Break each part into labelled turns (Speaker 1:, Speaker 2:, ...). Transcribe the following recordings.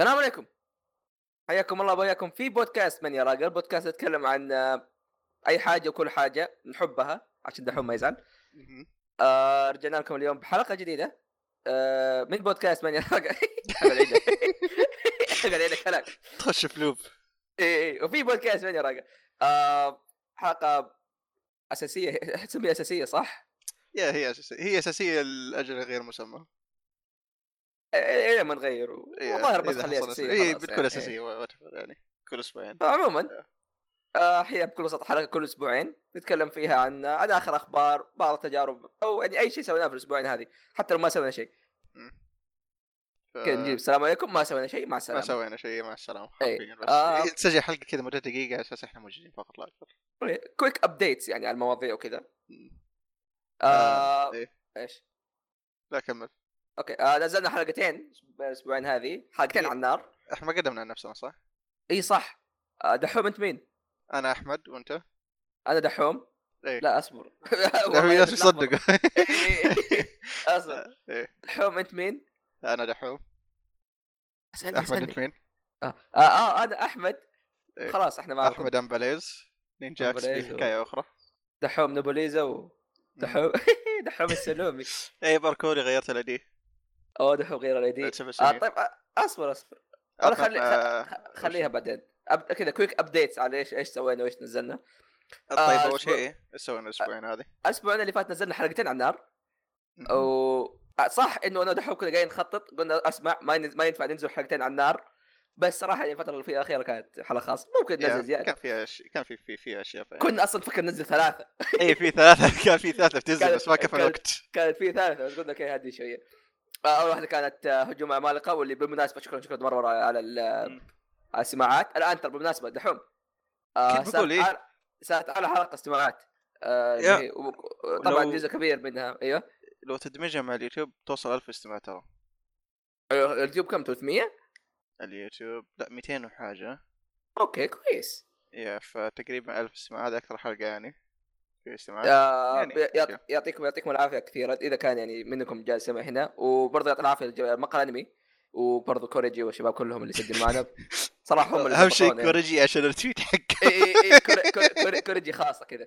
Speaker 1: السلام عليكم حياكم الله وياكم في بودكاست من يراقب البودكاست يتكلم عن آه، اي حاجه وكل حاجه نحبها عشان دحوم ما يزعل
Speaker 2: مهم.
Speaker 1: آه رجعنا لكم اليوم بحلقه جديده آه من بودكاست من يراقب حق العيد حق العيد هلاك
Speaker 2: تخش في لوب
Speaker 1: اي اي إيه، وفي بودكاست من يراقب آه حلقه اساسيه تسميها اساسيه صح؟
Speaker 2: يا هي اساسيه هي اساسيه لاجل غير مسمى
Speaker 1: إيه، الى ما نغير والظاهر بس خليها اساسيه
Speaker 2: اي
Speaker 1: خلاص
Speaker 2: إيه، بتكون
Speaker 1: يعني.
Speaker 2: اساسيه whatever يعني كل اسبوعين
Speaker 1: فعموما آه، هي بكل وسط حلقه كل اسبوعين نتكلم فيها عن عن اخر اخبار بعض التجارب او يعني اي شيء سويناه في الاسبوعين هذه حتى لو ما سوينا شيء
Speaker 2: آه. ف-
Speaker 1: كذا نجيب السلام عليكم ما سوينا شيء مع
Speaker 2: ما
Speaker 1: السلامه
Speaker 2: سوينا شيء مع السلامه
Speaker 1: إيه.
Speaker 2: حرفيا بس
Speaker 1: آه.
Speaker 2: إيه، تسجل حلقه كذا مدتها دقيقه على اساس احنا موجودين فقط لا اكثر
Speaker 1: كويك ابديتس يعني على المواضيع وكذا
Speaker 2: مم.
Speaker 1: آه،
Speaker 2: آه، إيه.
Speaker 1: ايش
Speaker 2: لا كمل
Speaker 1: اوكي آه، نزلنا حلقتين الاسبوعين هذه حلقتين
Speaker 2: إيه.
Speaker 1: على النار
Speaker 2: احنا ما قدمنا عن نفسنا صح؟
Speaker 1: اي صح آه، دحوم انت مين؟
Speaker 2: انا احمد وانت
Speaker 1: انا دحوم
Speaker 2: إيه.
Speaker 1: لا اصبر
Speaker 2: لا
Speaker 1: والله
Speaker 2: في ناس
Speaker 1: بتلخبط.
Speaker 2: يصدقوا
Speaker 1: اصبر
Speaker 2: إيه.
Speaker 1: دحوم انت مين؟
Speaker 2: انا دحوم
Speaker 1: اسالني
Speaker 2: احمد
Speaker 1: اسالني
Speaker 2: انت مين؟
Speaker 1: اه آه، انا احمد
Speaker 2: إيه.
Speaker 1: خلاص احنا معكم
Speaker 2: احمد امباليز نينجاكس في
Speaker 1: أمباليز و-
Speaker 2: حكايه اخرى
Speaker 1: دحوم نابوليزا و دحوم دحوم السلومي
Speaker 2: اي باركوري غيرت الايدي
Speaker 1: او دحوم غير الايدي آه طيب آه، اصبر اصبر أنا خلي-
Speaker 2: آه،
Speaker 1: خليها بعدين أب... كذا كويك ابديتس على ايش ايش سوينا وايش نزلنا
Speaker 2: طيب
Speaker 1: آه،
Speaker 2: اول
Speaker 1: أسبوع- أه،
Speaker 2: شيء إيه؟ ايش سوينا الاسبوعين هذه؟
Speaker 1: الاسبوعين اللي فات نزلنا حلقتين على النار و آه، صح انه انا ودحوم كنا قاعدين نخطط قلنا اسمع ما ين... ما ينفع ننزل حلقتين على النار بس صراحه يعني الفتره اللي فيها الاخيره كانت حلقه خاصه ممكن
Speaker 2: يا،
Speaker 1: ننزل زياده
Speaker 2: كان فيها أش... كان في في فيها اشياء فعلا
Speaker 1: كنا اصلا فكر ننزل ثلاثه
Speaker 2: اي في ثلاثه كان في ثلاثه
Speaker 1: كان-
Speaker 2: بتنزل بس ما كفى
Speaker 1: كان-
Speaker 2: الوقت
Speaker 1: كانت في ثالثه بس قلنا اوكي هدي شويه آه، اول واحده كانت آه، هجوم عمالقه واللي بالمناسبه شكرا شكرا مره مره على ال-
Speaker 2: مم.
Speaker 1: على السماعات الان ترى بالمناسبه دحوم آه،
Speaker 2: كنت
Speaker 1: صارت
Speaker 2: بقول إيه.
Speaker 1: أعلى- صارت اعلى حلقه استماعات آه،
Speaker 2: يا.
Speaker 1: اللي هي- و- و- طبعا
Speaker 2: لو-
Speaker 1: جزء كبير منها ايوه
Speaker 2: لو تدمجها مع اليوتيوب توصل 1000 استماع ترى
Speaker 1: أيوه، اليوتيوب كم 300
Speaker 2: اليوتيوب لا 200 وحاجه
Speaker 1: اوكي كويس
Speaker 2: يا فتقريبا 1000 استماع هذا اكثر حلقه يعني في استماعات
Speaker 1: آه،
Speaker 2: يعني،
Speaker 1: يعط-
Speaker 2: أوكي.
Speaker 1: يعطيكم يعطيكم العافيه كثيرا اذا كان يعني منكم جالس سمع هنا وبرضه يعطي العافيه لمقهى الانمي وبرضه كوريجي والشباب كلهم اللي سجلوا معنا صراحه هم اللي
Speaker 2: اهم شيء
Speaker 1: سبقونا يعني.
Speaker 2: كوريجي عشان التويت حقه
Speaker 1: إي- إي- إي، كوري- كوري- كوري- كوريجي خاصه كذا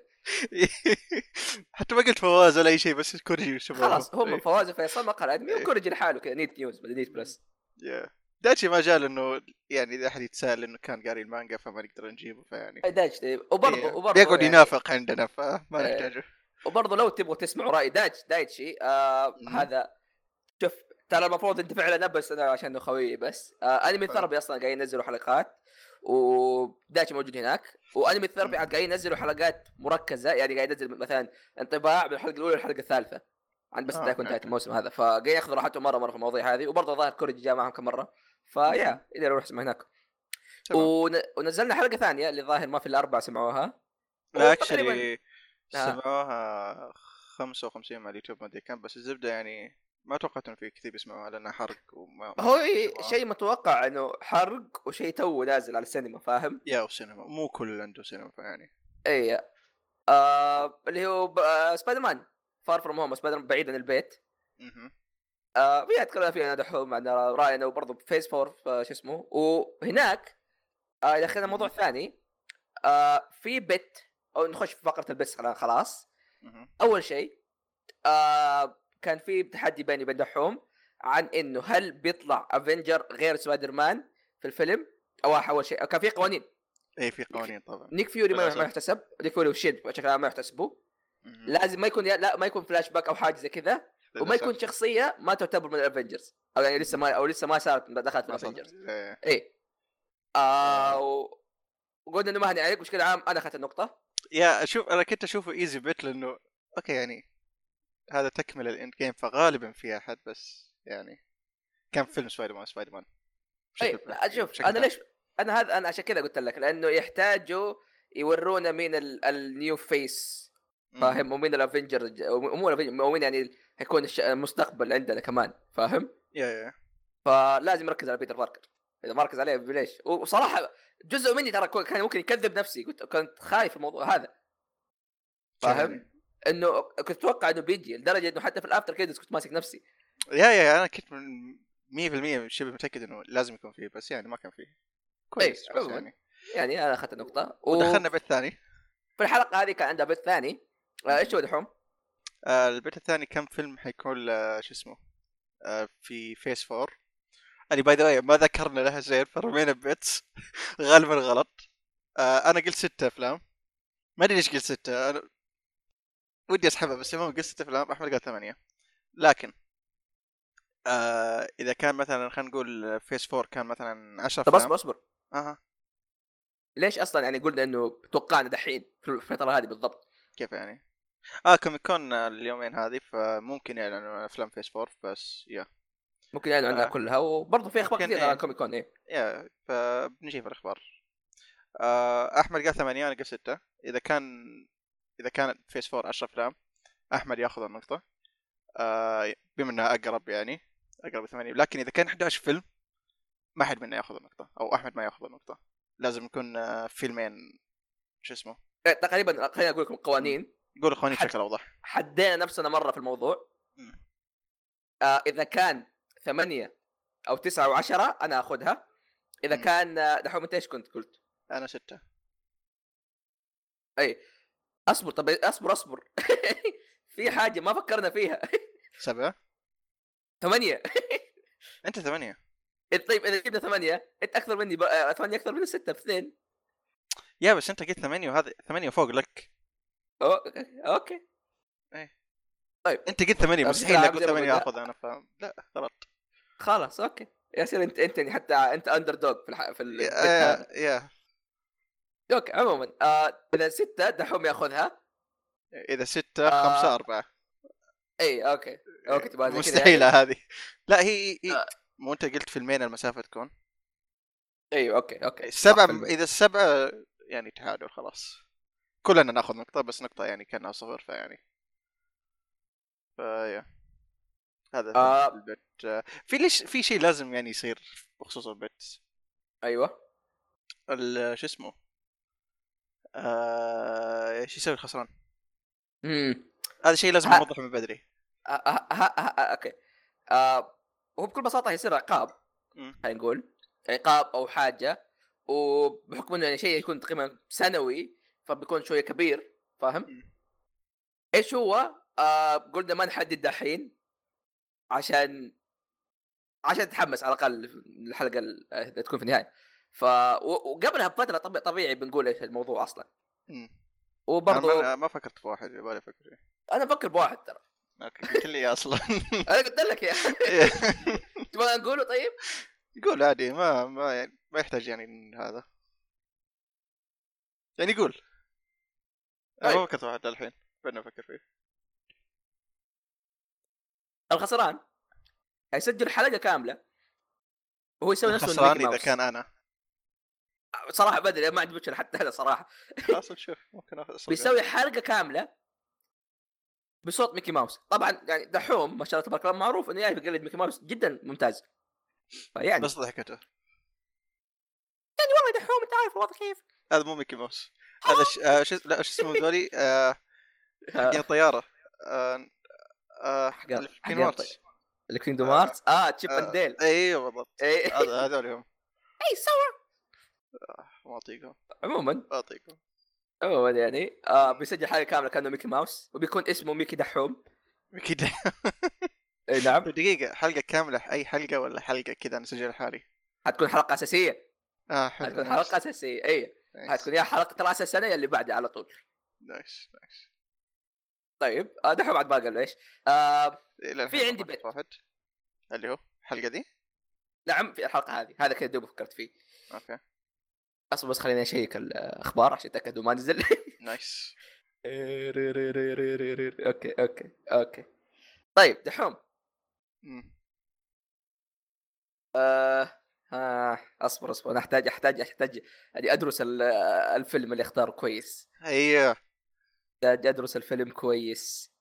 Speaker 2: حتى ما قلت فواز ولا اي شيء بس كوريجي وشباب.
Speaker 1: خلاص هم
Speaker 2: إيه.
Speaker 1: من فواز فيصل مقهى الانمي
Speaker 2: إيه.
Speaker 1: وكوريجي لحاله كذا نيت نيوز ولا نيت بلس
Speaker 2: يا. داتشي ما جاء لانه يعني اذا احد يتساءل انه كان قاري المانجا فما نقدر نجيبه فيعني
Speaker 1: داج تي-
Speaker 2: إيه.
Speaker 1: وبرضه وبرضه
Speaker 2: بيقعد
Speaker 1: يعني-
Speaker 2: ينافق عندنا فما
Speaker 1: إيه.
Speaker 2: نحتاجه
Speaker 1: وبرضه لو تبغوا تسمعوا راي داج دايتشي آه
Speaker 2: مم.
Speaker 1: هذا شوف ترى المفروض انت فعلا بس انا عشان إنه خويي بس آه انمي
Speaker 2: طيب.
Speaker 1: الثربي اصلا قاعدين ينزلوا حلقات ودايتشي موجود هناك وانمي الثربي
Speaker 2: مم.
Speaker 1: عاد قاعدين ينزلوا حلقات مركزه يعني قاعد ينزل مثلا انطباع من الحلقه الاولى للحلقه الثالثه عن بس
Speaker 2: آه،
Speaker 1: آه يكون
Speaker 2: أوكي،
Speaker 1: انتهت
Speaker 2: أوكي.
Speaker 1: الموسم هذا فقاعد ياخذوا راحتهم مره مره في المواضيع هذه وبرضه ظاهر كوريجي جاء معهم كم مره فيا اذا نروح اسمع هناك
Speaker 2: تمام.
Speaker 1: ون... ونزلنا حلقه ثانيه اللي ظاهر ما في الاربع سمعوها
Speaker 2: لا
Speaker 1: وتقريباً-
Speaker 2: اكشلي
Speaker 1: آه.
Speaker 2: سمعوها 55 مع اليوتيوب ما ادري كم بس الزبده يعني ما توقعت انه في كثير يسمعوها لانها حرق وما
Speaker 1: هو إيه،
Speaker 2: طبعاً.
Speaker 1: شيء متوقع انه حرق وشيء تو نازل على السينما فاهم؟
Speaker 2: يا وسينما مو كل اللي عنده سينما يعني
Speaker 1: اي آه اللي هو ب- آه سبايدر مان فار فروم هوم سبايدر مان بعيد عن البيت
Speaker 2: مهم.
Speaker 1: آه فيها تكلمنا فيها انا دحوم عندنا راينا وبرضه فيس فور آه، شو اسمه وهناك آه اذا اخذنا موضوع ثاني آه في بت او نخش في فقره البس الان خلاص
Speaker 2: مهم.
Speaker 1: اول شيء آه كان في تحدي بيني وبين دحوم عن انه هل بيطلع افنجر غير سبايدر مان في الفيلم او اول شيء كان في قوانين
Speaker 2: اي إيه، في قوانين طبعا
Speaker 1: نيك فيوري ما
Speaker 2: بالأسف.
Speaker 1: ما يحتسب نيك فيوري وشيد بشكل عام ما يحتسبوا
Speaker 2: مهم.
Speaker 1: لازم ما يكون لا ما يكون فلاش باك او حاجه زي كذا وما
Speaker 2: للأسف.
Speaker 1: يكون شخصيه ما تعتبر من الافنجرز او يعني لسه ما او لسه ما صارت ما دخلت في
Speaker 2: ما صار.
Speaker 1: الافنجرز
Speaker 2: إيه.
Speaker 1: اي آه و- وقلنا انه ما هنعيق بشكل عام انا اخذت النقطه
Speaker 2: يا شوف انا كنت اشوفه ايزي بيت لانه اوكي يعني هذا تكمل الاند جيم فغالبا في احد بس يعني كان فيلم سبايدر مان سبايدر مان
Speaker 1: اي
Speaker 2: بشكل-
Speaker 1: إيه، لا، طيب، شوف
Speaker 2: بشكل
Speaker 1: انا
Speaker 2: عام.
Speaker 1: ليش انا هذا انا عشان كذا قلت لك لانه يحتاجوا يورونا مين ال- النيو فيس
Speaker 2: مم.
Speaker 1: فاهم ومين الافنجر الج- ومو الافنجر ومين يعني حيكون الش- المستقبل عندنا كمان فاهم
Speaker 2: يا يا
Speaker 1: فلازم يركز على بيتر باركر اذا ما ركز عليه ليش وصراحه جزء مني ترى كو- كان ممكن يكذب نفسي كنت كنت خايف من الموضوع هذا فاهم
Speaker 2: يعني،
Speaker 1: انه كنت اتوقع انه بيجي لدرجه انه حتى في الافتر كريدتس كنت ماسك نفسي
Speaker 2: يا يا انا كنت من 100% شبه متاكد انه لازم يكون فيه بس يعني ما كان فيه كويس بس
Speaker 1: عموماً.
Speaker 2: يعني
Speaker 1: يعني انا اخذت النقطه
Speaker 2: ودخلنا بيت ثاني
Speaker 1: في الحلقه هذه كان عندها بث ثاني آه، ايش هو دحوم؟
Speaker 2: آه، البيت الثاني كم فيلم حيكون ل- شو اسمه آه، في يعني فيس 4 انا باي ذا ما ذكرنا لها زين فرمينا بيتس غالبا غلط آه، انا قلت ستة افلام ما ادري ليش قلت ستة انا ودي اسحبها بس المهم قلت ستة افلام احمد قال ثمانية لكن آه، اذا كان مثلا خلينا نقول فيس 4 كان مثلا 10
Speaker 1: طب
Speaker 2: افلام
Speaker 1: اصبر اصبر
Speaker 2: اها
Speaker 1: ليش اصلا يعني قلنا انه توقعنا دحين في الفتره هذه بالضبط
Speaker 2: كيف يعني اه كوميك كون آه، اليومين هذه فممكن يعلنوا عن افلام فيس 4 بس يا
Speaker 1: ممكن يعلنوا عنها
Speaker 2: آه.
Speaker 1: كلها وبرضه في اخبار
Speaker 2: ممكن
Speaker 1: كثيره
Speaker 2: إيه.
Speaker 1: عن كوميك كون ايه
Speaker 2: يا فبنجي في الاخبار آه، احمد قال ثمانية انا قلت ستة اذا كان اذا كان فيس فور 10 افلام احمد ياخذ النقطة آه، بما انها اقرب يعني اقرب ثمانية لكن اذا كان 11 فيلم ما حد منا ياخذ النقطة او احمد ما ياخذ النقطة لازم يكون آه، فيلمين شو اسمه
Speaker 1: إيه، تقريبا خليني اقول لكم قوانين
Speaker 2: قول اخواني
Speaker 1: حد.
Speaker 2: بشكل اوضح
Speaker 1: حدينا نفسنا مره في الموضوع
Speaker 2: مم.
Speaker 1: آه اذا كان ثمانية او تسعة وعشرة انا اخذها اذا
Speaker 2: مم.
Speaker 1: كان آه، دحوم انت ايش كنت قلت؟
Speaker 2: انا ستة
Speaker 1: اصبر طب اصبر اصبر في حاجه ما فكرنا فيها
Speaker 2: سبعة
Speaker 1: ثمانية
Speaker 2: انت ثمانية
Speaker 1: إذا- طيب اذا جبنا ثمانية انت اكثر مني ب... آه، ثمانية اكثر مني ستة باثنين
Speaker 2: يا بس انت قلت ثمانية وهذا ثمانية فوق لك
Speaker 1: أو- اوكي
Speaker 2: انت قلت ثمانية
Speaker 1: طب
Speaker 2: مستحيل
Speaker 1: بسرعة
Speaker 2: اقول
Speaker 1: أبدأ
Speaker 2: ثمانية
Speaker 1: بالبداية.
Speaker 2: اخذ انا فاهم لا غلط
Speaker 1: خلاص اوكي يا سيدي انت انت يعني حتى انت اندر دوغ في الح... في ال...
Speaker 2: يا آه، يا
Speaker 1: اوكي عموما آه اذا ستة دحوم ياخذها
Speaker 2: اذا ستة
Speaker 1: آه،
Speaker 2: خمسة أربعة
Speaker 1: اي اوكي اوكي إيه، تبغى زي كذا
Speaker 2: مستحيلة
Speaker 1: يعني؟
Speaker 2: هذه لا هي هي
Speaker 1: آه.
Speaker 2: مو انت قلت فيلمين المسافة تكون
Speaker 1: ايوه اوكي اوكي
Speaker 2: السبعة
Speaker 1: صح، فيلم.
Speaker 2: اذا السبعة يعني تعادل خلاص كلنا ناخذ نقطة بس نقطة يعني كانها صفر فيعني فيا هذا
Speaker 1: آه.
Speaker 2: البت آه، في ليش في شيء لازم يعني يصير بخصوص البت
Speaker 1: ايوه
Speaker 2: ال- شو اسمه آه، ايش يسوي الخسران
Speaker 1: امم
Speaker 2: هذا شيء لازم
Speaker 1: ها.
Speaker 2: نوضحه من بدري
Speaker 1: آه آه آه آه آه اوكي آه هو بكل بساطه يصير عقاب
Speaker 2: مم.
Speaker 1: خلينا نقول عقاب او حاجه وبحكم انه يعني شيء يكون تقريبا سنوي فبيكون شويه كبير فاهم؟
Speaker 2: مم.
Speaker 1: ايش هو؟ آه قلنا ما نحدد دحين عشان عشان تتحمس على الاقل الحلقه ال- آه، تكون في النهايه ف و- وقبلها بفتره طبيعي, طبيعي بنقول ايش الموضوع اصلا
Speaker 2: مم. أنا
Speaker 1: وبرضه
Speaker 2: ما- ما فكرت في واحد بالي افكر فيه
Speaker 1: انا افكر بواحد ترى
Speaker 2: اوكي قلت لي إياه اصلا
Speaker 1: انا قلت لك يا تبغى نقوله طيب؟
Speaker 2: قول عادي ما ما يعني ما يحتاج يعني هذا يعني قول انا ما
Speaker 1: طيب.
Speaker 2: فكرت واحد الحين بدنا نفكر فيه
Speaker 1: الخسران يعني هيسجل حلقه كامله وهو يسوي نفسه إنه
Speaker 2: خسران
Speaker 1: ميكي
Speaker 2: اذا
Speaker 1: ماوس.
Speaker 2: كان انا
Speaker 1: صراحه بدري ما عجبتش حتى هذا صراحه
Speaker 2: خلاص نشوف ممكن اخذ أصلاً.
Speaker 1: بيسوي حلقه كامله بصوت ميكي ماوس طبعا يعني دحوم ما شاء الله تبارك الله معروف انه يعرف يقلد ميكي ماوس جدا ممتاز فيعني
Speaker 2: بس ضحكته
Speaker 1: يعني والله دحوم انت عارف الوضع كيف
Speaker 2: هذا مو ميكي ماوس هذا ش... آه شو لا شو اسمه ذولي آه حقين الطياره آه آه
Speaker 1: حقين-
Speaker 2: اللي في
Speaker 1: حقين
Speaker 2: كينوارتس.
Speaker 1: الطي- الكينجدوم هارتس اه تشيب
Speaker 2: آه،
Speaker 1: اند ديل
Speaker 2: ايوه بالضبط
Speaker 1: اي
Speaker 2: هذا- هذول هم طيب،
Speaker 1: سوا
Speaker 2: ما اعطيكم
Speaker 1: عموما
Speaker 2: ما اعطيكم
Speaker 1: عموما يعني آه بيسجل حلقه كامله كانه ميكي ماوس وبيكون اسمه ميكي دحوم
Speaker 2: ميكي طيب، ده
Speaker 1: اي نعم
Speaker 2: دقيقه حلقه كامله اي حلقه ولا حلقه كذا انا سجل حالي
Speaker 1: حتكون حلقه اساسيه
Speaker 2: اه حلو
Speaker 1: حتكون إيه.
Speaker 2: nice.
Speaker 1: حلقه اساسيه اي
Speaker 2: Nice.
Speaker 1: حتكون يا حلقه راس السنه يا اللي بعدها على طول
Speaker 2: نايس نايس
Speaker 1: طيب آه، دحوم بعد ما قال ليش آه
Speaker 2: إلى
Speaker 1: في
Speaker 2: الحين
Speaker 1: عندي
Speaker 2: فقط
Speaker 1: بيت.
Speaker 2: واحد اللي هو الحلقه دي
Speaker 1: نعم في الحلقه هذه هذا كذا دوب فكرت فيه
Speaker 2: اوكي
Speaker 1: اصبر بس خليني اشيك الاخبار عشان اتاكد وما نزل
Speaker 2: نايس
Speaker 1: اوكي اوكي اوكي طيب دحوم
Speaker 2: مم.
Speaker 1: آه آه اصبر اصبر انا احتاج احتاج احتاج يعني ادرس ال- آه، الفيلم اللي اختاره كويس
Speaker 2: ايوه
Speaker 1: احتاج ادرس الفيلم كويس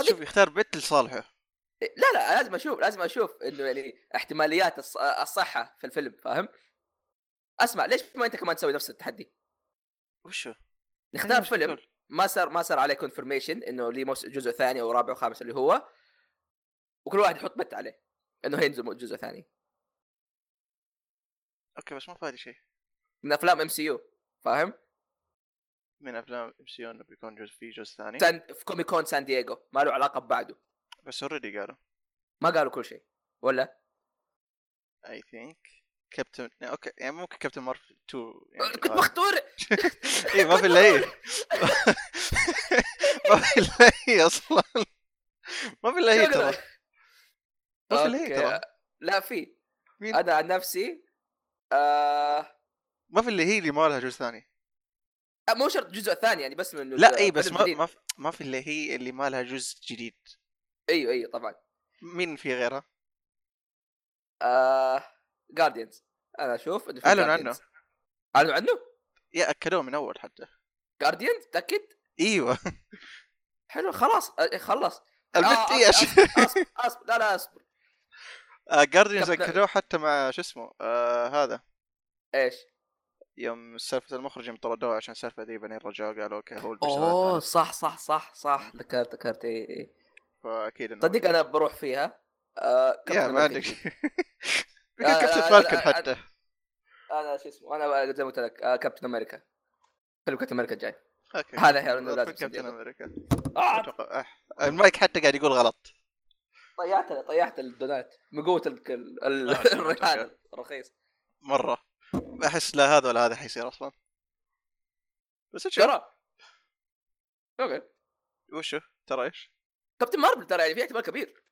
Speaker 1: صديق.
Speaker 2: شوف يختار بيت لصالحه
Speaker 1: لا لا لازم اشوف لازم اشوف انه يعني احتماليات الص- الصحه في الفيلم فاهم؟ اسمع ليش ما انت كمان تسوي نفس التحدي؟
Speaker 2: وشو؟
Speaker 1: نختار فيلم ما صار ما صار عليه كونفرميشن انه ليه موس- جزء ثاني او رابع وخامس اللي هو وكل واحد يحط بت عليه انه هينزل جزء ثاني
Speaker 2: اوكي بس ما فادي شيء
Speaker 1: من افلام ام سي يو فاهم؟
Speaker 2: من افلام ام سي انه بيكون جزء في جزء ثاني
Speaker 1: سان... في كومي كون سان دييغو ما له علاقه ببعده
Speaker 2: بس اوريدي قالوا
Speaker 1: ما قالوا كل شيء ولا
Speaker 2: اي ثينك كابتن اوكي يعني ممكن كابتن مارفل 2 يعني
Speaker 1: كنت مختور
Speaker 2: اي ما في الا هي ما في الا هي اصلا ما في الا هي ترى ما في الا هي ترى
Speaker 1: أوكي. لا في
Speaker 2: مين؟
Speaker 1: انا عن نفسي آه...
Speaker 2: ما في الا هي اللي ما لها جزء ثاني
Speaker 1: مو شرط جزء ثاني يعني بس من إنه
Speaker 2: لا اي بس
Speaker 1: فيلم
Speaker 2: ما
Speaker 1: جديد.
Speaker 2: ما في- ما في الا هي اللي ما لها جزء جديد
Speaker 1: ايوه ايوه طبعا
Speaker 2: مين في غيرها؟
Speaker 1: آه... جارديانز انا اشوف انه في
Speaker 2: أعلنوا
Speaker 1: Guardians.
Speaker 2: عنه.
Speaker 1: اعلنوا عنه؟
Speaker 2: يا اكدوه من اول حتى
Speaker 1: جارديانز متاكد؟
Speaker 2: ايوه
Speaker 1: حلو خلاص آه، خلص
Speaker 2: البنت
Speaker 1: آه،
Speaker 2: هي
Speaker 1: أصبر، اصبر اصبر لا لا اصبر
Speaker 2: جارديانز
Speaker 1: كابتن-
Speaker 2: اكدوه آه، حتى مع شو اسمه آه، هذا
Speaker 1: ايش؟
Speaker 2: يوم سالفه المخرج يوم طردوه عشان السالفه ذي بعدين رجعوا قالوا اوكي هو اللي بيشتغل
Speaker 1: اوه
Speaker 2: على-
Speaker 1: صح صح صح صح ذكرت ذكرت إيه، اي اي
Speaker 2: فاكيد انه
Speaker 1: صدق انا بروح فيها آه،
Speaker 2: يا
Speaker 1: كابتن
Speaker 2: ما
Speaker 1: أمريكا
Speaker 2: عندك
Speaker 1: جديد. آه،
Speaker 2: كابتن
Speaker 1: آه،
Speaker 2: فالكن
Speaker 1: آه، آه،
Speaker 2: حتى
Speaker 1: انا شو اسمه انا زي ما قلت لك آه، كابتن امريكا فيلم كابتن امريكا الجاي
Speaker 2: اوكي
Speaker 1: هذا حلو انه
Speaker 2: أتوقع
Speaker 1: لازم
Speaker 2: كابتن
Speaker 1: صديقه.
Speaker 2: امريكا
Speaker 1: آه،
Speaker 2: أتوقع- آه، المايك حتى قاعد يقول غلط
Speaker 1: طيحت طيحت الدونات من قوه ال- ال- ال-
Speaker 2: آه، تمام،
Speaker 1: الريحان الرخيص
Speaker 2: مره احس لا هذا ولا هذا حيصير اصلا بس شو
Speaker 1: ترى اوكي
Speaker 2: وشو ترى ايش
Speaker 1: كابتن مارفل ترى يعني في احتمال كبير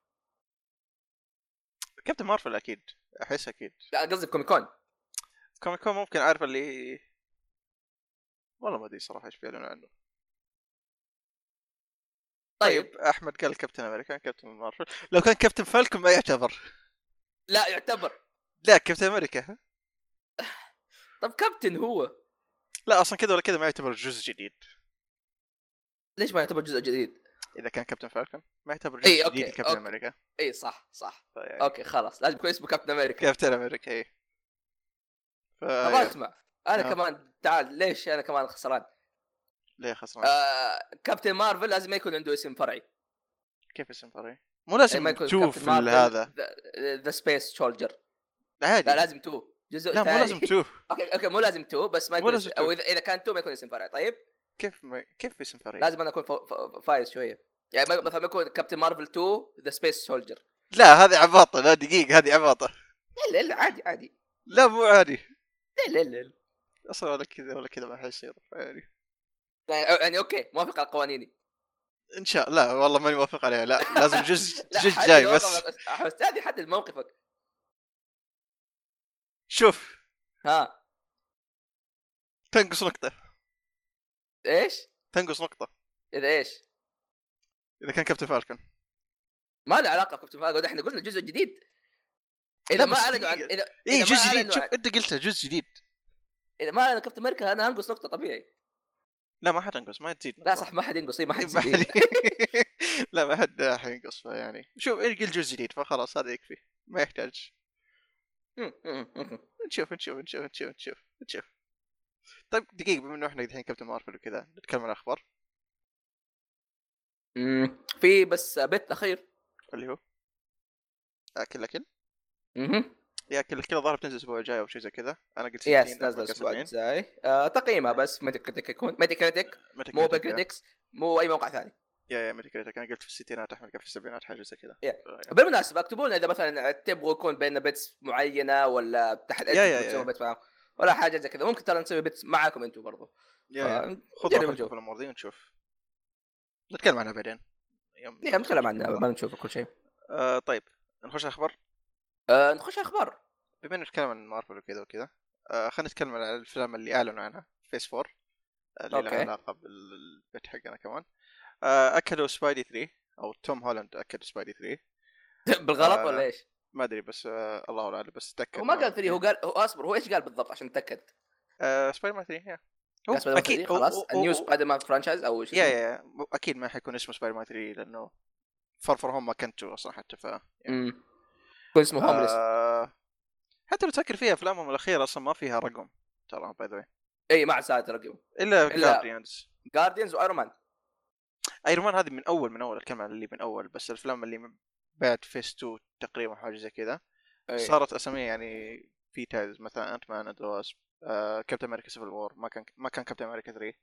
Speaker 2: كابتن مارفل اكيد احس اكيد
Speaker 1: لا قصدي في كومي كون
Speaker 2: كوميك كون ممكن عارف اللي والله ما ادري صراحه ايش بيعلنوا عنه
Speaker 1: طيب
Speaker 2: طيب احمد قال كابتن امريكا كابتن مارفل لو كان كابتن فالكون ما يعتبر
Speaker 1: لا يعتبر
Speaker 2: لا كابتن امريكا
Speaker 1: طب كابتن هو
Speaker 2: لا اصلا كذا ولا كذا ما يعتبر جزء جديد
Speaker 1: ليش ما يعتبر جزء جديد؟
Speaker 2: اذا كان كابتن فالكون ما يعتبر جزء
Speaker 1: إيه، أوكي،
Speaker 2: جديد لكابتن
Speaker 1: أوكي.
Speaker 2: امريكا
Speaker 1: اي صح صح
Speaker 2: فيعني
Speaker 1: اوكي خلاص لازم يكون اسمه كابتن امريكا
Speaker 2: كابتن امريكا اي ف...
Speaker 1: ابغى اسمع انا
Speaker 2: طيب. آه.
Speaker 1: كمان تعال ليش انا كمان خسران؟
Speaker 2: ليه خسران
Speaker 1: آه كابتن مارفل لازم ما يكون عنده اسم فرعي
Speaker 2: كيف اسم فرعي مو لازم
Speaker 1: إيه، ما يكون
Speaker 2: تشوف
Speaker 1: كابتن مارفل.
Speaker 2: هذا
Speaker 1: ذا سبيس شولجر
Speaker 2: عادي
Speaker 1: لا لازم تو جزء
Speaker 2: لا مو
Speaker 1: ثاني.
Speaker 2: لازم تشوف
Speaker 1: اوكي اوكي مو لازم تو بس ما
Speaker 2: مو
Speaker 1: يكون
Speaker 2: لازم
Speaker 1: اسم-
Speaker 2: تو.
Speaker 1: او اذا اذا كان تو ما يكون اسم فرعي طيب
Speaker 2: كيف ما... كيف اسم فرعي
Speaker 1: لازم انا اكون ف- ف- فايز شويه يعني ما- مثلا ما يكون كابتن مارفل 2 ذا سبيس سولجر
Speaker 2: لا هذه عباطه لا دقيقه هذه عباطه
Speaker 1: لا لا عادي عادي
Speaker 2: لا مو عادي
Speaker 1: لا لا لا
Speaker 2: اصلا ولا كذا ولا كذا ما حيصير يعني
Speaker 1: يعني- يعني اوكي موافق على قوانيني
Speaker 2: ان شاء الله والله ماني موافق عليها لا لازم جزء
Speaker 1: لا،
Speaker 2: جزء
Speaker 1: حدد
Speaker 2: جاي بس
Speaker 1: موقفك. أس- استاذي حدد موقفك
Speaker 2: شوف
Speaker 1: ها
Speaker 2: تنقص نقطه
Speaker 1: ايش؟
Speaker 2: تنقص نقطه
Speaker 1: اذا ايش؟
Speaker 2: اذا كان كابتن فالكون
Speaker 1: ما له علاقه بكابتن فالكون احنا قلنا جزء جديد اذا
Speaker 2: لا،
Speaker 1: ما
Speaker 2: بس
Speaker 1: اعلنوا عن
Speaker 2: دقيقة.
Speaker 1: اذا
Speaker 2: اي
Speaker 1: إذا ما
Speaker 2: إيه، جزء جديد
Speaker 1: أعلنوا
Speaker 2: شوف
Speaker 1: عن-
Speaker 2: انت قلتها جزء جديد
Speaker 1: اذا ما اعلنوا كابتن امريكا انا هنقص نقطه طبيعي
Speaker 2: لا ما حتنقص ما تزيد
Speaker 1: لا
Speaker 2: نقطة.
Speaker 1: صح ما حد ينقص إيه، ما حد
Speaker 2: ما
Speaker 1: يزيد.
Speaker 2: حد- لا ما حد حينقص يعني شوف القى جزء جديد فخلاص هذا يكفي ما يحتاج
Speaker 1: مم، مم، مم.
Speaker 2: نشوف نشوف نشوف نشوف نشوف نشوف طيب دقيقة بما انه احنا الحين كابتن مارفل وكذا نتكلم عن اخبار
Speaker 1: مم. في بس بيت اخير
Speaker 2: اللي هو آه، اكل اكل
Speaker 1: مهم.
Speaker 2: يا اكل اكل الظاهر بتنزل الاسبوع الجاي او شيء زي كذا انا قلت 60
Speaker 1: يس نازل
Speaker 2: أتوقع
Speaker 1: الاسبوع
Speaker 2: 70.
Speaker 1: الجاي آه، تقييمها بس ميتا كريتيك يكون ميتا كريتيك
Speaker 2: متى
Speaker 1: مو
Speaker 2: كريتك يا-
Speaker 1: بكريتكس مو اي موقع ثاني
Speaker 2: يا يا متى كريتك انا قلت في الستينات احمد قال في السبعينات حاجة زي كذا
Speaker 1: يا.
Speaker 2: فيا.
Speaker 1: بالمناسبه اكتبوا لنا اذا مثلا تبغوا يكون بين بيتس معينه ولا تحت
Speaker 2: يا-
Speaker 1: أنتم
Speaker 2: يا-
Speaker 1: تسوون
Speaker 2: يا.
Speaker 1: بيت معاهم ولا حاجه زي كذا ممكن ترى نسوي بيتس معاكم انتم برضو آه،
Speaker 2: يا يا.
Speaker 1: ف- يعني
Speaker 2: خذ
Speaker 1: جرب
Speaker 2: راحتك
Speaker 1: نشوف.
Speaker 2: في الامور ذي ونشوف نتكلم عنها بعدين يوم
Speaker 1: يا نعم، نتكلم عنها ما نشوف كل شيء
Speaker 2: آه، طيب نخش على الاخبار
Speaker 1: آه، نخش اخبار
Speaker 2: بما انه نتكلم عن مارفل وكذا وكذا آه خلينا نتكلم عن الافلام اللي اعلنوا عنها فيس 4 اللي لها
Speaker 1: أوكي.
Speaker 2: علاقه بالبيت حقنا كمان آه اكدوا سبايدي 3 او توم هولاند اكد سبايدي 3
Speaker 1: بالغلط
Speaker 2: آه،
Speaker 1: ولا ايش؟
Speaker 2: ما ادري بس آه الله اعلم بس اتاكد
Speaker 1: هو ما قال ثري هو قال هو اصبر هو ايش قال بالضبط عشان نتاكد
Speaker 2: آه سبايدر مان 3 يا هو
Speaker 1: قال سبايدر مان 3
Speaker 2: هو-
Speaker 1: خلاص
Speaker 2: هو-
Speaker 1: النيو
Speaker 2: هو-
Speaker 1: سبايدر مان فرانشايز او شو
Speaker 2: يا
Speaker 1: اسمه؟
Speaker 2: يا مو- اكيد ما حيكون اسمه سبايدر مان 3 لانه فار فور هوم ما كنتو اصلا حتى ف
Speaker 1: مم. يكون اسمه هومليس
Speaker 2: آه حتى لو تفكر فيها افلامهم الاخيره اصلا ما فيها رقم ترى باي ذا
Speaker 1: اي ما عاد ساعد رقم
Speaker 2: الا
Speaker 1: إلا-
Speaker 2: جارديانز
Speaker 1: جارديانز وايرون مان
Speaker 2: ايرون مان هذه من اول من اول الكلمه اللي من اول بس الافلام اللي من بعد فيس 2 تقريبا حاجه زي كذا
Speaker 1: إيه.
Speaker 2: صارت اسامي يعني في تايز مثلا انت مان اند واسب آه كابتن امريكا سيفل وور ما كان ما كان كابتن امريكا 3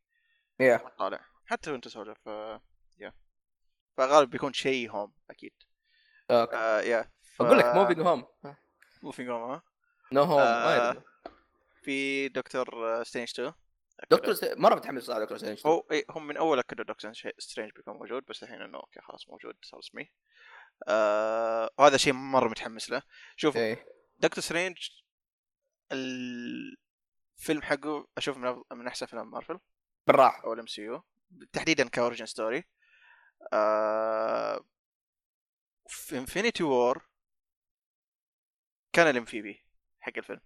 Speaker 1: يا
Speaker 2: طالع آه، حتى وانت سولف آه يا فغالب بيكون شيء هوم اكيد
Speaker 1: اوكي
Speaker 2: آه يا ف...
Speaker 1: اقول لك موفينج هوم
Speaker 2: موفينج هوم ها
Speaker 1: نو هوم
Speaker 2: آه. في دكتور آه، سترينج 2
Speaker 1: دكتور س- مره متحمس على دكتور سترينج
Speaker 2: هو إيه، هم من اول اكدوا دكتور سترينج بيكون موجود بس الحين انه اوكي خلاص موجود صار اسمي آه وهذا شيء مره متحمس له شوف
Speaker 1: ايه
Speaker 2: دكتور سترينج الفيلم حقه اشوف من أفضل- من احسن فيلم مارفل
Speaker 1: بالراحه
Speaker 2: او الام سي يو تحديدا كاورجن ستوري آه في انفينيتي وور كان الام في بي حق الفيلم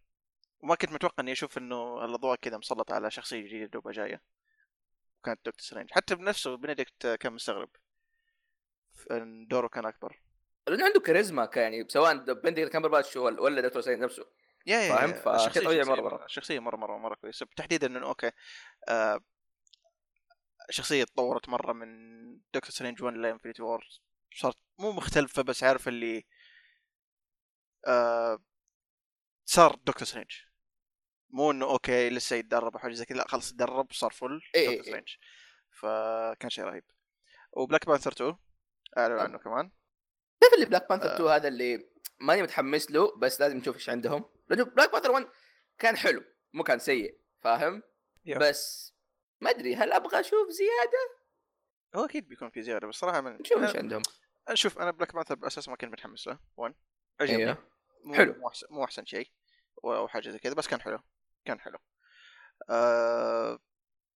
Speaker 2: وما كنت متوقع اني اشوف انه الاضواء كذا مسلط على شخصيه جديده دوبها جايه وكانت دكتور سترينج حتى بنفسه بنديكت كان مستغرب إن دوره كان اكبر
Speaker 1: لانه عنده كاريزما كان يعني سواء بندكت كامبرباتش ولا ولا دكتور سترينج نفسه
Speaker 2: يا يا
Speaker 1: فاهم؟
Speaker 2: يا.
Speaker 1: فشيء
Speaker 2: الشخصية-
Speaker 1: طبيعي مرة
Speaker 2: شخصية
Speaker 1: مرة.
Speaker 2: شخصيه مره مره مره كويسه تحديدا انه اوكي آه شخصيه تطورت مره من دكتور سترينج 1 لانفينيتي وور صارت مو مختلفه بس عارف اللي آه صار دكتور سترينج مو انه اوكي لسه يتدرب او حاجه زي كذا لا خلاص تدرب صار فل
Speaker 1: إيه، إيه،
Speaker 2: دكتور
Speaker 1: إيه.
Speaker 2: سترينج فكان شيء رهيب وبلاك بانثر 2 اعلنوا
Speaker 1: طبعاً.
Speaker 2: عنه كمان
Speaker 1: تعرف اللي بلاك بانثر
Speaker 2: آه.
Speaker 1: 2 هذا اللي ماني متحمس له بس لازم نشوف ايش عندهم لانه بلاك بانثر 1 كان حلو مو كان سيء فاهم
Speaker 2: يب.
Speaker 1: بس ما ادري هل ابغى اشوف زياده
Speaker 2: هو اكيد بيكون في زياده بس صراحه من
Speaker 1: نشوف ايش عندهم
Speaker 2: شوف انا بلاك بانثر باساس ما كنت متحمس له 1 عجبني
Speaker 1: ايوه
Speaker 2: مو
Speaker 1: حلو.
Speaker 2: مو احسن مو احسن شيء و- او حاجه زي كذا بس كان حلو كان حلو آه...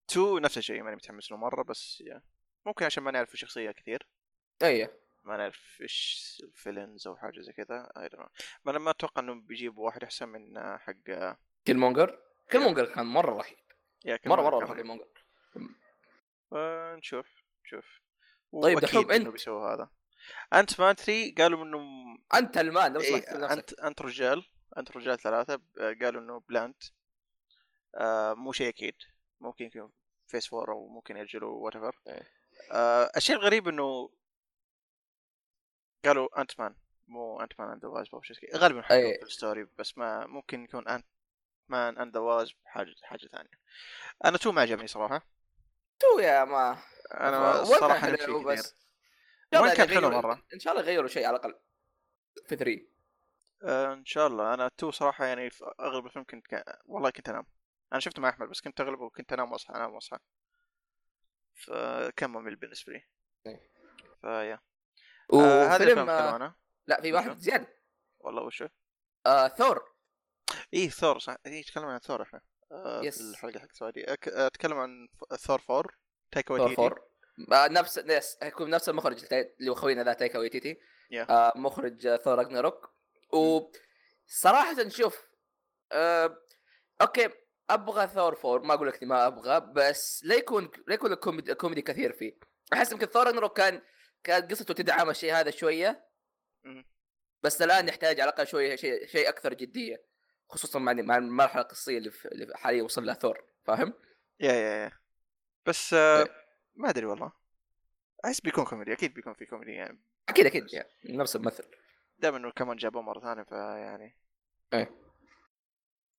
Speaker 2: تو نفس الشيء ماني متحمس له مره بس يا. ممكن عشان ما نعرف الشخصيه كثير
Speaker 1: ايوه
Speaker 2: ما نعرف ايش الفيلنز او حاجه زي كذا اي دونت ما انا ما اتوقع انهم بيجيبوا واحد احسن من آه، حق آه،
Speaker 1: كيلمونجر كيلمونجر كان مره رهيب
Speaker 2: يا كمان-
Speaker 1: مره مره رهيب
Speaker 2: كمان.
Speaker 1: كيلمونجر
Speaker 2: فنشوف نشوف
Speaker 1: طيب
Speaker 2: وأكيد
Speaker 1: دحوم
Speaker 2: إنه
Speaker 1: أنت.
Speaker 2: بيسووا هذا انت مان 3 قالوا انه
Speaker 1: انت المان لو سمحت
Speaker 2: إيه
Speaker 1: إيه.
Speaker 2: انت انت رجال انت رجال ثلاثه ب- قالوا انه بلانت آه مو شيء اكيد ممكن يكون فيس فور او ممكن ياجلوا وات ايفر
Speaker 1: إيه.
Speaker 2: آه الشيء الغريب انه قالوا انت مان مو انت مان اند ذا وازب او شيء زي كذا. غالبا
Speaker 1: إيه.
Speaker 2: حيكون في الستوري بس ما ممكن يكون انت مان اند ذا وازب حاجه حاجه ثانيه انا تو ما عجبني صراحه
Speaker 1: تو يا ما
Speaker 2: انا
Speaker 1: وضع
Speaker 2: الصراحه
Speaker 1: حلو
Speaker 2: نفسي كثير
Speaker 1: بس
Speaker 2: بس
Speaker 1: إن شاء
Speaker 2: وين
Speaker 1: الله
Speaker 2: كان حلو
Speaker 1: يغيروا-
Speaker 2: مره
Speaker 1: ان شاء الله يغيروا شيء على الاقل في 3
Speaker 2: آه، ان شاء الله انا تو صراحه يعني في اغلب الفيلم كنت كا... والله كنت انام انا شفته مع احمد بس كنت اغلبه كنت انام واصحى انام واصحى فكان ممل بالنسبه لي
Speaker 1: إيه.
Speaker 2: فيا آه، هذا
Speaker 1: وفيلم
Speaker 2: الفيلم
Speaker 1: آه
Speaker 2: حلو انا
Speaker 1: لا في واحد زياده
Speaker 2: والله وشو
Speaker 1: آه ثور
Speaker 2: اي ثور صح اي تكلم عن ثور احنا آه، في
Speaker 1: يس.
Speaker 2: الحلقه حق سعودي أك... اتكلم عن ف- ثور فور تايك
Speaker 1: ثور
Speaker 2: وايتيتي
Speaker 1: 4 آه نفس نفس يكون نفس المخرج التاي- اللي هو خوينا ذا تايكا ويتيتي
Speaker 2: Yeah.
Speaker 1: آه مخرج آه، ثور راجناروك وصراحه شوف آه اوكي ابغى ثور 4 ما اقول لك إني ما ابغى بس لا يكون لا يكون كوميدي, كوميدي كثير فيه احس يمكن ثور راجناروك كان كان قصته تدعم الشيء هذا شويه
Speaker 2: مم.
Speaker 1: بس الان يحتاج على الاقل شويه شيء شيء اكثر جديه خصوصا مع مع المرحله القصيه اللي في- اللي حاليا وصل لها ثور فاهم؟
Speaker 2: يا يا يا بس آه،
Speaker 1: إيه.
Speaker 2: ما ادري والله احس بيكون كوميدي اكيد بيكون في كوميدي يعني
Speaker 1: اكيد اكيد يعني نفس الممثل
Speaker 2: دائما انه كمان جابوه مره ثانيه فيعني
Speaker 1: إيه.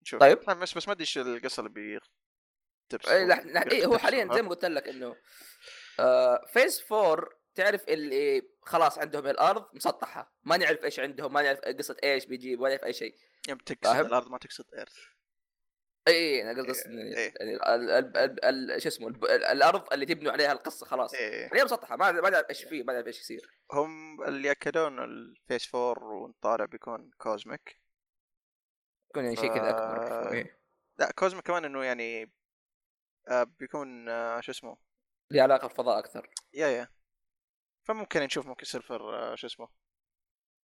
Speaker 2: نشوف
Speaker 1: طيب.
Speaker 2: يعني. طيب بس بس ما ادري ايش القصه اللي بي تبس
Speaker 1: إيه، لح- لح- إيه، هو حاليا زي ما قلت لك انه آه، فيز 4 تعرف اللي خلاص عندهم الارض مسطحه ما نعرف ايش عندهم ما نعرف قصه ايش بيجيب ولا نعرف اي شيء فاهم؟
Speaker 2: يوم تقصد الارض ما تقصد ايرث
Speaker 1: اي انا قصدي قصدي إني-
Speaker 2: إيه.
Speaker 1: يعني ال- ال- ال- ال- شو اسمه الب- ال- الارض اللي تبنوا عليها القصه خلاص
Speaker 2: إيه.
Speaker 1: هي مسطحه ما ما نعرف ايش فيه ما نعرف ايش يصير
Speaker 2: هم اللي اكدوا انه الفيس 4 ونطالع بيكون كوزميك
Speaker 1: يكون يعني شيء كذا اكبر
Speaker 2: آه.
Speaker 1: إيه.
Speaker 2: لا كوزميك كمان انه يعني آه بيكون آه شو اسمه
Speaker 1: لي علاقه بالفضاء اكثر
Speaker 2: يا يا فممكن نشوف ممكن سيرفر آه شو اسمه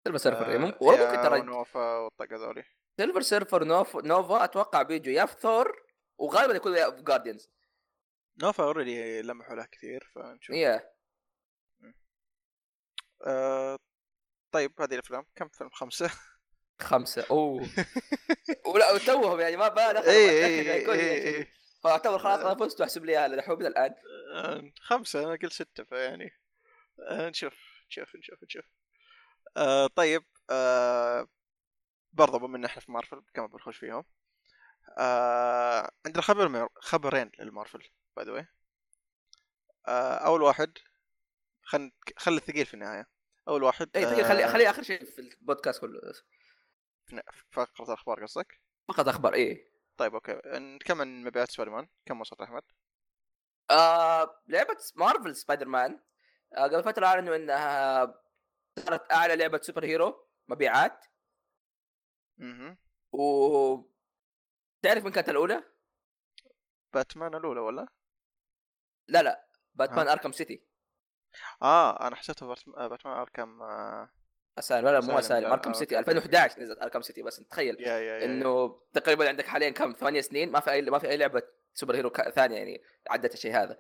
Speaker 1: سيلفر سيرفر إيه، مم-
Speaker 2: آه،
Speaker 1: ولا
Speaker 2: يا
Speaker 1: ممكن ترى
Speaker 2: ونوفا والطق هذولي
Speaker 1: سيلفر سيرفر نوف- نوفا اتوقع بيجوا يا في ثور وغالبا يكون يا في جارديانز
Speaker 2: نوفا اوريدي لمحوا لها كثير فنشوف
Speaker 1: يا
Speaker 2: آه طيب هذه الافلام كم فيلم خمسه
Speaker 1: خمسه اوه ولا وتوهم يعني ما بالغ
Speaker 2: اي
Speaker 1: أيوة، يعني
Speaker 2: اي اي
Speaker 1: فاعتبر آه، خلاص
Speaker 2: آه.
Speaker 1: انا فزت واحسب لي اياها لحوم الان
Speaker 2: آه، خمسه انا قلت سته فيعني آه، نشوف نشوف نشوف نشوف آه طيب آه برضه بما ان احنا في مارفل كمان بنخش فيهم آه عندنا خبر من خبرين للمارفل باي ذا واي اول آه، واحد خل خل الثقيل في النهايه اول واحد
Speaker 1: اي
Speaker 2: آه،
Speaker 1: دقيقه إيه، خلي خلي اخر شيء في البودكاست كله
Speaker 2: في فقره الاخبار قصدك
Speaker 1: فقط اخبار ايه
Speaker 2: طيب اوكي إن- كم عن مبيعات سبايدر مان كم وصلت احمد
Speaker 1: آه لعبه مارفل سبايدر مان آه قبل فتره اعلنوا انها صارت اعلى لعبه سوبر هيرو مبيعات
Speaker 2: اها
Speaker 1: و تعرف من كانت الاولى؟
Speaker 2: باتمان الاولى ولا
Speaker 1: لا لا باتمان اركم سيتي
Speaker 2: اه انا حسيتها باتم- آه، باتمان اركم آه،
Speaker 1: اسالم لا لا مو
Speaker 2: أسالم،
Speaker 1: اسالم
Speaker 2: لا،
Speaker 1: اركم
Speaker 2: آه،
Speaker 1: سيتي
Speaker 2: أوكي، أوكي.
Speaker 1: 2011 نزلت اركم سيتي بس تخيل
Speaker 2: يا يا يا
Speaker 1: انه تقريبا عندك حاليا كم ثمانية سنين ما في اي ما في اي لعبه سوبر هيرو كا- ثانيه يعني عدت الشيء هذا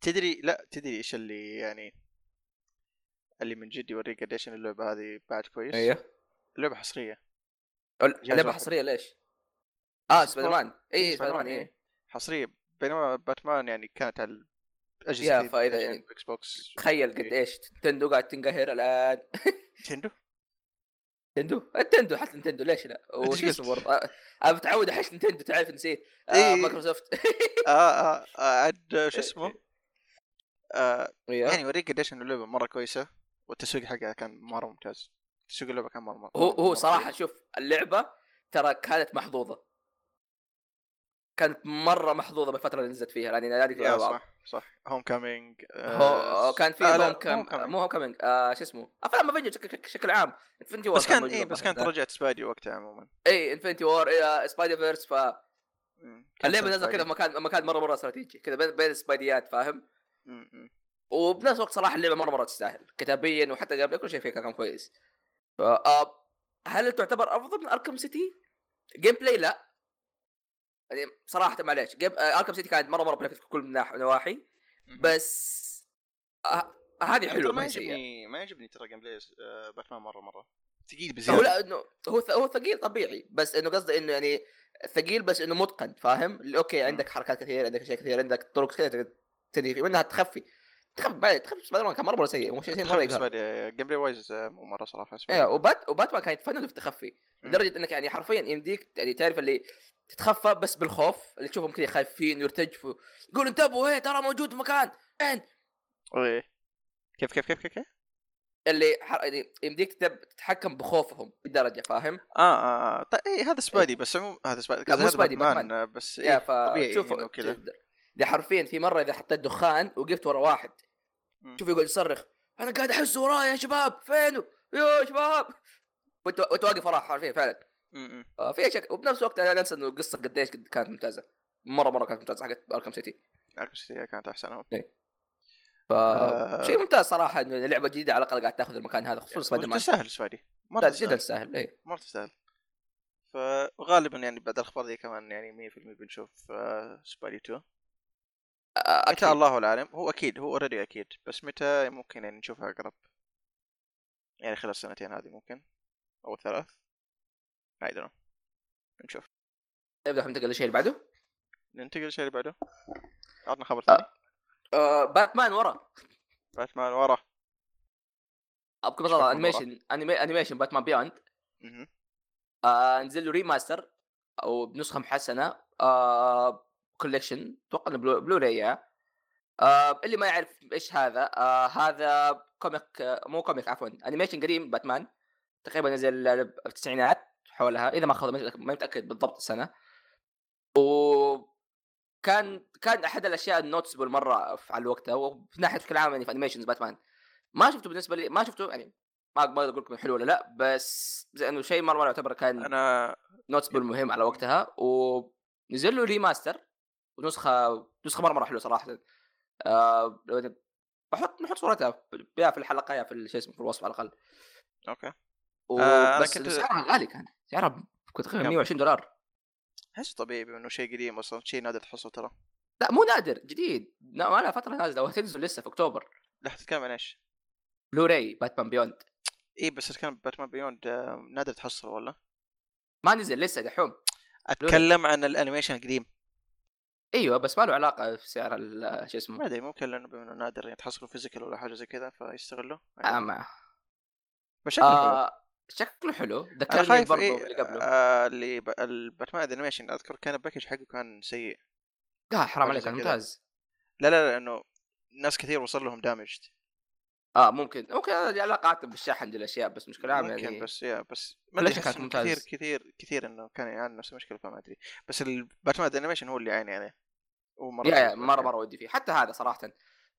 Speaker 2: تدري لا تدري ايش اللي يعني اللي من جد يوريك قديش إن اللعبه هذه بعد كويس
Speaker 1: إيه.
Speaker 2: اللعبه حصريه
Speaker 1: ال-
Speaker 2: جهاز
Speaker 1: لعبه
Speaker 2: واحد.
Speaker 1: حصريه ليش؟ اه سبايدر مان
Speaker 2: إيه،
Speaker 1: اي سبايدر مان
Speaker 2: إيه.
Speaker 1: اي
Speaker 2: حصريه بينما باتمان يعني كانت على
Speaker 1: يا
Speaker 2: الاجهزه
Speaker 1: فائدة يعني.
Speaker 2: اكس بوكس
Speaker 1: تخيل قد
Speaker 2: إيه.
Speaker 1: ايش تندو قاعد تنقهر الان
Speaker 2: نينتندو
Speaker 1: تندو تندو حتى نتندو ليش لا
Speaker 2: إيش
Speaker 1: وش
Speaker 2: قلت؟
Speaker 1: اسمه برضه؟ آه، انا متعود احش نتندو تعرف نسيت آه
Speaker 2: إيه.
Speaker 1: مايكروسوفت
Speaker 2: آه, آه, اه عاد شو اسمه آه
Speaker 1: إيه.
Speaker 2: يعني يوريك قديش ان اللعبه مره كويسه والتسويق حقها كان مره ممتاز تسويق اللعبه كان مره مره
Speaker 1: هو
Speaker 2: مرة
Speaker 1: هو صراحه شوف اللعبه ترى كانت محظوظه كانت مره محظوظه بالفتره اللي نزلت فيها يعني هذيك
Speaker 2: يا
Speaker 1: الألعاب.
Speaker 2: صح آه، صح هوم كامينج
Speaker 1: هو آه، كان في هوم كام
Speaker 2: كامينج
Speaker 1: مو هوم كامينج آه شو اسمه افلام افنجرز بشكل عام انفنتي وور
Speaker 2: بس كان اي بس كانت رجعت سبايدي وقتها عموما
Speaker 1: اي انفنتي وور سبايدر فيرس فاللعبه
Speaker 2: مم. كان
Speaker 1: نزلت
Speaker 2: سبايدي.
Speaker 1: كذا في مكان مكان مره مره استراتيجي كذا بين بين السبايديات فاهم
Speaker 2: مم، مم.
Speaker 1: وبنفس الوقت صراحه اللعبه مره مره تستاهل كتابيا وحتى قبل كل شيء فيها كان كويس فا آه، هل تعتبر افضل من اركم سيتي؟ جيم بلاي لا يعني صراحه معليش جيم اركم سيتي كانت مره مره بيرفكت في كل الناح- النواحي
Speaker 2: مم.
Speaker 1: بس آه، هذه
Speaker 2: ترى
Speaker 1: حلوه ما
Speaker 2: ما
Speaker 1: هي سيئه
Speaker 2: يعجبني ما يعجبني ترى جيم بلاي آه، باتمان مره مره ثقيل
Speaker 1: هو
Speaker 2: بزياده
Speaker 1: لا انه هو ث- هو ثقيل طبيعي بس انه قصدي انه يعني ثقيل بس انه متقن فاهم؟ اللي اوكي عندك حركات كثير عندك اشياء كثير عندك طرق كثير تقدر تنهي فيه منها تخفي تخفي بعد- تخفي سبايدر مان كان مره مره سيء مو شيء مره
Speaker 2: تخيل
Speaker 1: يقهر
Speaker 2: سبايدي- جيم بلاي وايز آه، مو مره صراحه سبايدي.
Speaker 1: ايه وبات وباتمان كان يتفنن في التخفي
Speaker 2: مم.
Speaker 1: لدرجه انك يعني حرفيا يمديك يعني تعرف اللي تتخفى بس بالخوف اللي تشوفهم كذا خايفين ويرتجفوا يقول انتبهوا ايه ترى موجود في مكان ان
Speaker 2: إيه. كيف كيف كيف كيف كيف؟
Speaker 1: اللي حر... يعني يمديك تتب- تتحكم بخوفهم بدرجه فاهم؟
Speaker 2: اه اه آه. طيب إيه هذا سبايدي بس عموما هذا سبايدي
Speaker 1: لا، مو
Speaker 2: قصدي هذا
Speaker 1: سبايدي،
Speaker 2: باتمان،
Speaker 1: باتمان.
Speaker 2: آه، بس
Speaker 1: يا
Speaker 2: إيه
Speaker 1: ف
Speaker 2: طبيعي
Speaker 1: شوف
Speaker 2: إنه كذا.
Speaker 1: ده حرفيا في مره اذا حطيت دخان وقفت ورا واحد
Speaker 2: مم.
Speaker 1: شوف يقعد يصرخ انا قاعد احس وراي يا شباب فينه يا شباب وانت وأنت واقف وراه حرفيا فعلا
Speaker 2: مم، مم.
Speaker 1: آه، في شك وبنفس الوقت انا لا انسى انه القصه قديش قد كانت ممتازه مره مره كانت ممتازه حقت اركم سيتي
Speaker 2: أركم سيتي إيه، كانت احسن
Speaker 1: ف
Speaker 2: آه. يعني
Speaker 1: شيء ممتاز صراحه انه لعبه جديده على الاقل قاعد تاخذ المكان هذا خصوصا سبايدر مان
Speaker 2: تستاهل سبايدي مره
Speaker 1: لا، جدا
Speaker 2: تستاهل
Speaker 1: تستاهل اي
Speaker 2: مره تستاهل فغالبا يعني بعد الاخبار دي كمان يعني 100% بنشوف آه، سبايدي 2 متى
Speaker 1: اكيد
Speaker 2: الله العالم هو اكيد هو اوريدي اكيد بس متى ممكن يعني نشوفها اقرب يعني خلال السنتين هذه ممكن او ثلاث I don't know نشوف
Speaker 1: نبدا ننتقل للشيء اللي بعده
Speaker 2: ننتقل للشيء اللي بعده عطنا خبر ثاني
Speaker 1: آه باتمان ورا
Speaker 2: باتمان ورا
Speaker 1: بكل
Speaker 2: إيش
Speaker 1: بساطه
Speaker 2: باتمان ورا؟
Speaker 1: انيميشن أنيمي- انيميشن باتمان بيوند
Speaker 2: مهم.
Speaker 1: آه نزل له ريماستر او بنسخه محسنه آه كوليكشن اتوقع إنه بلو, بلو راي آه اللي ما يعرف ايش هذا آه هذا كوميك آه مو كوميك عفوا انيميشن قديم باتمان تقريبا نزل بالتسعينات حولها اذا ما خاب ما متأكد- ما متاكد بالضبط السنه وكان كان احد الاشياء النوتسبل مره في- على وقتها وفي ناحيه بشكل عام يعني في انيميشنز باتمان ما شفته بالنسبه لي ما شفته يعني ما ما اقدر اقول لكم حلو ولا لا بس زي انه شيء مره مره يعتبر كان
Speaker 2: انا
Speaker 1: نوتسبل مهم على وقتها ونزل له ريماستر ونسخه نسخه مره مره حلوه صراحه آه لو أنا- بحط نحط صورتها يا في الحلقه يا في ال- شو اسمه في الوصف على الاقل
Speaker 2: اوكي
Speaker 1: و...
Speaker 2: آه، أنا
Speaker 1: بس
Speaker 2: كنت-
Speaker 1: سعرها غالي كان سعرها كنت تقريبا
Speaker 2: كم؟
Speaker 1: 120 دولار
Speaker 2: احس طبيعي بما انه شيء قديم اصلا شيء نادر تحصل ترى
Speaker 1: لا مو نادر جديد لا ما لها فتره نازله وهتنزل لسه في اكتوبر
Speaker 2: لحظه تتكلم عن ايش؟
Speaker 1: بلوراي باتمان بيوند
Speaker 2: اي بس كان باتمان بيوند آه، نادر تحصل والله
Speaker 1: ما نزل لسه دحوم
Speaker 2: اتكلم عن الانيميشن القديم
Speaker 1: ايوه بس ما له علاقه في سعر ال- شو اسمه
Speaker 2: ما يعني ادري ممكن لانه بما انه نادر يعني تحصله فيزيكال ولا حاجه زي كذا فيستغله
Speaker 1: آه ما
Speaker 2: مشاكل حلوة.
Speaker 1: آه شكله حلو
Speaker 2: انا
Speaker 1: ذكرني
Speaker 2: خايف
Speaker 1: برضو
Speaker 2: إيه،
Speaker 1: اللي قبله
Speaker 2: آه، اللي ب- الباتمان انيميشن اذكر كان الباكج حقه كان سيء
Speaker 1: آه حرام
Speaker 2: ولا
Speaker 1: عليك
Speaker 2: زي كذا.
Speaker 1: ممتاز
Speaker 2: لا لا لانه ناس كثير وصل لهم دامج
Speaker 1: اه ممكن ممكن انا لي علاقات بالشحن دي الاشياء بس مش كلام
Speaker 2: ممكن
Speaker 1: يعني
Speaker 2: بس يا بس ما
Speaker 1: كلش
Speaker 2: ادري
Speaker 1: كانت
Speaker 2: أحس إنه
Speaker 1: ممتاز.
Speaker 2: كثير كثير كثير انه كان يعاني نفس المشكله فما ادري بس الباتمان الانيميشن هو اللي يعاني عليه هو مرة
Speaker 1: يا يا
Speaker 2: بالنسبة
Speaker 1: مره
Speaker 2: لي.
Speaker 1: مره ودي فيه حتى هذا صراحه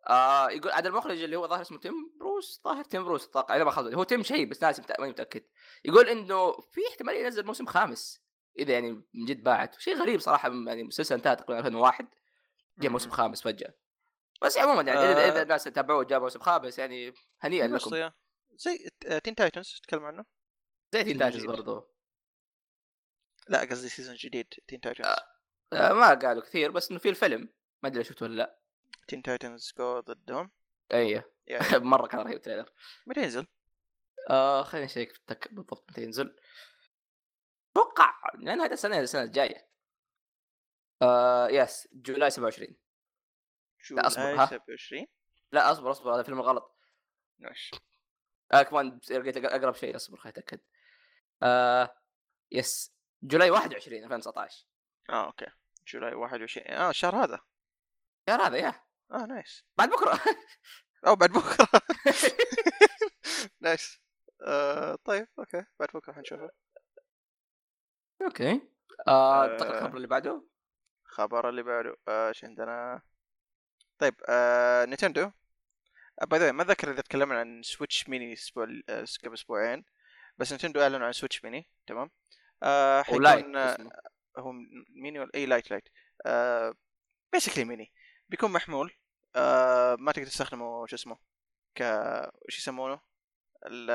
Speaker 1: آه يقول عاد المخرج اللي هو ظاهر اسمه تيم بروس ظاهر تيم بروس اتوقع انا ما خلص هو تيم شيء بس ناس متأ- ماني متاكد يقول انه في احتمال ينزل موسم خامس اذا يعني من جد باعت شيء غريب صراحه من- يعني مسلسل انتهى تقريبا 2001 جاء موسم خامس فجاه بس عموما يعني اذا
Speaker 2: آه.
Speaker 1: اذا الناس تابعوه جاء موسم خامس يعني هنيئا
Speaker 2: بس
Speaker 1: لكم
Speaker 2: يا- زي تين تايتنز تتكلم عنه؟
Speaker 1: زي تين تايتنز
Speaker 2: جديد.
Speaker 1: برضو
Speaker 2: لا قصدي سيزون جديد تين تايتنز
Speaker 1: آه ما قالوا كثير بس انه في الفيلم ما ادري شفته ولا لا
Speaker 2: تين تايتنز جو ضدهم
Speaker 1: ايوه
Speaker 2: يا
Speaker 1: مره كان رهيب التريلر
Speaker 2: متى ينزل؟
Speaker 1: آه خليني اشيك في التك بالضبط متى ينزل اتوقع لان هذا السنه السنه الجايه آه يس جولاي 27 لا، أصبر،
Speaker 2: جولاي
Speaker 1: ها؟
Speaker 2: 27
Speaker 1: لا اصبر اصبر هذا فيلم غلط
Speaker 2: ماشي
Speaker 1: آه كمان لقيت اقرب شيء اصبر خليني اتاكد آه يس جولاي 21 2019
Speaker 2: اه اوكي جولاي 21 اه الشهر هذا
Speaker 1: يا هذا يا
Speaker 2: اه نايس
Speaker 1: بعد بكره
Speaker 2: او بعد بكره نايس آه طيب اوكي بعد بكره حنشوفه
Speaker 1: اوكي آه
Speaker 2: آه.
Speaker 1: انتقل الخبر اللي بعده
Speaker 2: خبر اللي بعده آه، ايش عندنا طيب آه نينتندو آه، باي ذا ما اتذكر اذا تكلمنا عن سويتش ميني الاسبوع ال- آه، قبل اسبوعين بس نينتندو اعلنوا عن سويتش ميني تمام آه
Speaker 1: ولايت
Speaker 2: حيكون آه،
Speaker 1: اسمه.
Speaker 2: هو م- ميني ولا اي لايت لايت آه بيسكلي ميني بيكون محمول آه ما تقدر تستخدمه شو اسمه ك وش يسمونه ال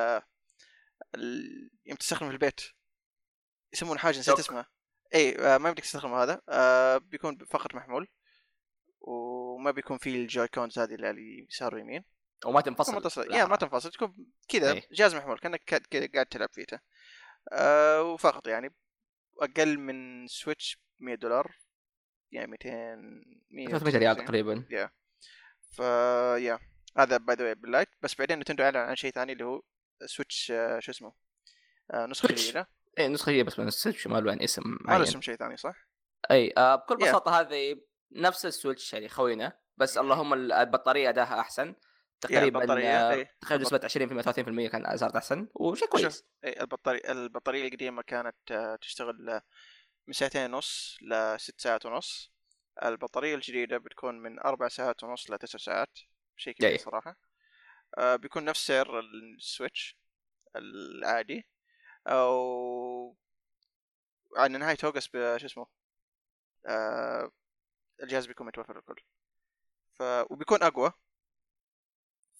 Speaker 2: ال يمكن تستخدمه في البيت يسمونه حاجه نسيت
Speaker 1: دوك.
Speaker 2: اسمها اي آه ما يمديك تستخدمه هذا آه بيكون فقط محمول وما بيكون فيه الجوي كونز هذه اللي على اليسار واليمين
Speaker 1: وما
Speaker 2: ما
Speaker 1: تنفصل
Speaker 2: تصل
Speaker 1: لا،
Speaker 2: يا ما تنفصل تكون كذا
Speaker 1: إيه.
Speaker 2: جهاز محمول كانك كا- كذا قاعد تلعب فيته آه وفقط يعني اقل من سويتش 100 دولار يعني 200 100
Speaker 1: 300 ريال تقريبا
Speaker 2: ف يا هذا باي ذا باللايت بس بعدين نتندو اعلن عن شيء ثاني اللي هو سويتش آه، شو اسمه آه نسخه
Speaker 1: سويتش.
Speaker 2: جديده
Speaker 1: اي نسخه جديده إيه، بس ما نسيتش ما له عن اسم
Speaker 2: ما له
Speaker 1: يعني، إيه، معين.
Speaker 2: اسم شيء ثاني صح؟
Speaker 1: اي آه بكل
Speaker 2: Yeah.
Speaker 1: بساطه هذه نفس السويتش يعني خوينا بس اللهم ال- البطاريه اداها احسن تقريبا
Speaker 2: البطارية،
Speaker 1: آه،
Speaker 2: إيه.
Speaker 1: تقريبا نسبه 20% 30% كان صارت احسن وشيء كويس
Speaker 2: إيه، البطاريه البطاريه القديمه كانت آه، تشتغل آه، من ساعتين ونص لست ساعات ونص البطاريه الجديده بتكون من اربع ساعات ونص لتسع ساعات شيء كبير
Speaker 1: جاي.
Speaker 2: صراحه آه، بيكون نفس سعر السويتش العادي او عن نهايه اوغست ب- شو اسمه آه، الجهاز بيكون متوفر للكل ف وبيكون اقوى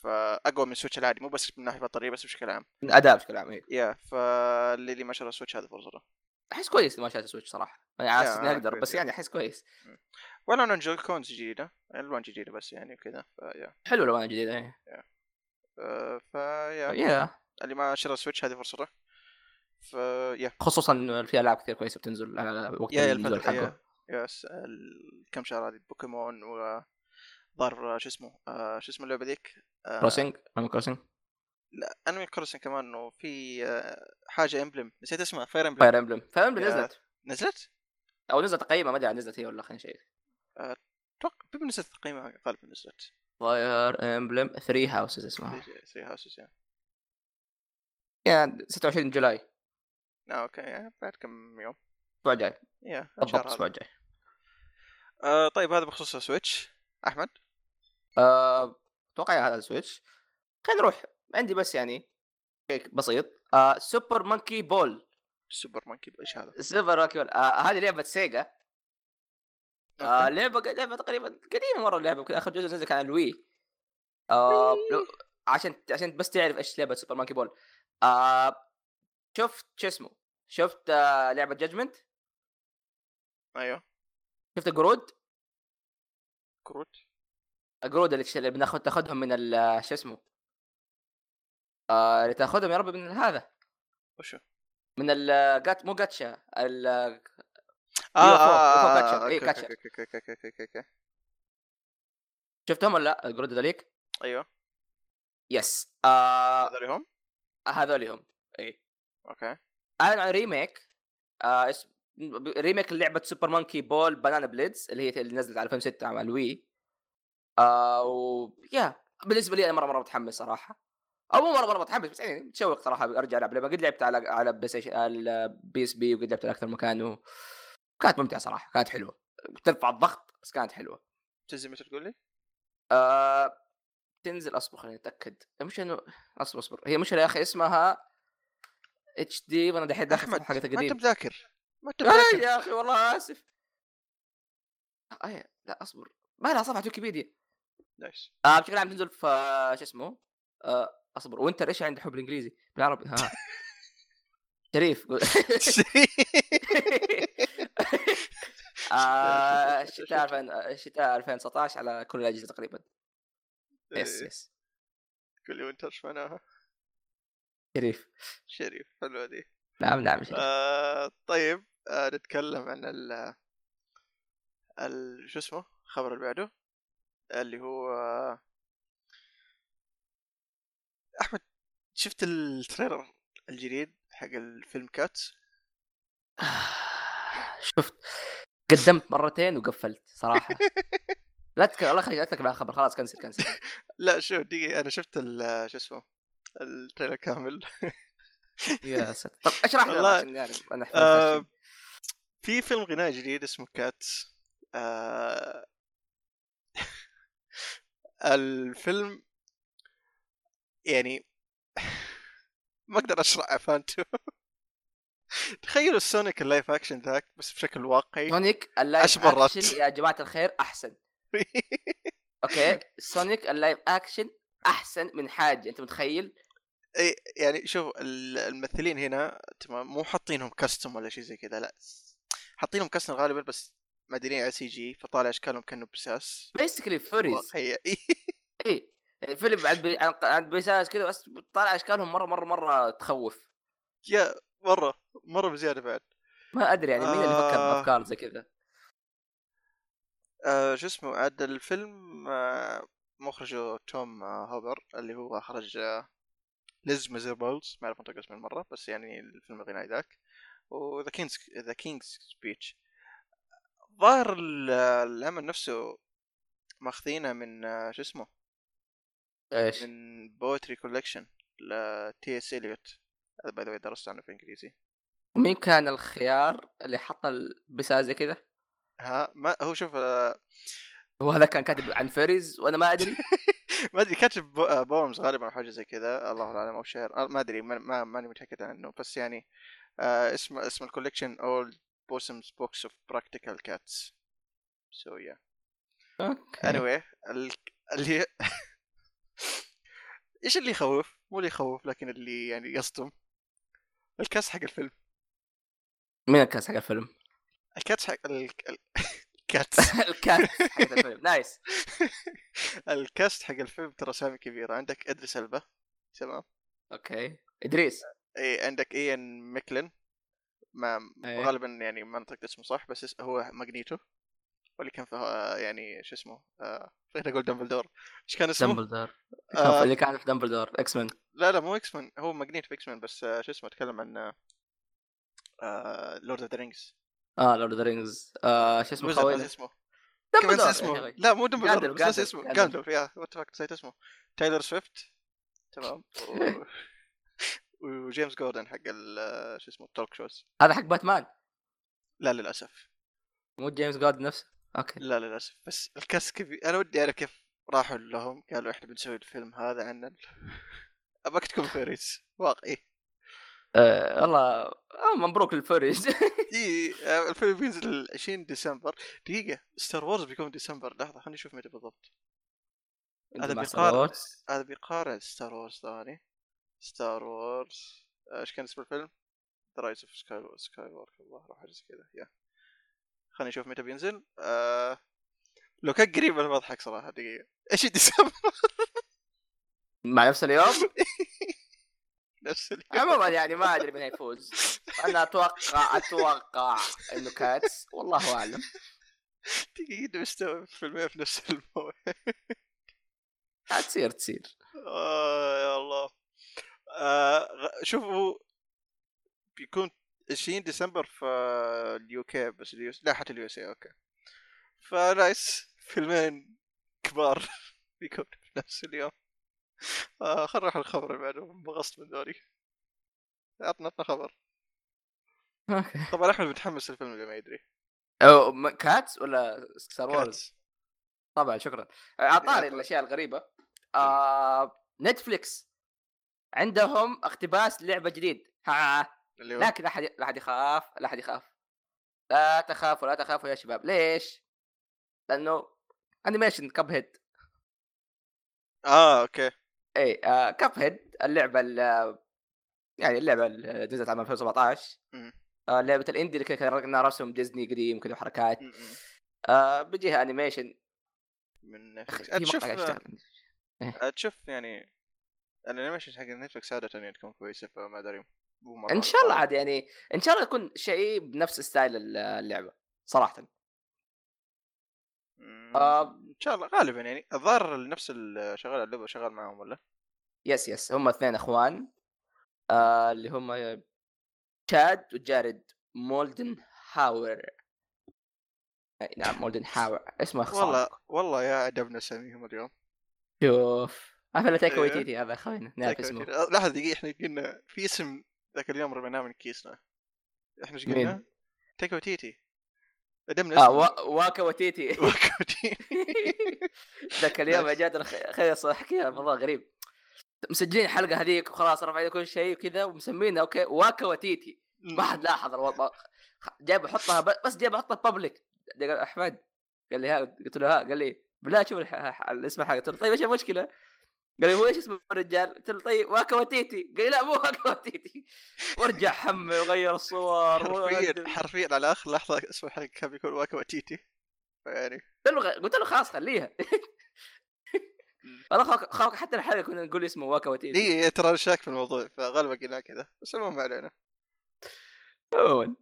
Speaker 2: فاقوى من السويتش العادي مو بس من ناحيه البطاريه بس بشكل عام
Speaker 1: اداء بشكل عام إيه. إي.
Speaker 2: يا فاللي اللي ما شرى سويتش هذا فرصته
Speaker 1: احس كويس ما شات السويتش صراحه يعني على
Speaker 2: Yeah,
Speaker 1: اساس اني
Speaker 2: أنا
Speaker 1: اقدر
Speaker 2: كويس
Speaker 1: بس
Speaker 2: يعني.
Speaker 1: يعني احس كويس
Speaker 2: ولا انه جوي كونز جديده الوان جديده بس يعني وكذا فيا
Speaker 1: حلو الوان جديده إيه.
Speaker 2: آه، فيا
Speaker 1: يا
Speaker 2: اللي ما شرى سويتش هذه فرصته فيا
Speaker 1: خصوصا إنه في العاب كثير كويسه بتنزل على وقت
Speaker 2: يا يا
Speaker 1: النزول
Speaker 2: الفترة
Speaker 1: حقه
Speaker 2: يا, يا س- ال- كم شهر هذه بوكيمون و ظهر شو اسمه آه، شو اسمه اللعبه ذيك آه،
Speaker 1: كروسنج ما كروسنج
Speaker 2: لا انمي كروسنج كمان وفي آه، حاجه امبلم نسيت اسمها فاير امبلم
Speaker 1: فاير امبلم فاير امبلم
Speaker 2: Yeah.
Speaker 1: نزلت
Speaker 2: نزلت؟
Speaker 1: او نزلت تقييمها ما ادري عن نزلت هي ولا خلينا شيء
Speaker 2: اتوقع بما نزلت تقييمها غالبا نزلت
Speaker 1: فاير امبلم 3 هاوسز اسمها
Speaker 2: 3 هاوسز يعني
Speaker 1: يعني 26 جولاي
Speaker 2: آه، اوكي يعني بعد كم يوم
Speaker 1: الاسبوع الجاي
Speaker 2: يا
Speaker 1: بالضبط
Speaker 2: الشهر هذا.
Speaker 1: الاسبوع الجاي
Speaker 2: آه طيب هذا بخصوص السويتش احمد
Speaker 1: آه، اتوقع هذا السويتش خلينا نروح عندي بس يعني هيك بسيط آه، سوبر مونكي بول
Speaker 2: سوبر مونكي بول، ايش هذا؟
Speaker 1: سوبر مونكي بول آه، هذه لعبه سيجا آه، لعبه لعبه تقريبا قديمه مره اللعبه يمكن اخر جزء نزل كان على الوي آه، لو- عشان عشان بس تعرف ايش لعبه سوبر مونكي بول آه، شفت شو اسمه شفت آه، لعبه جادجمنت
Speaker 2: ايوه
Speaker 1: شفت القرود
Speaker 2: كروت
Speaker 1: القرود اللي تش- اللي بناخذ تاخذهم من ال- شو اسمه آه، اللي تاخذهم يا ربي من هذا
Speaker 2: وشو؟
Speaker 1: من الجات مو جاتشا ال-
Speaker 2: اه
Speaker 1: UFO
Speaker 2: اه
Speaker 1: كاتشر،
Speaker 2: آه،
Speaker 1: إيه،
Speaker 2: أوكي،
Speaker 1: كاتشر.
Speaker 2: أوكي، أوكي، أوكي، أوكي، أوكي، أوكي. أيوه.
Speaker 1: شفتهم ولا لا القرود ذوليك
Speaker 2: ايوه
Speaker 1: يس آه
Speaker 2: هذول هم
Speaker 1: هذول هم إيه. اي
Speaker 2: اوكي
Speaker 1: اعلنوا عن ريميك آه اسم ريميك لعبه سوبر مونكي بول بانانا بليدز اللي هي اللي نزلت على 2006 على الوي آه و يا بالنسبه لي انا مره مره متحمس صراحه او مو مره مره متحمس بس يعني متشوق صراحه ارجع العب لعبه قد لعبت على على بلاي ستيشن على بي اس بي وقد لعبت على اكثر مكان و... كانت ممتعه صراحه كانت حلوه ترفع الضغط بس كانت حلوه
Speaker 2: تزي متى تقول لي؟
Speaker 1: آه تنزل اصبر خليني اتاكد مش انه اصبر اصبر هي مش يا اخي اسمها اتش دي وانا دحين داخل
Speaker 2: احمد
Speaker 1: صفحة حقت
Speaker 2: ما انت
Speaker 1: قديم
Speaker 2: مذاكر ما انت
Speaker 1: لا
Speaker 2: مذاكر
Speaker 1: يا اخي والله اسف أي آه، لا اصبر ما لها صفحه ويكيبيديا
Speaker 2: نايس
Speaker 1: آه بشكل عام تنزل في آه، شو اسمه آه اصبر وانت ايش عند حب الانجليزي بالعربي ها شريف قول. آه، شتاء 2000 شتاء 2019 على كل الاجهزه تقريبا يس يس
Speaker 2: قول لي وانت ايش معناها؟
Speaker 1: شريف
Speaker 2: شريف حلوه دي
Speaker 1: نعم نعم شريف
Speaker 2: آه طيب آه نتكلم عن ال ال شو اسمه الخبر اللي بعده اللي هو آه احمد شفت التريلر الجديد حق الفيلم كات
Speaker 1: شفت قدمت مرتين وقفلت صراحه لا تك... الله يخليك لا تتكلم عن الخبر خلاص كنسل كنسل
Speaker 2: لا شوف دقيقة انا شفت ال شو اسمه التريلر كامل
Speaker 1: يا ساتر طب اشرح لي
Speaker 2: والله.
Speaker 1: عشان يعني انا أحفظ
Speaker 2: آه،
Speaker 1: هالشيء.
Speaker 2: في فيلم غنائي جديد اسمه كات آه الفيلم يعني ما اقدر اشرح فانتو تخيلوا السونيك اللايف اكشن ذاك بس بشكل واقعي
Speaker 1: سونيك اللايف
Speaker 2: أشبرت.
Speaker 1: اكشن يا جماعه الخير احسن اوكي سونيك اللايف اكشن احسن من حاجه انت متخيل
Speaker 2: إيه، يعني شوف ال- الممثلين هنا تمام مو حاطينهم كاستم ولا شيء زي كذا لا حاطينهم كاستم غالبا بس مدرين على سي جي فطالع اشكالهم كانه بساس
Speaker 1: بيسكلي فوريز
Speaker 2: واقعية
Speaker 1: اي إيه. الفيلم عند بي... عن- عند بيساس كذا بس طالع اشكالهم مره مره مره تخوف
Speaker 2: يا مره مره بزياده بعد
Speaker 1: ما ادري يعني مين اللي فكر
Speaker 2: آه.
Speaker 1: بافكار زي كذا
Speaker 2: آه شو اسمه عاد الفيلم آه مخرجه توم آه هوبر اللي هو خرج آه ليز ميزربلز ما اعرف انطق اسمه المره بس يعني الفيلم الغنائي ذاك وذا كينجز ذا كينجز سبيتش ظاهر ال- العمل نفسه ماخذينه من آه شو اسمه
Speaker 1: ايش
Speaker 2: من بوتري كولكشن لتي اس اليوت هذا باي ذا درست عنه في الانجليزي
Speaker 1: مين كان الخيار اللي حط البساس زي كذا
Speaker 2: ها ما هو شوف آه
Speaker 1: هو هذا كان كاتب عن فيريز وانا ما ادري
Speaker 2: ما ادري كاتب بو- آه، بومز غالبا او حاجه زي كذا الله اعلم او شير آه، ما ادري ما- ما ماني متاكد عنه بس يعني آه اسم اسم الكوليكشن اول بوسمز بوكس اوف براكتيكال كاتس سو يا اني واي اللي ايش اللي يخوف؟ مو اللي يخوف لكن اللي يعني يصدم الكاس حق الفيلم
Speaker 1: مين الكاس حق الفيلم؟
Speaker 2: الكاتس حق ال... ال- الكاتس
Speaker 1: الكاس حق الفيلم نايس
Speaker 2: الكاست حق الفيلم ترى سامي كبيرة عندك ادريس البا تمام
Speaker 1: اوكي ادريس
Speaker 2: اي إيه، عندك ايان ميكلن ما
Speaker 1: إيه.
Speaker 2: غالبا يعني ما نطقت اسمه صح بس اس- هو ماجنيتو واللي كان في آه، يعني شو اسمه آه، بغيت اقول دمبلدور ايش كان اسمه؟
Speaker 1: دمبلدور
Speaker 2: آه،
Speaker 1: اللي كان في دمبلدور اكس مان
Speaker 2: لا لا مو اكس مان هو ماجنيتو في اكس مان بس آه، شو اسمه اتكلم عن لورد اوف ذا رينجز
Speaker 1: اه لورد اوف رينجز آه شو اسمه يعني خوينا
Speaker 2: اسمه كمان
Speaker 1: دمبلدور
Speaker 2: نسيت اسمه لا مو دمبلدور
Speaker 1: جاندلف،
Speaker 2: بس نسيت
Speaker 1: جاندلف،
Speaker 2: اسمه
Speaker 1: جاندلف.
Speaker 2: جاندلف يا وات فاك نسيت اسمه تايلر سويفت تمام و- وجيمس جوردن حق ال- آه، شو اسمه التوك شوز
Speaker 1: هذا حق باتمان
Speaker 2: لا للاسف
Speaker 1: مو جيمس جود نفسه اوكي
Speaker 2: لا للاسف بس الكاس كبير انا ودي اعرف كيف راحوا لهم قالوا احنا بنسوي الفيلم هذا عن ال... ابغاك تكون فيريس واقعي
Speaker 1: آه والله آه مبروك للفوريز
Speaker 2: إي، آه، الفيلم بينزل 20 ديسمبر دقيقه ستار وورز بيكون ديسمبر لحظه خليني اشوف متى بالضبط هذا بيقارن هذا بيقارن ستار وورز ثاني ستار وورز آه، ايش كان اسم الفيلم؟ ذا رايز اوف سكاي سكاي وورك الظاهر أو حاجه زي كذا يا خليني اشوف متى بينزل آه... لو كان قريب انا بضحك صراحه دقيقه ايش ديسمبر
Speaker 1: مع نفس اليوم
Speaker 2: نفس اليوم
Speaker 1: عموما يعني ما ادري مين هيفوز انا اتوقع اتوقع انه كاتس والله اعلم
Speaker 2: دقيقة مستوعب فيلمين في نفس الموعد
Speaker 1: تصير تصير
Speaker 2: آه يا الله آه غ- شوفوا بيكون 20 ديسمبر في اليو كي بس اليو لا حتى اليو اس اوكي فنايس فيلمين كبار بيكون في نفس اليوم آه خلينا نروح الخبر اللي بعده انبغصت من دوري عطنا عطنا خبر
Speaker 1: اوكي
Speaker 2: طبعا احمد متحمس للفيلم اللي ما يدري
Speaker 1: أو م- كاتس ولا ستار وورز؟
Speaker 2: كاتس.
Speaker 1: طبعا شكرا عطاري الاشياء الغريبه آه نتفليكس عندهم اقتباس لعبه جديد ها
Speaker 2: اللي هو
Speaker 1: لكن لا احد لا احد يخاف لا احد يخاف لا تخافوا لا تخافوا يا شباب ليش؟ لانه انيميشن كاب هيد
Speaker 2: اه اوكي
Speaker 1: اي آه كاب هيد اللعبه ال يعني اللعبه اللي نزلت عام 2017
Speaker 2: مم.
Speaker 1: آه لعبه الاندي اللي كان لنا رسم ديزني قديم كذا وحركات
Speaker 2: م- م.
Speaker 1: آه بيجيها انيميشن
Speaker 2: من
Speaker 1: أخي، في
Speaker 2: نتفلكس
Speaker 1: مقطع
Speaker 2: اتشوف
Speaker 1: قاعد يشتغل.
Speaker 2: اتشوف آه، يعني الانيميشن حق نتفلكس عادة يعني تكون كويسة فما ادري مو مرة
Speaker 1: ان شاء الله
Speaker 2: طالع.
Speaker 1: عاد يعني ان شاء الله يكون شيء بنفس ستايل ال- اللعبه صراحه
Speaker 2: مم.
Speaker 1: آه.
Speaker 2: ان شاء الله غالبا يعني الظاهر نفس اللي شغال على اللعبه شغال معاهم ولا
Speaker 1: يس يس هم اثنين اخوان آه اللي هم شاد وجارد مولدن هاور أي نعم مولدن هاور اسمه صعب.
Speaker 2: والله والله يا عجبنا اساميهم اليوم
Speaker 1: شوف عارف الا تايكا
Speaker 2: أيوه.
Speaker 1: ويتيتي هذا خوينا نعرف اسمه
Speaker 2: لحظه دقيقه احنا قلنا في اسم ذاك اليوم رميناه من كيسنا احنا ايش قلنا؟
Speaker 1: مين؟
Speaker 2: تيكو تيتي قدمنا
Speaker 1: اه
Speaker 2: اسمه.
Speaker 1: وا- واكا وتيتي
Speaker 2: واكو تيتي.
Speaker 1: ذاك اليوم يا
Speaker 2: نايس.
Speaker 1: جادر خيص احكيها والله غريب مسجلين الحلقه هذيك وخلاص رفعنا كل شيء وكذا ومسمينها اوكي واكا وتيتي ما حد لاحظ الوضع جايب احطها ب- بس جايب احطها بابليك قال احمد قال لي ها قلت له ها قال لي بالله شوف الح- ح- الاسم حق قلت له طيب ايش المشكله؟ قال لي هو ايش اسم الرجال؟ قلت له طيب واكواتيتي قال لي لا مو واكواتيتي وارجع حمي وغير الصور
Speaker 2: حرفيا
Speaker 1: وأقدم.
Speaker 2: حرفيا على اخر لحظه اسمه حق كان بيكون واكو تيتي يعني
Speaker 1: قلت له غ- قلت له خلاص خليها والله خاك- خاك حتى الحلقه كنا نقول اسمه واكواتيتي
Speaker 2: دقيقه إيه، ترى أنا شاك في الموضوع فغالبا قلنا كذا بس المهم ما علينا
Speaker 1: عموما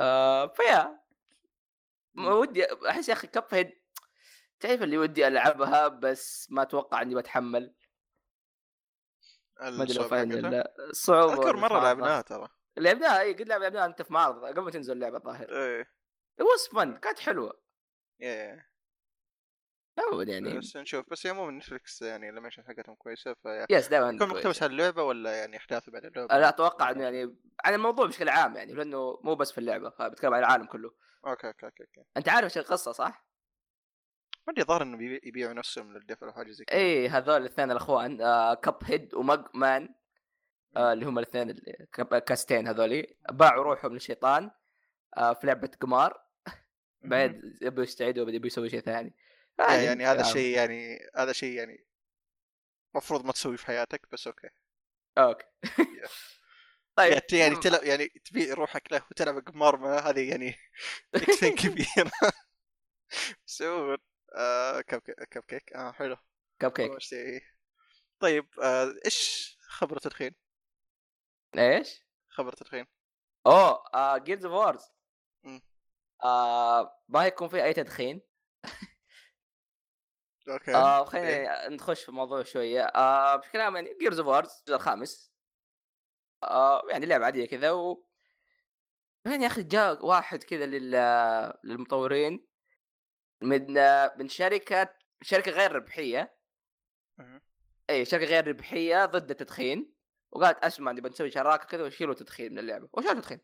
Speaker 1: آه، فيا ما ودي احس يا اخي كب هيد تعرف اللي ودي العبها بس ما اتوقع اني بتحمل ما ادري لو
Speaker 2: الصعوبة
Speaker 1: فاهم
Speaker 2: حقتها.
Speaker 1: ولا- الصعوبه
Speaker 2: اذكر مره
Speaker 1: والمعارضة.
Speaker 2: لعبناها ترى
Speaker 1: لعبناها اي قد لعبناها انت في معرض قبل ما تنزل اللعبه الظاهر
Speaker 2: ايه
Speaker 1: It was fun كانت حلوه
Speaker 2: إيه.
Speaker 1: عموما يعني
Speaker 2: بس نشوف بس هي مو من نتفلكس يعني الانيميشن حقتهم يعني كويسه فيكون
Speaker 1: يس دائما
Speaker 2: مقتبس على اللعبه ولا يعني احداثه بعد اللعبه؟
Speaker 1: لا اتوقع انه يعني عن الموضوع بشكل عام يعني لانه مو بس في اللعبه فبتكلم عن العالم كله
Speaker 2: اوكي اوكي اوكي اوكي
Speaker 1: انت عارف ايش القصه صح؟
Speaker 2: ما ادري ظاهر انه بيبي- يبيعوا نفسهم للدفع او حاجه زي كذا
Speaker 1: اي إيه، هذول الاثنين الاخوان آه كاب هيد وماج مان آه اللي هم الاثنين ال- كاب- كاستين هذولي باعوا روحهم للشيطان آه في لعبه قمار بعد يبوا يستعيدوا يبوا يسوي شيء ثاني
Speaker 2: إيه،
Speaker 1: عادي،
Speaker 2: يعني هذا
Speaker 1: آه،
Speaker 2: شيء يعني هذا شيء يعني المفروض ما تسويه في حياتك بس اوكي
Speaker 1: اوكي طيب
Speaker 2: يعني- يعني تلعب يعني تبيع روحك له وتلعب قمار معاه هذه يعني نكتين كبيرة بس عموما آه، كب كب كيك اه حلو
Speaker 1: كاب كيك
Speaker 2: أول شيء. طيب آه، ايش خبرة الحين؟
Speaker 1: ايش؟
Speaker 2: خبرة الحين
Speaker 1: اوه جيمز اوف وورز
Speaker 2: مم.
Speaker 1: آه، ما هيكون في اي تدخين
Speaker 2: اوكي
Speaker 1: آه خلينا نخش في الموضوع شويه آه بشكل عام يعني جيمز اوف وورز الجزء الخامس آه يعني لعبه عاديه كذا و بعدين يا اخي جاء واحد كذا لل... للمطورين من آه، من شركه شركه غير ربحيه
Speaker 2: مهم.
Speaker 1: اي شركه غير ربحيه ضد التدخين وقالت اسمع نبي نسوي شراكه كذا وشيلوا تدخين من اللعبه وشالوا تدخين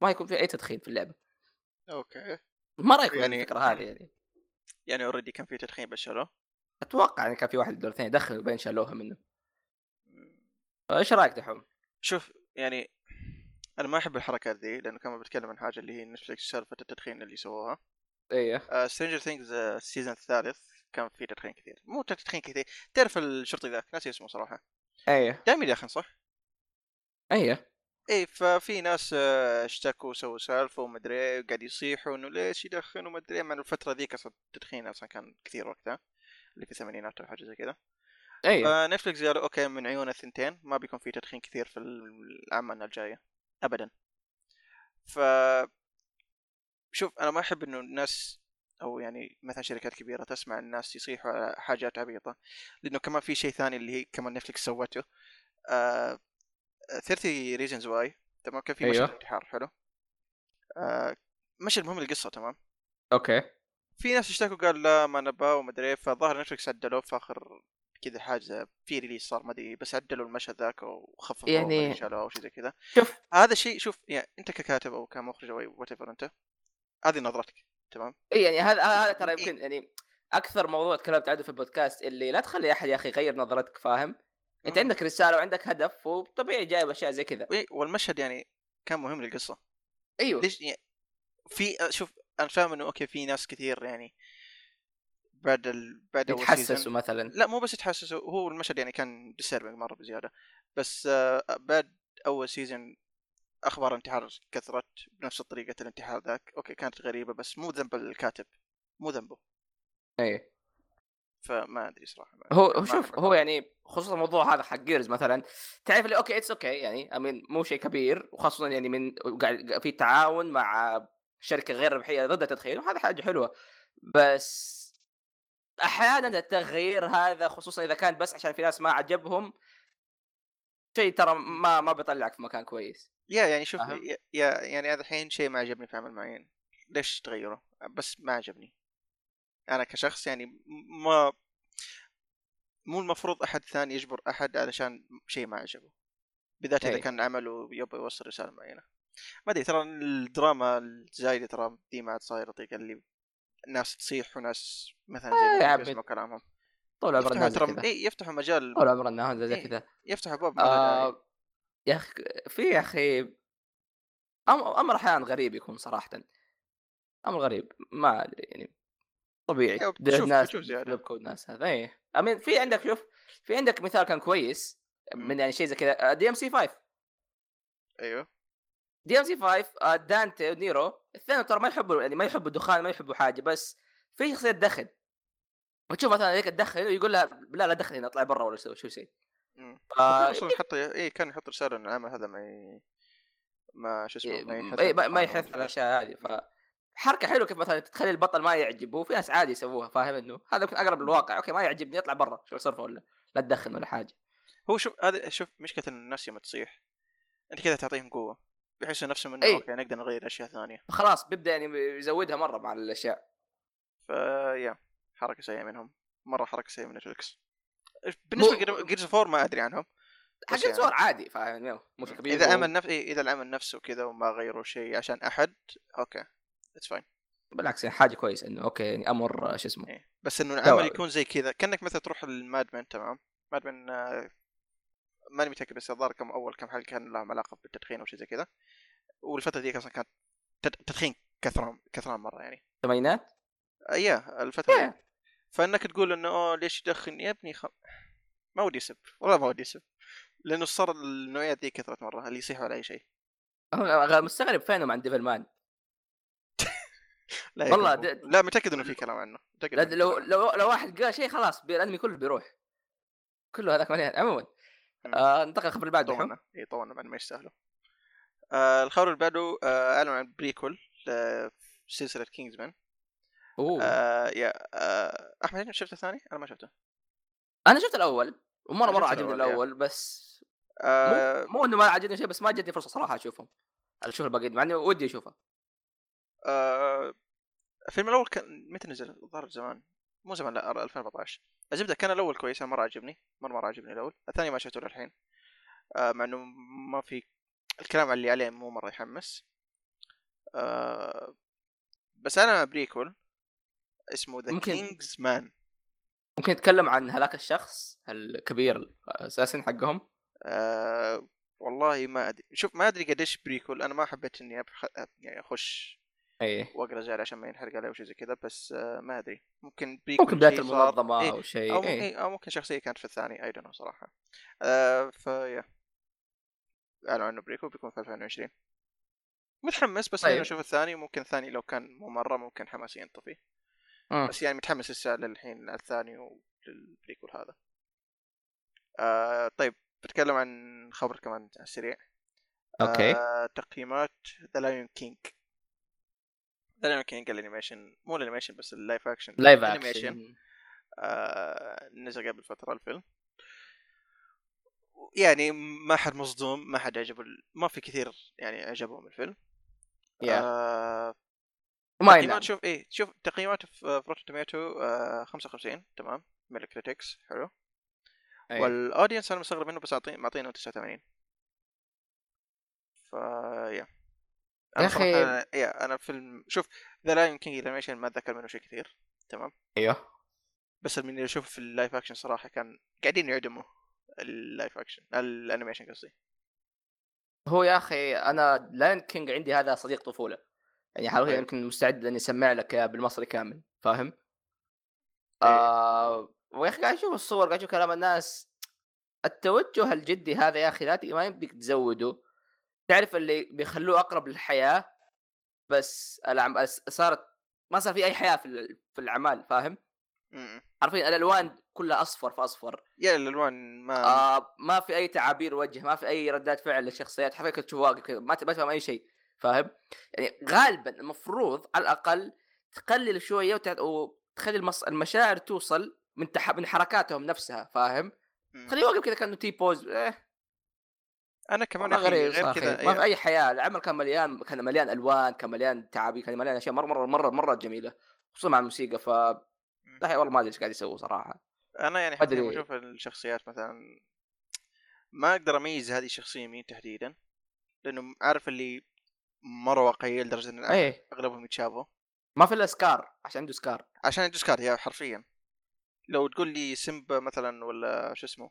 Speaker 1: ما يكون في اي تدخين في اللعبه
Speaker 2: اوكي
Speaker 1: ما رايكم يعني
Speaker 2: يعني-
Speaker 1: الفكره هذه يعني
Speaker 2: يعني اوريدي كان في تدخين بس شالوه
Speaker 1: اتوقع يعني كان في واحد دور ثاني دخل وبين شالوها منه ايش رايك دحوم؟
Speaker 2: شوف يعني انا ما احب الحركات دي لانه كان بتكلم عن حاجه اللي هي نتفلكس سالفه التدخين اللي سووها آه،
Speaker 1: ايه
Speaker 2: سترينجر ثينجز السيزون الثالث كان في تدخين كثير مو تدخين كثير تعرف الشرطي ذاك ناسي اسمه صراحه
Speaker 1: ايه
Speaker 2: دايما يدخن صح؟
Speaker 1: ايه
Speaker 2: ايه ففي ناس آه، اشتكوا سووا سالفه ومدري ايه وقاعد يصيحوا انه ليش يدخن ومدري ايه مع انه الفتره ذيك اصلا التدخين اصلا كان كثير وقتها اللي في الثمانينات او حاجه زي كذا إيه،
Speaker 1: ايه
Speaker 2: فنتفلكس قالوا اوكي من عيون الثنتين ما بيكون في تدخين كثير في الاعمال الجايه ابدا ف شوف انا ما احب انه الناس او يعني مثلا شركات كبيره تسمع الناس يصيحوا على حاجات عبيطه لانه كمان في شيء ثاني اللي هي كمان نتفلكس سوته آه 30 ريزنز واي تمام كان في مشهد
Speaker 3: أيوه.
Speaker 2: انتحار حلو آه مشهد مهم للقصه تمام
Speaker 3: اوكي
Speaker 2: في ناس اشتكوا قال لا ما نبا وما ادري إيه، فظهر نتفلكس عدلوه في اخر كذا حاجه في ريليس صار ما ادري بس عدلوا المشهد ذاك وخففوه
Speaker 3: يعني-
Speaker 2: يعني شالوه او شيء زي كذا
Speaker 3: شوف.
Speaker 2: هذا شيء شوف يعني انت ككاتب او كمخرج او وات انت هذه نظرتك تمام
Speaker 1: اي يعني هذا هذا
Speaker 2: إيه،
Speaker 1: ترى يمكن يعني اكثر موضوع تكلمت عنه في البودكاست اللي لا تخلي احد يا اخي يغير نظرتك فاهم؟ انت
Speaker 2: آه.
Speaker 1: عندك رساله وعندك هدف وطبيعي جايب اشياء زي كذا
Speaker 2: وي- والمشهد يعني كان مهم للقصه
Speaker 1: ايوه
Speaker 2: ليش يعني في شوف انا فاهم انه اوكي في ناس كثير يعني بعد ال... بعد أول season-
Speaker 1: يتحسسوا مثلا
Speaker 2: لا مو بس يتحسسوا هو المشهد يعني كان disturbing مره بزياده بس آه، بعد اول سيزون اخبار انتحار كثرت بنفس طريقه الانتحار ذاك اوكي كانت غريبه بس مو ذنب الكاتب مو ذنبه إيه.
Speaker 1: اي
Speaker 2: فما ادري صراحه ما-
Speaker 1: هو هو
Speaker 2: ما
Speaker 1: شوف
Speaker 2: أعرف.
Speaker 1: هو يعني خصوصا الموضوع هذا حق جيرز مثلا تعرف اللي اوكي اتس اوكي يعني امين مو شيء كبير وخاصه يعني من قاعد في تعاون مع شركه غير ربحيه ضد التدخين وهذا حاجه حلوه بس احيانا التغيير هذا خصوصا اذا كان بس عشان في ناس ما عجبهم شيء ترى ما ما بيطلعك في مكان كويس
Speaker 2: يا يعني شوف
Speaker 1: أهم.
Speaker 2: يا يا- يعني هذا الحين شيء ما عجبني في عمل معين ليش تغيره بس ما عجبني انا كشخص يعني م- ما مو المفروض احد ثاني يجبر احد علشان شيء ما عجبه بالذات اذا
Speaker 1: أي.
Speaker 2: كان عمله يبغى يوصل رساله معينه ما ادري ترى الدراما الزايده ترى دي ما عاد صايره طيقه اللي ناس تصيح وناس مثلا
Speaker 1: آه يا
Speaker 2: زي ما
Speaker 1: عبد.
Speaker 2: يسمعوا كلامهم
Speaker 1: طول عمرنا زي
Speaker 2: يفتحوا
Speaker 1: كذا آه،
Speaker 2: ترى إيه، يفتحوا مجال
Speaker 1: طول عمرنا هذا زي
Speaker 2: إيه.
Speaker 1: كذا
Speaker 2: يفتحوا باب يعني. ما له داعي.
Speaker 1: آه يا اخي في يا اخي أم- امر احيانا غريب يكون صراحه امر غريب ما ادري يعني طبيعي
Speaker 2: أيوة،
Speaker 1: ده
Speaker 2: بتشوف-
Speaker 1: ناس
Speaker 2: بتشوف زيادة.
Speaker 1: لبكوا الناس هذا اي امين في عندك شوف في عندك مثال كان كويس من
Speaker 2: أمم،
Speaker 1: يعني شيء زي كذا دي ام سي 5
Speaker 2: ايوه
Speaker 1: دي ام سي 5 دانتي ونيرو الاثنين ترى ما يحبوا يعني ما يحبوا الدخان ما يحبوا حاجه بس في شخصيه تدخن وتشوف مثلا هيك تدخن ويقول لها لا لا دخلي هنا اطلعي برا ولا شو شو شيء
Speaker 2: مم.
Speaker 1: آه،
Speaker 2: كان اصلا يحط اي كان يحط رساله ان العمل هذا ما ي... ما شو اسمه ما يحث
Speaker 1: إيه، ما,
Speaker 2: على
Speaker 1: ما
Speaker 2: الطعام
Speaker 1: يحث على
Speaker 2: ولا شيء.
Speaker 1: الاشياء هذه ف حركه حلوه كيف مثلا تخلي البطل ما يعجبه في ناس عادي يسووها فاهم انه هذا يمكن اقرب للواقع اوكي ما يعجبني اطلع برا شو صرفه ولا لا تدخن ولا حاجه
Speaker 2: هو شوف هذا شوف مشكله إن الناس يوم تصيح انت كذا تعطيهم قوه بيحسوا نفسهم انه
Speaker 1: إيه.
Speaker 2: اوكي نقدر نغير اشياء ثانيه
Speaker 1: خلاص بيبدا يعني يزودها مره مع الاشياء
Speaker 2: فيا حركه سيئه منهم مره حركه سيئه من نتفلكس بالنسبه
Speaker 1: مو-
Speaker 2: لجيرز فور ما ادري عنهم
Speaker 1: حق
Speaker 2: بس يعني-
Speaker 1: صور عادي فاهم يعني مو شيء كبير
Speaker 2: اذا
Speaker 1: و-
Speaker 2: العمل نفسه إيه اذا العمل نفسه كذا وما غيروا شيء عشان احد اوكي اتس فاين
Speaker 1: بالعكس يعني حاجه كويسه انه اوكي يعني امر آه، شو اسمه
Speaker 2: إيه. بس انه العمل
Speaker 1: توابع.
Speaker 2: يكون زي كذا كانك مثلا تروح المادمن تمام مادمن ماني متاكد بس الظاهر كم اول كم حلقه كان لهم علاقه بالتدخين او شيء زي كذا والفتره دي اصلا كانت تد- تدخين كثران كثران مره يعني
Speaker 1: ثمانينات إيه،
Speaker 2: آه، يا الفتره دي. فانك تقول انه أوه ليش تدخن يا ابني خ... ما ودي اسب والله ما ودي اسب لانه صار النوعيات دي كثرت مره اللي يصيحوا على اي شيء
Speaker 1: أنا غ- مستغرب فينهم عن ديفل مان
Speaker 2: لا
Speaker 1: والله
Speaker 2: يكذبوا.
Speaker 1: د-
Speaker 2: لا متاكد انه في كلام عنه متاكد
Speaker 1: لا-
Speaker 2: إنه في
Speaker 1: لو
Speaker 2: كلام.
Speaker 1: لو لو واحد قال شيء خلاص بي- الانمي كله بيروح كله هذاك مليان عموما آه ننتقل الخبر اللي بعده
Speaker 2: طولنا اي طولنا إيه، بعد ما يستاهلوا آه الخبر اللي بعده آه اعلن عن بريكول آه سلسله كينجزمان
Speaker 1: أوه.
Speaker 2: آه يا آه احمد انت شفته الثاني؟ انا ما شفته
Speaker 1: انا شفت الاول ومره
Speaker 2: أنا
Speaker 1: مره
Speaker 2: شفت
Speaker 1: عجبني
Speaker 2: الأول، يا.
Speaker 1: الاول بس
Speaker 2: آه
Speaker 1: مو انه ما عجبني شيء بس ما جتني فرصه صراحه اشوفهم اشوف الباقي مع اني ودي اشوفه
Speaker 2: آه الفيلم الاول كان متى نزل؟ الظاهر زمان مو زمان لا 2014 الزبده كان الاول كويس أنا مره عجبني مره مره عجبني الاول الثاني ما شفته للحين آه مع انه ما في الكلام اللي عليه مو مره يحمس آه بس انا بريكول اسمه ذا
Speaker 1: ممكن-
Speaker 2: كينجز مان
Speaker 1: ممكن نتكلم عن هذاك الشخص الكبير الاساسين حقهم
Speaker 2: آه والله ما ادري شوف ما ادري قديش بريكول انا ما حبيت اني أبخ... أب- يعني اخش
Speaker 1: اي
Speaker 2: واقرا زي عشان ما ينحرق علي او شيء زي كذا بس آه ما ادري ممكن بريكول
Speaker 1: ممكن بدايه
Speaker 2: شيء صار-
Speaker 1: المنظمه
Speaker 2: إيه،
Speaker 1: او شيء
Speaker 2: او
Speaker 1: إيه.
Speaker 2: إيه، او ممكن شخصيه كانت في الثاني اي دونت صراحه آه فيا اعلنوا عنه بريكول بيكون في 2020 متحمس بس خلينا
Speaker 1: طيب.
Speaker 2: نشوف الثاني ممكن الثاني لو كان مو مره ممكن حماسي ينطفي
Speaker 1: مم.
Speaker 2: بس يعني متحمس لسه للحين الثاني وللبريكول هذا آه طيب بتكلم عن خبر كمان على السريع
Speaker 1: اوكي
Speaker 2: آه، تقييمات ذا لايون كينج ذا لايون كينج الانيميشن مو الانيميشن بس اللايف اكشن
Speaker 1: لايف
Speaker 2: الأنيميشن،
Speaker 1: اكشن
Speaker 2: آه نزل قبل فتره الفيلم يعني ما حد مصدوم ما حد عجبه ال- ما في كثير يعني عجبهم الفيلم
Speaker 1: يا
Speaker 2: آه
Speaker 1: ما ينام
Speaker 2: تقييمات شوف ايه شوف تقييماته في روتن توميتو آه 55 تمام من الكريتكس حلو
Speaker 1: أي.
Speaker 2: والاودينس انا مستغرب منه بس أعطي- معطينه 89 ف يا
Speaker 1: يا
Speaker 2: انا
Speaker 1: أخي-
Speaker 2: صراحه يا انا فيلم شوف ذا لاين كينج الانيميشن ما اتذكر منه شيء كثير تمام
Speaker 1: ايوه
Speaker 2: بس من اللي اشوفه في اللايف اكشن صراحه كان قاعدين يعدموا اللايف اكشن الانيميشن قصدي
Speaker 1: هو يا اخي انا لاين كينج عندي هذا صديق طفوله يعني حاليا
Speaker 2: طيب.
Speaker 1: يمكن مستعد اني اسمع لك إياه بالمصري كامل فاهم؟
Speaker 2: إيه.
Speaker 1: آه ويا اخي قاعد اشوف الصور قاعد اشوف كلام الناس التوجه الجدي هذا يا اخي لا ت- ما يمديك تزوده تعرف اللي بيخلوه اقرب للحياه بس العم... أس- صارت ما صار في اي حياه في ال- في الاعمال فاهم؟
Speaker 2: م-م.
Speaker 1: عارفين الالوان كلها اصفر في اصفر
Speaker 2: يا الالوان ما
Speaker 1: آه ما في اي تعابير وجه ما في اي ردات فعل للشخصيات حرفيا كنت تشوف واقف كذا، ما ت- ما تفهم اي شيء فاهم يعني غالبا المفروض على الاقل تقلل شويه وت- وتخلي المص... المشاعر توصل من تح... من حركاتهم نفسها فاهم
Speaker 2: م.
Speaker 1: خليه واقف كذا كانه تي بوز إيه.
Speaker 2: انا كمان
Speaker 1: والله
Speaker 2: أخي
Speaker 1: غريب صراحة.
Speaker 2: غير كذا
Speaker 1: ما في
Speaker 2: يا.
Speaker 1: اي حياه العمل كان مليان كان مليان الوان كان مليان تعابير كان مليان اشياء مره مره مره مره جميله خصوصا مع الموسيقى ف لا والله ما ادري ايش قاعد يسووا صراحه
Speaker 2: انا يعني حتى
Speaker 1: أدري.
Speaker 2: لما اشوف الشخصيات مثلا ما اقدر اميز هذه الشخصيه مين تحديدا لانه عارف اللي مره واقعيه لدرجه ان
Speaker 1: ايه
Speaker 2: اغلبهم يتشابهوا
Speaker 1: ما في الا سكار عشان عنده سكار
Speaker 2: عشان الدوسكار يا حرفيا لو تقول لي سيمبا مثلا ولا شو اسمه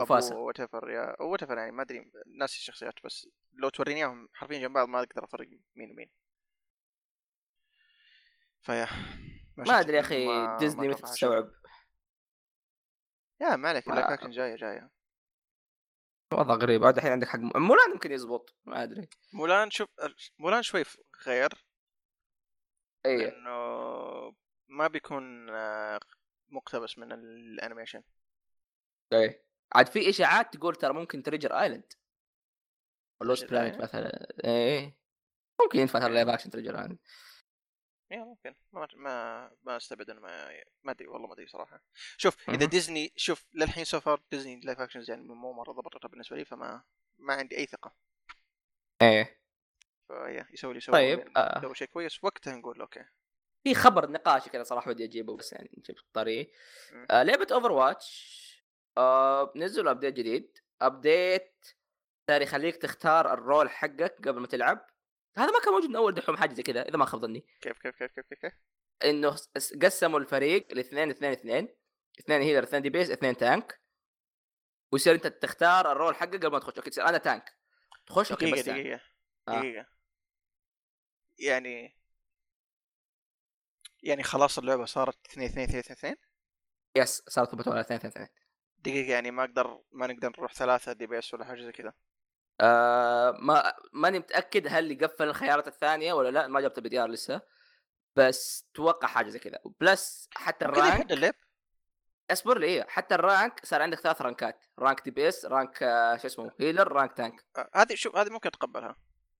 Speaker 1: مفاسة.
Speaker 2: وات ايفر يا وات ايفر يعني ما ادري ناسي الشخصيات بس لو توريني اياهم حرفيا جنب بعض ما اقدر افرق مين ومين فيا
Speaker 1: ما
Speaker 2: شفت
Speaker 1: ادري يا اخي
Speaker 2: فيلم، ما- ما
Speaker 1: ديزني متى
Speaker 2: أتوقع أشوفه.
Speaker 1: تستوعب
Speaker 2: يا ما عليك
Speaker 1: ما-
Speaker 2: اللايف اكشن جايه جايه
Speaker 1: وضع غريب عاد الحين عندك حق م- مولان يمكن يزبط ما ادري
Speaker 2: مولان شوف مولان شوي غير
Speaker 1: اي
Speaker 2: لانه ما بيكون آه، مقتبس من الانيميشن
Speaker 1: اي عاد في اشاعات تقول ترى ممكن تريجر ايلاند ولوست
Speaker 2: Treasure
Speaker 1: بلانيت
Speaker 2: Island؟
Speaker 1: مثلا اي إيه. ممكن ينفع ترى لايف اكشن تريجر ايلاند
Speaker 2: يا ممكن ما ما ما استبعد انه ما ما ادري والله ما ادري صراحه شوف
Speaker 1: مهم.
Speaker 2: اذا ديزني شوف للحين سو فار ديزني لايف اكشنز يعني مو مره ضبطتها بالنسبه لي فما ما عندي اي ثقه
Speaker 1: ايه
Speaker 2: فيا يسوي اللي يسوي
Speaker 1: طيب آه.
Speaker 2: لو شيء كويس وقتها نقول اوكي
Speaker 1: في خبر نقاشي كذا صراحه ودي اجيبه بس يعني جبت طريق
Speaker 2: مم.
Speaker 1: آه لعبه اوفر واتش آه نزلوا ابديت جديد ابديت صار يخليك تختار الرول حقك قبل ما تلعب هذا ما كان موجود من اول دحوم حاجه زي كذا اذا ما خاب ظني
Speaker 2: كيف كيف كيف كيف كيف, كيف؟
Speaker 1: انه س- قسموا الفريق لاثنين اثنين اثنين اثنين هيلر اثنين دي بيس اثنين تانك ويصير انت تختار الرول حقك قبل ما تخش اوكي تصير انا تانك تخش اوكي
Speaker 2: دقيقه
Speaker 1: بس تانك
Speaker 2: دقيقه
Speaker 1: آه.
Speaker 2: دقيقه يعني يعني خلاص اللعبه صارت اثنين اثنين اثنين اثنين اثنين
Speaker 1: يس صارت ثبتوا على اثنين اثنين اثنين
Speaker 2: دقيقه يعني ما اقدر ما نقدر نروح ثلاثه دي بي اس ولا حاجه زي كذا
Speaker 1: آه ما ماني متاكد هل يقفل الخيارات الثانيه ولا لا ما جبت البي دي ار لسه بس توقع حاجه زي كذا بلس حتى
Speaker 2: ممكن
Speaker 1: الرانك
Speaker 2: يحد اللعب
Speaker 1: اصبر لي إيه، حتى الرانك صار عندك ثلاث رانكات رانك دي بي اس رانك آه، شو اسمه هيلر رانك تانك
Speaker 2: آه، هذه شوف هذه ممكن اتقبلها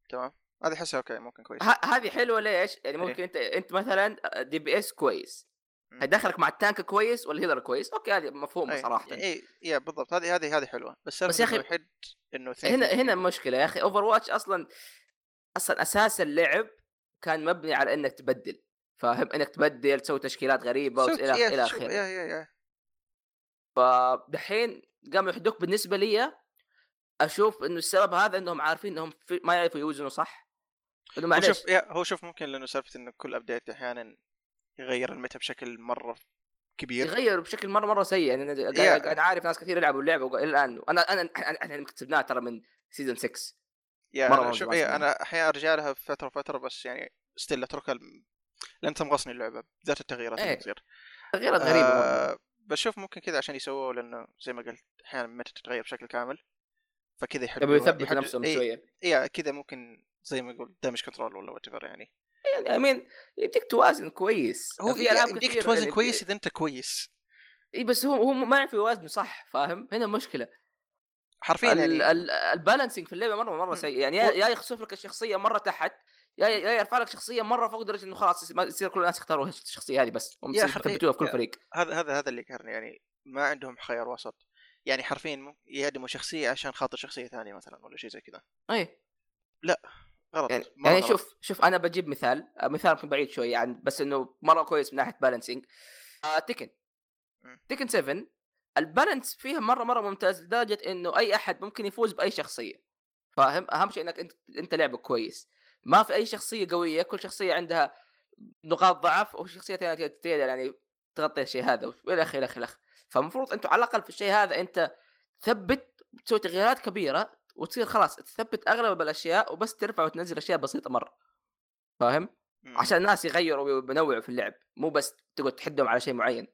Speaker 2: تمام هذه احسها اوكي ممكن كويس
Speaker 1: ه- هذه حلوه ليش؟ يعني
Speaker 2: إيه.
Speaker 1: ممكن انت انت مثلا دي بي اس كويس
Speaker 2: مم.
Speaker 1: هيدخلك مع التانك كويس ولا هيلر كويس؟ اوكي هذه مفهومه
Speaker 2: أي-
Speaker 1: صراحه
Speaker 2: اي إيه، يا بالضبط هذه هذه هذه حلوه بس
Speaker 1: بس يا
Speaker 2: إنه
Speaker 1: أخي-
Speaker 2: يحد انه اثنين
Speaker 1: هنا
Speaker 2: اثنين
Speaker 1: هنا
Speaker 2: اثنين.
Speaker 1: مشكله يا اخي اوفر واتش اصلا اصلا اساس اللعب كان مبني على انك تبدل فاهم انك تبدل تسوي تشكيلات غريبه
Speaker 2: سوت-
Speaker 1: والى
Speaker 2: يا
Speaker 1: الى
Speaker 2: شوف،
Speaker 1: اخره
Speaker 2: يا يا يا
Speaker 1: فدحين قاموا يحدوك بالنسبه لي اشوف انه السبب هذا انهم عارفين انهم في... ما يعرفوا يوزنوا صح انه
Speaker 2: هو
Speaker 1: معلش
Speaker 2: شوف يا هو شوف ممكن لانه سالفه انه كل ابديت احيانا يغير الميتا بشكل مره كبير
Speaker 1: يغير بشكل مره مره سيء يعني انا
Speaker 2: Yeah.
Speaker 1: قاعد- انا عارف ناس كثير يلعبوا اللعبه وق- الى الان انا انا أنا- احنا كتبناها ترى من سيزون 6
Speaker 2: يا
Speaker 1: مرة
Speaker 2: مرة
Speaker 1: مرة يعني.
Speaker 2: شوف
Speaker 1: زمان
Speaker 2: يا
Speaker 1: زمان.
Speaker 2: انا احيانا ارجع لها فتره فتره بس يعني ستيل اتركها الم- لان تمغصني اللعبه ذات التغييرات اللي
Speaker 1: إيه.
Speaker 2: تصير
Speaker 1: تغييرات غريبه مرة.
Speaker 2: آه بس شوف ممكن كذا عشان يسووه لانه زي ما قلت احيانا متى تتغير بشكل كامل فكذا يحدوا
Speaker 1: يبغوا يثبتوا
Speaker 2: يحدوا-
Speaker 1: نفسهم
Speaker 2: إيه،
Speaker 1: شويه
Speaker 2: يا كذا ممكن زي ما يقول دامج كنترول ولا وات يعني
Speaker 1: يعني امين يديك توازن كويس
Speaker 2: هو في العاب يديك
Speaker 1: كثير
Speaker 2: توازن
Speaker 1: يعني-
Speaker 2: كويس اذا انت كويس
Speaker 1: اي بس هو هو ما يعرف يوازنه صح فاهم هنا مشكله
Speaker 2: حرفيا
Speaker 1: ال-
Speaker 2: يعني
Speaker 1: ال- البالانسنج في اللعبه مره مره
Speaker 2: مم.
Speaker 1: سيء يعني يا يا يخسف لك الشخصيه مره تحت يا يا يرفع لك شخصيه مره فوق درجه انه خلاص ما يصير كل الناس يختاروا الشخصيه هذه بس هم
Speaker 2: يا حرفيا-
Speaker 1: يثبتوها في كل
Speaker 2: يا-
Speaker 1: فريق
Speaker 2: هذا هذا هذا اللي قهرني يعني ما عندهم خيار وسط يعني حرفيا مم- يعدموا شخصيه عشان خاطر شخصيه ثانيه مثلا ولا شيء زي كذا
Speaker 1: اي
Speaker 2: غلط
Speaker 1: يعني,
Speaker 2: مرة
Speaker 1: يعني
Speaker 2: غلط.
Speaker 1: شوف شوف انا بجيب مثال آه، مثال يمكن بعيد شوي عن بس انه مره كويس من ناحيه بالانسنج آه تكن
Speaker 2: مم.
Speaker 1: تكن 7 البالانس فيها مره مره ممتاز لدرجه انه اي احد ممكن يفوز باي شخصيه فاهم اهم شيء انك انت انت لعبك كويس ما في اي شخصيه قويه كل شخصيه عندها نقاط ضعف وشخصيه ثانيه تقدر- تقدر يعني تغطي الشيء هذا والى اخره الى اخره فالمفروض انتم على الاقل في الشيء هذا انت تثبت تسوي تغييرات كبيره وتصير خلاص تثبت اغلب الاشياء وبس ترفع وتنزل اشياء بسيطه مره فاهم؟
Speaker 2: مم.
Speaker 1: عشان الناس يغيروا وينوعوا في اللعب مو بس تقعد تحدهم على شيء معين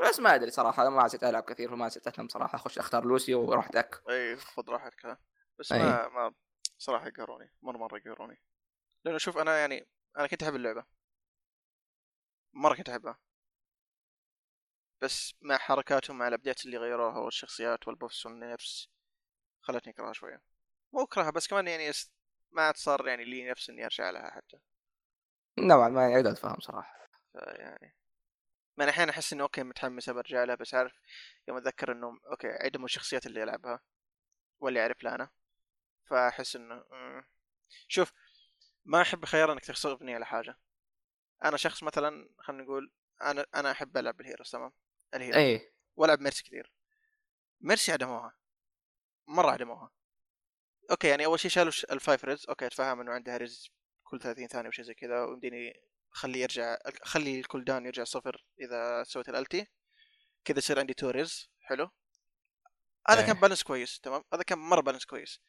Speaker 1: بس ما ادري صراحه انا ما عسيت العب كثير وما عسيت افهم صراحه اخش اختار لوسيو واروح داك
Speaker 2: اي إيه، خذ راحتك ها. بس
Speaker 1: أي.
Speaker 2: ما ما صراحه قهروني مره مره قهروني لانه شوف انا يعني انا كنت احب اللعبه مره كنت احبها بس مع حركاتهم مع الابديتس اللي غيروها والشخصيات والبوفس والنيرفس خلتني اكرهها شويه مو اكرهها بس كمان يعني است- ما عاد صار يعني لي نفس اني ارجع لها حتى
Speaker 1: نوعا ما يعني اقدر اتفهم صراحه
Speaker 2: فيعني ما انا احيانا احس انه اوكي متحمس برجع لها بس عارف يوم اتذكر انه اوكي عدموا الشخصيات اللي العبها واللي اعرف لها انا فاحس انه مم. شوف ما احب خيار انك تغصبني على حاجه انا شخص مثلا خلينا نقول انا انا احب العب الهيروز تمام الهيروز
Speaker 1: اي
Speaker 2: والعب ميرسي كثير ميرسي عدموها مره عدموها اوكي يعني اول شيء شالوا ش- الفايف ريز اوكي اتفهم انه عندها ريز كل 30 ثانيه وشي زي كذا ويمديني اخليه يرجع اخلي الكول داون يرجع صفر اذا سويت الالتي كذا يصير عندي تو ريز حلو هذا
Speaker 1: إيه.
Speaker 2: كان بالانس كويس تمام هذا كان مره بالانس كويس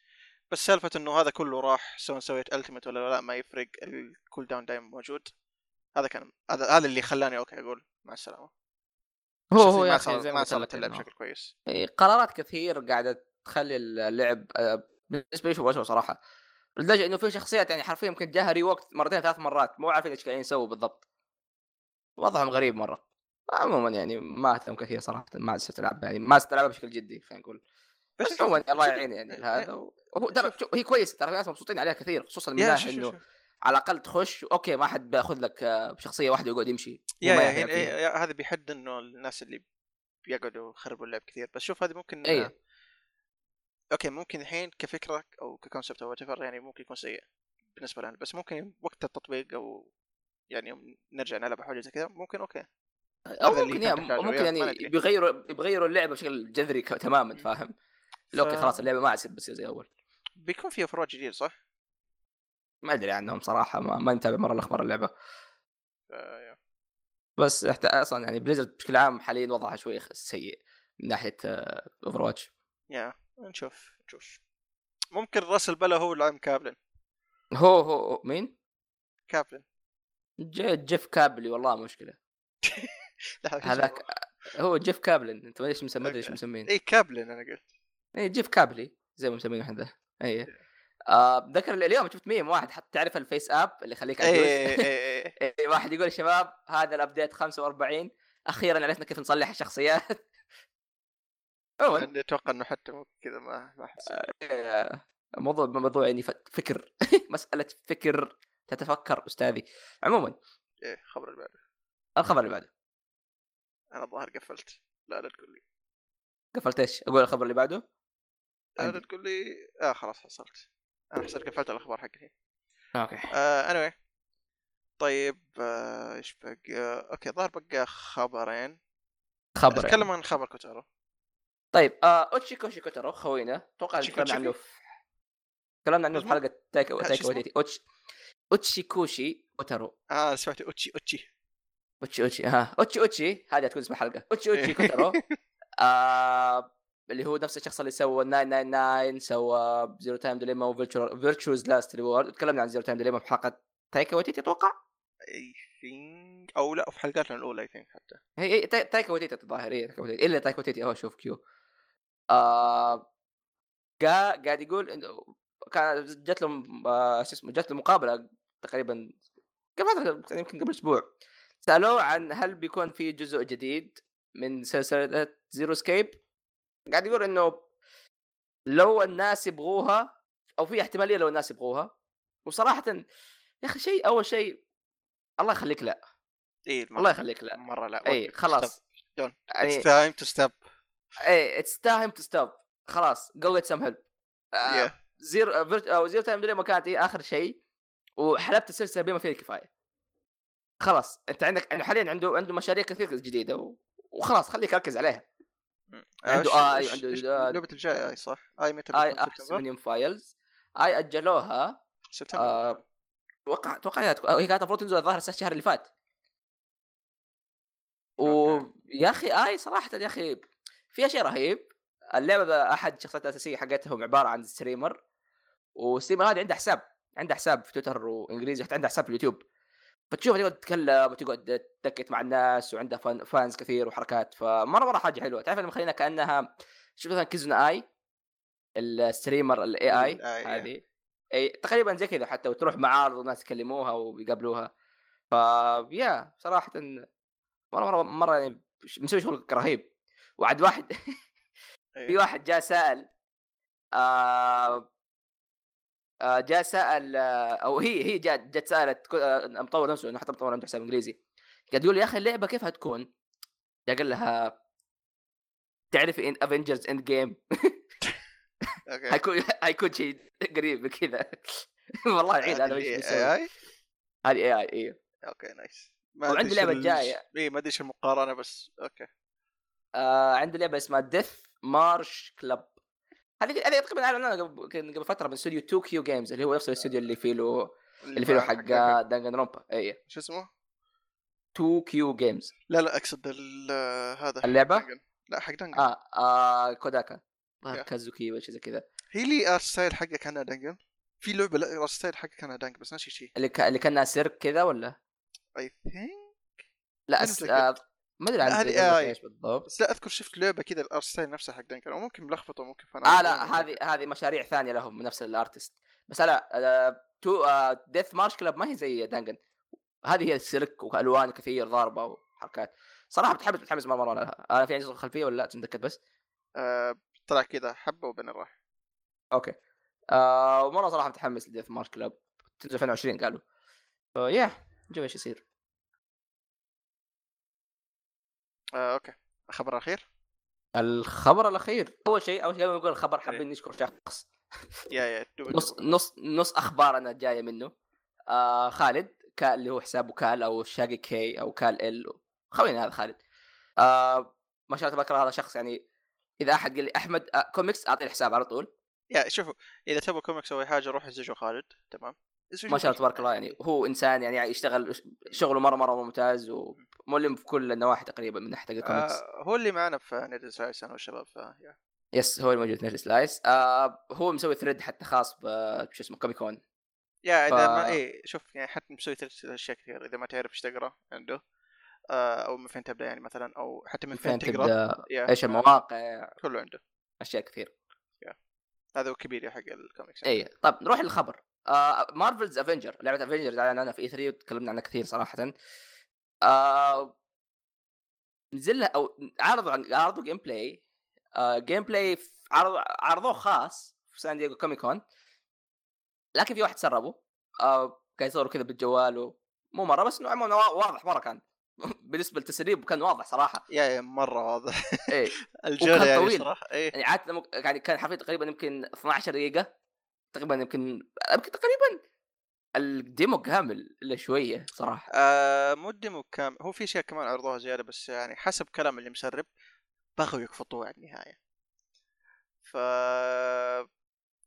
Speaker 2: بس سالفه انه هذا كله راح سواء سويت التيمت ولا لا ما يفرق الكول داون دايما موجود هذا كان هذا هذا اللي خلاني اوكي اقول مع السلامه
Speaker 1: هو هو
Speaker 2: شخصيا
Speaker 1: يا
Speaker 2: ما
Speaker 1: اخي
Speaker 2: صار
Speaker 1: زي
Speaker 2: ما
Speaker 1: ما قلت
Speaker 2: صار
Speaker 1: لك
Speaker 2: اللعب
Speaker 1: إنه
Speaker 2: بشكل كويس
Speaker 1: إي، إيه، قرارات كثير قاعده تخلي اللعب آه، بالنسبه لي شو أسوأ صراحه لدرجه انه في شخصيات يعني حرفيا يمكن جاها ريوكت مرتين ثلاث مرات مو عارفين ايش قاعدين يسووا بالضبط وضعهم غريب مره عموما يعني ما اهتم كثير صراحه ما عسيت العب يعني ما عسيت العبها بشكل جدي خلينا نقول بس عموما الله يعين يعني
Speaker 2: شوف- إيه،
Speaker 1: هذا و- وهو ترى شوف هي كويسه ترى الناس مبسوطين عليها كثير خصوصا من
Speaker 2: يا
Speaker 1: ناحيه
Speaker 2: شوف شوف
Speaker 1: انه
Speaker 2: شوف.
Speaker 1: على الاقل تخش اوكي ما حد بياخذ لك آه، شخصيه واحده ويقعد يمشي
Speaker 2: يا
Speaker 1: وما
Speaker 2: يا
Speaker 1: يهتم
Speaker 2: هنا-
Speaker 1: فيها.
Speaker 2: يا- هذا بيحد انه الناس اللي بيقعدوا يخربوا اللعب كثير بس شوف هذه ممكن
Speaker 1: إيه.
Speaker 2: اوكي ممكن الحين كفكره او ككونسبت او whatever يعني ممكن يكون سيء بالنسبه لنا بس ممكن وقت التطبيق او يعني يوم نرجع نلعب حاجه زي كذا ممكن اوكي
Speaker 1: او
Speaker 2: هذا اللي
Speaker 1: ممكن يا
Speaker 2: كان تحتاجه،
Speaker 1: ممكن
Speaker 2: يلا، ما
Speaker 1: يعني
Speaker 2: ندري.
Speaker 1: بيغيروا بيغيروا اللعبه بشكل جذري ك- تماما
Speaker 2: مم.
Speaker 1: فاهم لو اوكي
Speaker 2: ف-
Speaker 1: خلاص اللعبه ما عاد بتصير زي اول
Speaker 2: بيكون في افراد جديد صح؟
Speaker 1: ما ادري عنهم صراحه ما, ما نتابع مره الاخبار اللعبه
Speaker 2: ف- يا.
Speaker 1: بس احت... اصلا يعني بليزرد بشكل عام حاليا وضعها شوي خ- سيء من آه، ناحيه اوفر واتش
Speaker 2: يا نشوف نشوف ممكن راس البلا هو اللي عم كابلن
Speaker 1: هو هو هو- مين؟
Speaker 2: كابلن
Speaker 1: ج- جيف كابلي والله مشكله
Speaker 2: لا، شو
Speaker 1: هذاك آه،
Speaker 2: اسمه؟
Speaker 1: هو جيف كابلن انت ما ليش مسمى ما ادري ايش
Speaker 2: أوكي. إيه.
Speaker 1: مسمين
Speaker 2: اي كابلن انا قلت
Speaker 1: اي إيه، جيف كابلي زي ما مسمينه احنا ذا اي
Speaker 2: إيه.
Speaker 1: آه ذكر اليوم شفت ميم واحد حط تعرف الفيس اب اللي يخليك
Speaker 2: اي
Speaker 1: عجوز
Speaker 2: اي اي اي
Speaker 1: إيه، واحد يقول يا شباب هذا الابديت 45 اخيرا عرفنا كيف نصلح الشخصيات عموما
Speaker 2: لأني اتوقع انه حتى مو كذا ما ما حس
Speaker 1: آه، موضوع موضوع يعني ف- فكر مساله فكر تتفكر استاذي عموما
Speaker 2: ايه خبر اللي بعده
Speaker 1: الخبر اللي بعده
Speaker 2: انا الظاهر قفلت لا لا تقول لي
Speaker 1: قفلت ايش؟ اقول الخبر اللي بعده؟
Speaker 2: لا لا
Speaker 1: عندي.
Speaker 2: تقول لي اه خلاص حصلت انا حصلت قفلت الاخبار حقتي
Speaker 1: اوكي
Speaker 2: آه anyway. طيب آه، ايش بقى آه، اوكي ظهر بقى خبرين
Speaker 1: خبر يعني.
Speaker 2: اتكلم عن خبر كوتارو
Speaker 1: طيب آه اوتشيكو شيكوترو خوينا اتوقع
Speaker 2: أوتشيكو
Speaker 1: تكلمنا عنه في تكلمنا عنه في
Speaker 2: اسمه؟
Speaker 1: حلقه تايكا
Speaker 2: ها،
Speaker 1: تايكا
Speaker 2: شو اسمه؟
Speaker 1: وتيتي اوتش اوتشيكوشي اوترو
Speaker 2: اه سمعت اوتشي اوتشي
Speaker 1: اوتشي اوتشي ها اوتشي اوتشي هذه تكون اسم الحلقه اوتشي اوتشي كوترو آه اللي هو نفس الشخص اللي سوى 999 سوى زيرو تايم ديليما وفيرتشوز لاست ريورد تكلمنا عن زيرو تايم ديليما في حلقه تايكا وتيتي اتوقع
Speaker 2: اي ثينك او لا في حلقاتنا الاولى اي ثينك حتى
Speaker 1: هي هي تا- تايكا وتيتي الظاهر هي تايكا وتيتي الا تايكا وتيتي هو شوف كيو آه قا- قاعد يقول انه كان جت له م- آه، شو اسمه جت له مقابله تقريبا قبل فترة، يعني يمكن قبل اسبوع سالوه عن هل بيكون في جزء جديد من سلسله زيرو سكيب قاعد يقول انه لو الناس يبغوها او في احتماليه لو الناس يبغوها وصراحه يا اخي شيء اول شيء الله يخليك لا
Speaker 2: اي
Speaker 1: الله يخليك لا
Speaker 2: مره إيه، لا
Speaker 1: اي إيه، خلاص
Speaker 2: دون
Speaker 1: يعني
Speaker 2: اتس تايم تو ستوب
Speaker 1: ايه اتس تايم تو ستوب خلاص جو جيت سم هيلب
Speaker 2: Yeah.
Speaker 1: زير آه، فيرت- او زيرو تايم ديلي ما كانت إيه اخر شيء وحلبت السلسله بما فيه الكفايه خلاص انت عندك يعني حاليا عنده عنده مشاريع كثير جديده و... وخلاص خليك ركز عليها عنده
Speaker 2: آه،
Speaker 1: آي،
Speaker 2: إيش-
Speaker 1: عنده
Speaker 2: إيش-
Speaker 1: آه.
Speaker 2: لعبة الجاي اي صح اي متى
Speaker 1: اي
Speaker 2: بتكون؟
Speaker 1: احسن
Speaker 2: سبتمبر
Speaker 1: من فايلز اي اجلوها
Speaker 2: سبتمبر
Speaker 1: آه، اتوقع اتوقع إنها تكون- هي كانت المفروض تنزل الظاهر السنة- الشهر اللي فات
Speaker 2: أوكي.
Speaker 1: ويا اخي اي صراحه يا اخي في شيء رهيب اللعبه ذا احد الشخصيات الاساسيه حقتهم عباره عن ستريمر والستريمر هذا عنده حساب عنده حساب في تويتر وانجليزي حتى عنده حساب في اليوتيوب فتشوف تقعد تتكلم وتقعد تتكت مع الناس وعنده فان فانز كثير وحركات فمره مره حاجه حلوه تعرف اللي مخلينا كانها شوف مثلا كيزن اي الستريمر الاي اي
Speaker 2: AI إيه.
Speaker 1: هذه اي تقريبا زي كذا حتى وتروح معارض والناس يكلموها ويقابلوها ف يا صراحه مره مره مره يعني ش- مسوي شغل رهيب وعد واحد في واحد جاء سال آه آه جاء سال آه او هي هي جات جات سالت كو- آه، مطور نفسه انه حتى مطور عنده حساب انجليزي قاعد يقول لي يا اخي اللعبه كيف هتكون؟ جاء قال لها تعرف ان افنجرز اند جيم
Speaker 2: اوكي
Speaker 1: حيكون حيكون شيء قريب من كذا والله عيد هذا
Speaker 2: هذه
Speaker 1: وش
Speaker 2: ال
Speaker 1: بيسوي.
Speaker 2: AI
Speaker 1: هذه اي اي ايوه
Speaker 2: اوكي نايس ما
Speaker 1: وعندي
Speaker 2: أدري إيش
Speaker 1: لعبة
Speaker 2: ال-
Speaker 1: جاية.
Speaker 2: اي ما ادري ايش المقارنه بس اوكي
Speaker 1: آه عنده لعبه اسمها ديث مارش كلب هذه هذه تقريبا اعلنوها قبل كان قبل فتره من استوديو توكيو جيمز اللي هو نفس الاستوديو اللي فيه له اللي فيه له
Speaker 2: مع-
Speaker 1: حق آه، إيه. دانجن رومبا اي
Speaker 2: شو اسمه؟
Speaker 1: توكيو جيمز
Speaker 2: لا لا اقصد ال- هذا
Speaker 1: اللعبه
Speaker 2: دنجن. لا حق دنجن
Speaker 1: اه, آه كوداكا
Speaker 2: يا.
Speaker 1: كازوكي ولا شيء زي كذا
Speaker 2: هي لي ارت ستايل حقه كان دنجن في لعبه لا ارت ستايل حقه كان دنجن بس ناسي شيء
Speaker 1: اللي ك... اللي كانها سيرك كذا ولا
Speaker 2: اي ثينك
Speaker 1: لا
Speaker 2: أنا
Speaker 1: أس...
Speaker 2: متأكد.
Speaker 1: آه ما ادري
Speaker 2: لا،
Speaker 1: عن
Speaker 2: إيه، هذه
Speaker 1: تجربة
Speaker 2: AI.
Speaker 1: ايش بالضبط
Speaker 2: بس لا اذكر شفت لعبه كذا الارت ستايل نفسها حق دنجن او ممكن ملخبطه ممكن فانا
Speaker 1: اه لا هذه هذه مشاريع ثانيه لهم من نفس الارتست بس لا آه تو آه ديث مارش كلاب ما هي زي دانجن هذه هي السيرك والوان كثير ضاربه وحركات صراحه متحمس متحمس مره مره لها انا في عندي صوت خلفيه ولا لا تتذكر بس
Speaker 2: آه طلع كذا حبه وبين راح
Speaker 1: اوكي آه ومره صراحه متحمس لديث مارش كلاب تنزل 2020 قالوا فيا نشوف ايش يصير
Speaker 2: آه اوكي الخبر الاخير
Speaker 1: الخبر الاخير اول شيء اول شيء قبل ما نقول الخبر حابين نشكر شخص
Speaker 2: يا يا دوبك-
Speaker 1: نص نص نص اخبارنا جايه منه آه خالد كال اللي هو حسابه كال او شاقي كي او كال ال خوينا هذا خالد آه ما شاء الله تبارك الله هذا شخص يعني اذا احد قال لي احمد آه كوميكس اعطيه الحساب على طول
Speaker 2: يا شوفوا اذا تبغوا كوميكس او أي حاجه روحوا زجوا خالد تمام
Speaker 1: ما شاء الله تبارك الله يعني هو انسان يعني يشتغل شغله مره مره ممتاز وملم في كل النواحي تقريبا من ناحيه الكوميكس
Speaker 2: آه هو اللي معنا في نادي سايس انا والشباب ف يا.
Speaker 1: يس هو الموجود في نجل سلايس آه هو مسوي ثريد حتى خاص ب شو اسمه كوميكون
Speaker 2: يا اذا
Speaker 1: ف-
Speaker 2: ما اي شوف يعني حتى مسوي ثلاث اشياء كثير اذا ما تعرف ايش تقرا عنده آه او من فين تبدا يعني مثلا او حتى من آه. فين,
Speaker 1: فين
Speaker 2: تقرا
Speaker 1: تبدا
Speaker 2: يا،
Speaker 1: ايش المواقع
Speaker 2: كله عنده
Speaker 1: اشياء كثير
Speaker 2: هذا هو كبير يا حق الكوميكس
Speaker 1: اي إيه، طب نروح للخبر آه مارفلز افنجر لعبه افنجرز اعلننا في اي 3 وتكلمنا عنها كثير صراحه آه نزل لها او عرضوا عن عرضوا جيم بلاي آه جيم بلاي ف- عرض عرضوه خاص في سان دييغو كومي كون لكن في واحد سربه آه قاعد يصوروا كذا بالجوال و- مو مره بس انه عموما وا- واضح مره كان بالنسبه للتسريب كان واضح صراحه
Speaker 2: يا يا مره واضح
Speaker 1: ايه
Speaker 2: الجوله يعني
Speaker 1: طويل.
Speaker 2: صراحه اي
Speaker 1: يعني عاده مك- يعني كان حرفيا تقريبا يمكن 12 دقيقه تقريبا يمكن يمكن تقريبا الديمو كامل الا شويه صراحه
Speaker 2: آه مو الديمو كامل هو في اشياء كمان عرضوها زياده بس يعني حسب كلام اللي مسرب بغوا يقفطوه على النهايه ف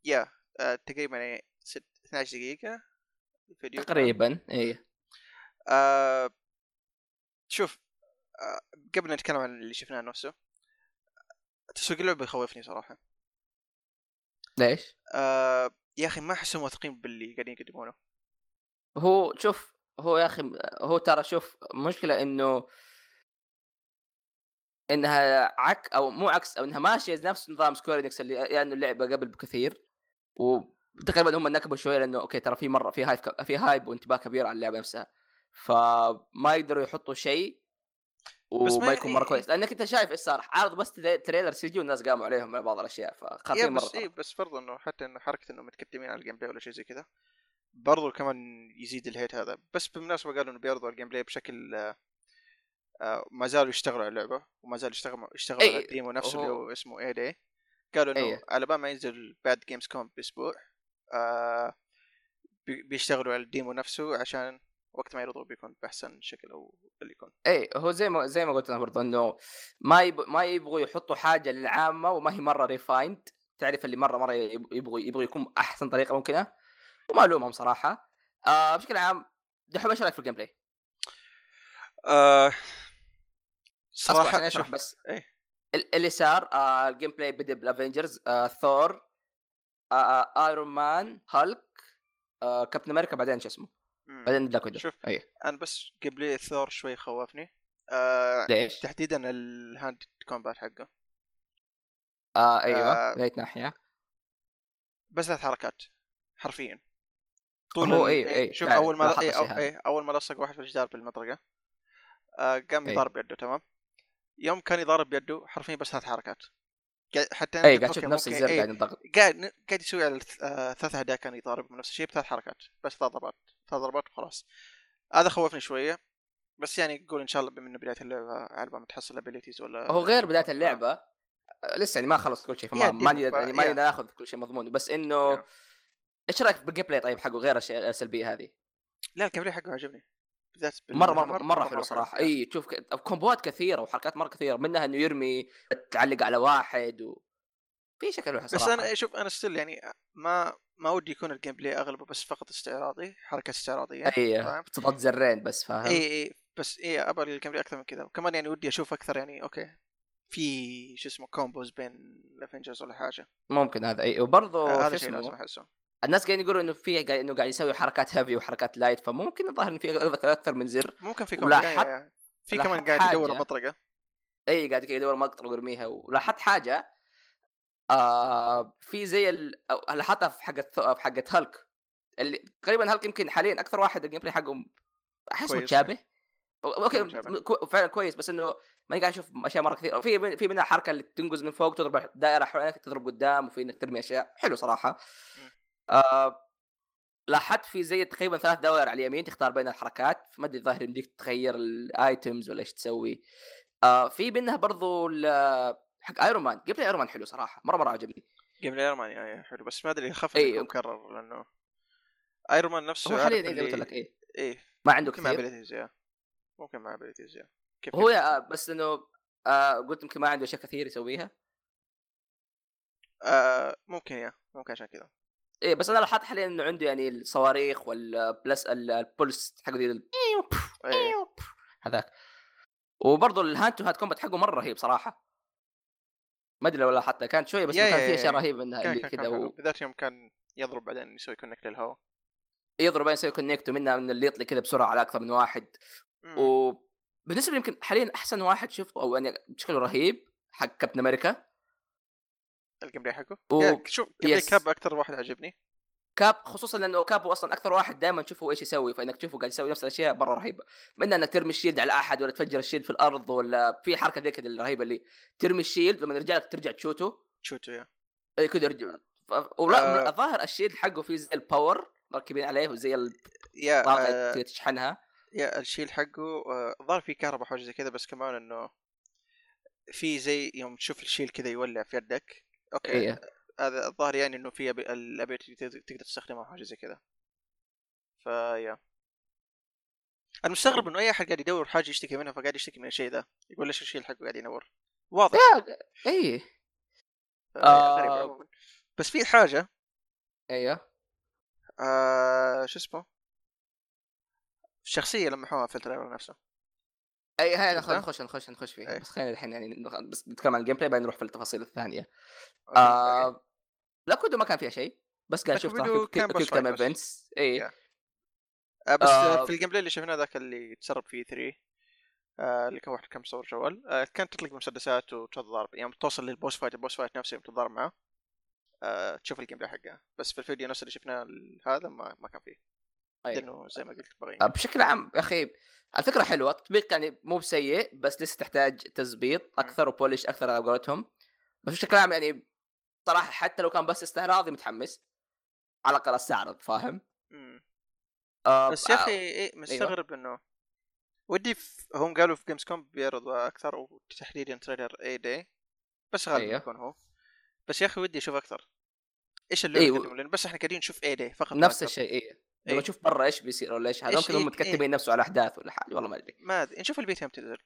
Speaker 2: يا آه تقريبا يعني ست 12 دقيقه الفيديو كان.
Speaker 1: تقريبا اي
Speaker 2: آه شوف آه قبل ما نتكلم عن اللي شفناه نفسه تسويق اللعبه يخوفني صراحه
Speaker 1: ليش؟
Speaker 2: آه يا اخي ما احسهم واثقين باللي قاعدين يقدمونه
Speaker 1: هو شوف هو يا اخي هو ترى شوف مشكله انه انها عك او مو عكس او انها ماشيه نفس نظام سكوير انكس اللي لانه يعني اللعبه قبل بكثير وتقريبا هم نكبوا شويه لانه اوكي ترى في مره في هايب في هايب وانتباه كبير على اللعبه نفسها فما يقدروا يحطوا شيء
Speaker 2: بس ما
Speaker 1: وما يكون مره
Speaker 2: يعني-
Speaker 1: كويس لانك انت شايف ايش صار عارض بس تري- تريلر سي جي والناس قاموا عليهم على بعض الاشياء
Speaker 2: يا
Speaker 1: فخاطين مره
Speaker 2: إيه بس اي بس برضه انه حتى انه حركه انه متكتمين على الجيم بلاي ولا شيء زي كذا برضه كمان يزيد الهيت هذا بس بالمناسبه قالوا انه بيعرضوا الجيم بلاي بشكل آه، آه، ما زالوا يشتغلوا على اللعبه وما زالوا يشتغلوا يشتغلوا
Speaker 1: إي،
Speaker 2: على الديمو نفسه
Speaker 1: هو-
Speaker 2: اللي هو اسمه اي دي قالوا انه
Speaker 1: إي.
Speaker 2: على بال ما ينزل بعد جيمز كوم باسبوع آه بي- بيشتغلوا على الديمو نفسه عشان وقت ما يعرضوه بيكون باحسن شكل او اللي يكون
Speaker 1: اي إيه، هو زي ما زي ما قلت انا برضه انه ما يب... ما يبغوا يحطوا حاجه للعامه وما هي مره ريفايند تعرف اللي مره مره يب- يبغوا يبغوا يكون احسن طريقه ممكنه وما الومهم صراحه آه بشكل عام دحوم ايش رايك في الجيم بلاي؟
Speaker 2: آه
Speaker 1: اصبر عشان
Speaker 2: صراحه
Speaker 1: اشرح
Speaker 2: شوف
Speaker 1: بس
Speaker 2: إيه.
Speaker 1: ال- اللي صار آه الجيم بلاي بدا بالافنجرز آه ثور آه آه ايرون مان هالك آه كابتن امريكا بعدين شو اسمه
Speaker 2: مم.
Speaker 1: بعدين إيه. بلاك ويدو
Speaker 2: شوف.
Speaker 1: اي
Speaker 2: انا بس قبل ثور شوي خوفني آه
Speaker 1: ليش؟
Speaker 2: تحديدا الهاند كومبات حقه
Speaker 1: آه ايوه
Speaker 2: آه،
Speaker 1: من اي ناحيه
Speaker 2: بس ثلاث حركات حرفيا
Speaker 1: هو
Speaker 2: ال-
Speaker 1: إيه، إيه،
Speaker 2: شوف
Speaker 1: فعلاً،
Speaker 2: اول ما
Speaker 1: لاحظت
Speaker 2: إيه أو
Speaker 1: الشيء هذا.
Speaker 2: إيه اول ما لصق واحد في الجدار بالمطرقه آه قام
Speaker 1: إيه.
Speaker 2: يضارب بيده تمام يوم كان يضارب بيده حرفيا بس ثلاث حركات قا- حتى أنا
Speaker 1: اي
Speaker 2: قلت
Speaker 1: قاعد تشوف
Speaker 2: أوكي،
Speaker 1: نفس
Speaker 2: ممكن-
Speaker 1: الزر
Speaker 2: إيه،
Speaker 1: قاعد ينضغط
Speaker 2: قاعد قاعد يسوي على الث- آه، ثلاث اعداء كان يضارب نفس الشيء بثلاث حركات بس ثلاث ضربات ثلاث ضربات وخلاص هذا خوفني شويه بس يعني قول ان شاء الله بما انه بدايه اللعبه على ما تحصل ابيليتيز ولا
Speaker 1: هو غير بدايه
Speaker 2: آه.
Speaker 1: اللعبه آه، لسه يعني ما خلص كل شيء
Speaker 2: يا
Speaker 1: فما ما
Speaker 2: ديمو،
Speaker 1: نقدر يعني ما
Speaker 2: يا.
Speaker 1: نقدر ناخذ كل شيء مضمون بس انه
Speaker 2: يا.
Speaker 1: ايش رايك بالجيم بلاي طيب حقه غير الاشياء السلبيه هذه؟
Speaker 2: لا الكابري حقه عجبني بالذات بال-
Speaker 1: مره مره مره, مرة حلو صراحه اي تشوف ك- كومبوات كثيره وحركات مره كثيره منها انه يرمي تعلق على واحد و في شكل حلو
Speaker 2: بس
Speaker 1: صراحه
Speaker 2: انا شوف انا ستيل يعني ما ما ودي يكون الجيم بلاي اغلبه بس فقط استعراضي حركه استعراضيه
Speaker 1: اي
Speaker 2: يعني، فاهم؟
Speaker 1: تضغط زرين بس فاهم؟
Speaker 2: اي اي بس اي ابغى الجيم بلاي اكثر من كذا وكمان يعني ودي اشوف اكثر يعني اوكي في شو اسمه كومبوز بين الافنجرز ولا حاجه
Speaker 1: ممكن هذا اي
Speaker 2: آه،
Speaker 1: وبرضه شو
Speaker 2: هذا شيء لازم
Speaker 1: اسمه
Speaker 2: احسه
Speaker 1: الناس قاعدين يقولوا انه في قاعد- انه قاعد يسوي حركات هيفي وحركات لايت فممكن الظاهر انه في اكثر من زر
Speaker 2: ممكن في
Speaker 1: ولا
Speaker 2: كمان يا-
Speaker 1: حط-
Speaker 2: يا- في
Speaker 1: ولا
Speaker 2: كمان
Speaker 1: حط
Speaker 2: قاعد يدور
Speaker 1: حاجة.
Speaker 2: المطرقه
Speaker 1: اي قاعد كذا يدور مقطع ويرميها ولاحظت حاجه آه في زي ال- أو- لاحظتها في حقت ثو- في حقت هالك اللي تقريبا هالك يمكن حاليا اكثر واحد الجيم بلاي حقه م- احس
Speaker 2: كويس.
Speaker 1: متشابه أو- اوكي
Speaker 2: متشابه.
Speaker 1: م- كو- فعلا كويس بس انه ماني قاعد اشوف اشياء مره كثير في من- في منها حركه اللي تنقز من فوق تضرب دائره حوالينك تضرب قدام وفي انك ترمي اشياء حلو صراحه
Speaker 2: مم.
Speaker 1: آه لاحظت في زي تقريبا ثلاث دوائر على اليمين تختار بين الحركات ما ادري الظاهر يمديك تغير الايتمز ولا ايش تسوي آه في منها برضو ال- حق ايرون مان قبل ايرون مان حلو صراحه مره مره عجبني
Speaker 2: جيم بلاي ايرون مان يا- يا حلو بس ما ادري اخاف
Speaker 1: إيه.
Speaker 2: انه يكون مكرر لانه ايرون مان نفسه
Speaker 1: هو
Speaker 2: عارف
Speaker 1: حاليا إيه زي ما
Speaker 2: اللي-
Speaker 1: قلت لك ايه
Speaker 2: ايه
Speaker 1: ما عنده
Speaker 2: ممكن مع
Speaker 1: كثير
Speaker 2: ابيليتيز يا. ممكن مع ابيليتيز يا. كيف
Speaker 1: هو يا- آه، بس انه آه قلت يمكن ما عنده اشياء كثير يسويها
Speaker 2: آه ممكن يا ممكن عشان كذا
Speaker 1: ايه بس انا لاحظت حاليا انه عنده يعني الصواريخ والبلس البولس حقه دي ال-
Speaker 2: إيه.
Speaker 1: هذاك وبرضه الهاند تو هاند كومبات حقه مره رهيب صراحه ما ادري لو لاحظته كانت شويه بس
Speaker 2: يا-
Speaker 1: كان
Speaker 2: يا-
Speaker 1: في
Speaker 2: يا-
Speaker 1: اشياء
Speaker 2: يا.
Speaker 1: رهيبه منها
Speaker 2: كان
Speaker 1: اللي
Speaker 2: كان كان
Speaker 1: كذا
Speaker 2: حلو.
Speaker 1: و-
Speaker 2: بالذات يوم كان يضرب بعدين يسوي كونكت للهواء
Speaker 1: يضرب يسوي كونكت ومنها من اللي يطلق كذا بسرعه على اكثر من واحد
Speaker 2: مم.
Speaker 1: وبالنسبه لي يمكن حاليا احسن واحد شفته او يعني بشكل رهيب حق كابتن امريكا
Speaker 2: الجيم بلاي حقه
Speaker 1: و-
Speaker 2: يا، شوف جيم بلاي
Speaker 1: يس.
Speaker 2: كاب اكثر واحد عجبني
Speaker 1: كاب خصوصا لانه كاب هو اصلا اكثر واحد دائما تشوفه ايش يسوي فانك تشوفه قاعد يسوي نفس الاشياء مره رهيبه من انك ترمي الشيلد على احد ولا تفجر الشيلد في الارض ولا في حركه ذيك الرهيبه اللي ترمي الشيلد لما يرجع لك ترجع تشوته
Speaker 2: تشوتو يا
Speaker 1: اي كذا يرجع ف- ولا
Speaker 2: آه.
Speaker 1: الظاهر الشيلد حقه فيه زي الباور مركبين عليه وزي
Speaker 2: يا آه،
Speaker 1: الطاقه كذا تشحنها
Speaker 2: يا الشيل حقه آه، ظهر في كهرباء حاجه زي كذا بس كمان انه في زي يوم تشوف الشيل كذا يولع في يدك اوكي
Speaker 1: ايه
Speaker 2: هذا الظاهر يعني انه في أبي- الابيلتي تقدر تقدر تستخدمها حاجه زي كذا فيا انا مستغرب انه اي احد قاعد يدور حاجه يشتكي منها فقاعد يشتكي من الشيء ده يقول ليش الشيء حقه قاعد ينور واضح
Speaker 1: يا- ايه
Speaker 2: فيا،
Speaker 1: آه.
Speaker 2: غريب عموماً. بس في حاجه
Speaker 1: ايوه
Speaker 2: آه شو اسمه شخصيه لمحوها في التريلر نفسه
Speaker 1: اي إيه، هاي خلينا
Speaker 2: شفتها؟
Speaker 1: نخش نخش نخش فيها
Speaker 2: أي.
Speaker 1: بس خلينا الحين يعني نخ- بس نتكلم عن الجيم بلاي بعدين نروح في التفاصيل الثانيه
Speaker 2: أوكي، أوكي.
Speaker 1: آه لا كودو ما كان فيها شيء بس قاعد
Speaker 2: لكن
Speaker 1: اشوف صراحة
Speaker 2: بدو
Speaker 1: كيك-
Speaker 2: كان بس
Speaker 1: كيك تايم
Speaker 2: فايت بس.
Speaker 1: ايفنتس اي
Speaker 2: Yeah. آه بس آه
Speaker 1: آه.
Speaker 2: في الجيم بلاي اللي شفناه ذاك اللي تسرب فيه 3 آه اللي كان واحد كان مصور جوال آه كانت تطلق مسدسات وتضارب يوم توصل للبوس فايت البوس فايت نفسه يوم تتضارب معاه آه تشوف الجيم بلاي حقه بس في الفيديو نفسه اللي شفناه ال- هذا ما, ما كان فيه
Speaker 1: أي.
Speaker 2: لانه زي ما قلت بغي
Speaker 1: طيب. آه، بشكل عام يا اخي الفكره حلوه التطبيق يعني مو بسيء بس لسه تحتاج تزبيط اكثر وبولش اكثر على قولتهم بس بشكل عام يعني صراحه حتى لو كان بس استعراضي متحمس على الاقل استعرض فاهم
Speaker 2: مم.
Speaker 1: آه
Speaker 2: بس يا
Speaker 1: آه،
Speaker 2: اخي إيه مستغرب انه ودي في... هم قالوا في جيمز كوم بيعرضوا اكثر وتحديدا تريلر اي دي بس غالبا
Speaker 1: أيوه.
Speaker 2: يكون هو بس يا اخي ودي اشوف اكثر ايش
Speaker 1: إيه،
Speaker 2: اللي
Speaker 1: و-
Speaker 2: لان بس احنا قاعدين نشوف اي دي فقط لا
Speaker 1: نفس
Speaker 2: أكثر.
Speaker 1: الشيء اي
Speaker 2: إيه.
Speaker 1: لما تشوف برا ايش بيصير ولا ايش هذا
Speaker 2: إيش-
Speaker 1: ممكن هم
Speaker 2: إيه،
Speaker 1: متكتبين نفسه على احداث ولا حاجه والله ما ادري
Speaker 2: ما ادري نشوف البيت متى تنزل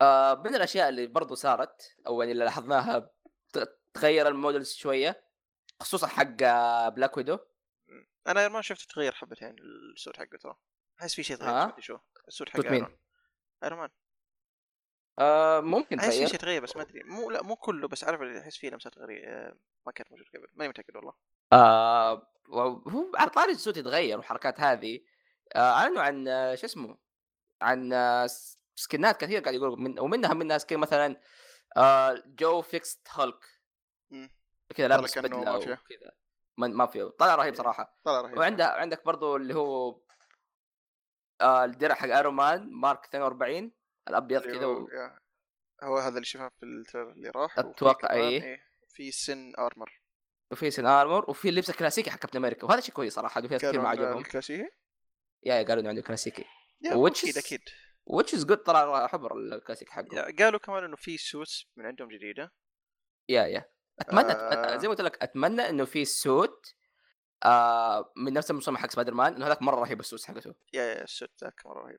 Speaker 1: آه من الاشياء اللي برضو صارت او يعني اللي لاحظناها ت- تغير المودلز شويه خصوصا حق آه، بلاك ويدو
Speaker 2: انا ما شفت تغير حبتين السود حقه ترى احس في شيء تغير
Speaker 1: ها؟
Speaker 2: ما ادري شو السود حق
Speaker 1: آه؟ صوت مين؟
Speaker 2: ايرون ايرون مان
Speaker 1: آه ممكن
Speaker 2: احس في شيء
Speaker 1: تغير
Speaker 2: تغير بس ما ادري مو لا مو كله بس عارف اللي احس فيه لمسات غريبه ما كانت موجوده قبل ماني متاكد والله
Speaker 1: آه هو على طاري الصوت يتغير والحركات هذه آه اعلنوا عن آه، شو اسمه عن آه، س- سكنات كثير قاعد يقولوا من ومنها منها سكن مثلا آه جو فيكست هولك
Speaker 2: مم.
Speaker 1: كذا
Speaker 2: طلع
Speaker 1: لابس
Speaker 2: كأنه إيه.
Speaker 1: بدله
Speaker 2: مافيا.
Speaker 1: وكذا ما ما في طلع رهيب صراحه
Speaker 2: طلع رهيب
Speaker 1: وعندها عندك برضو اللي هو آه الدرع حق ايرون مان مارك 42 الابيض
Speaker 2: اللي
Speaker 1: كذا
Speaker 2: هو-
Speaker 1: و...
Speaker 2: أيوه، يا. هو هذا اللي شفناه في التريلر اللي راح
Speaker 1: أتوقع
Speaker 2: وفي كمان-
Speaker 1: إيه.
Speaker 2: في سن ارمر
Speaker 1: وفي سن ارمور وفي اللبس الكلاسيكي حق كابتن امريكا وهذا شيء كويس صراحه في ناس كثير ما عجبهم
Speaker 2: الكلاسيكي
Speaker 1: يا يا قالوا انه عنده كلاسيكي
Speaker 2: يا،
Speaker 1: Which
Speaker 2: اكيد
Speaker 1: is-
Speaker 2: اكيد
Speaker 1: وتش از جود طلع حبر الكلاسيكي حقه
Speaker 2: يا، قالوا كمان انه في سوتس من عندهم جديده
Speaker 1: يا يا اتمنى
Speaker 2: آه.
Speaker 1: آه... زي ما قلت لك اتمنى انه في سوت آه من نفس المصمم حق سبايدر مان انه هذاك مره رهيب السوت حقته
Speaker 2: يا يا السوت ذاك مره رهيب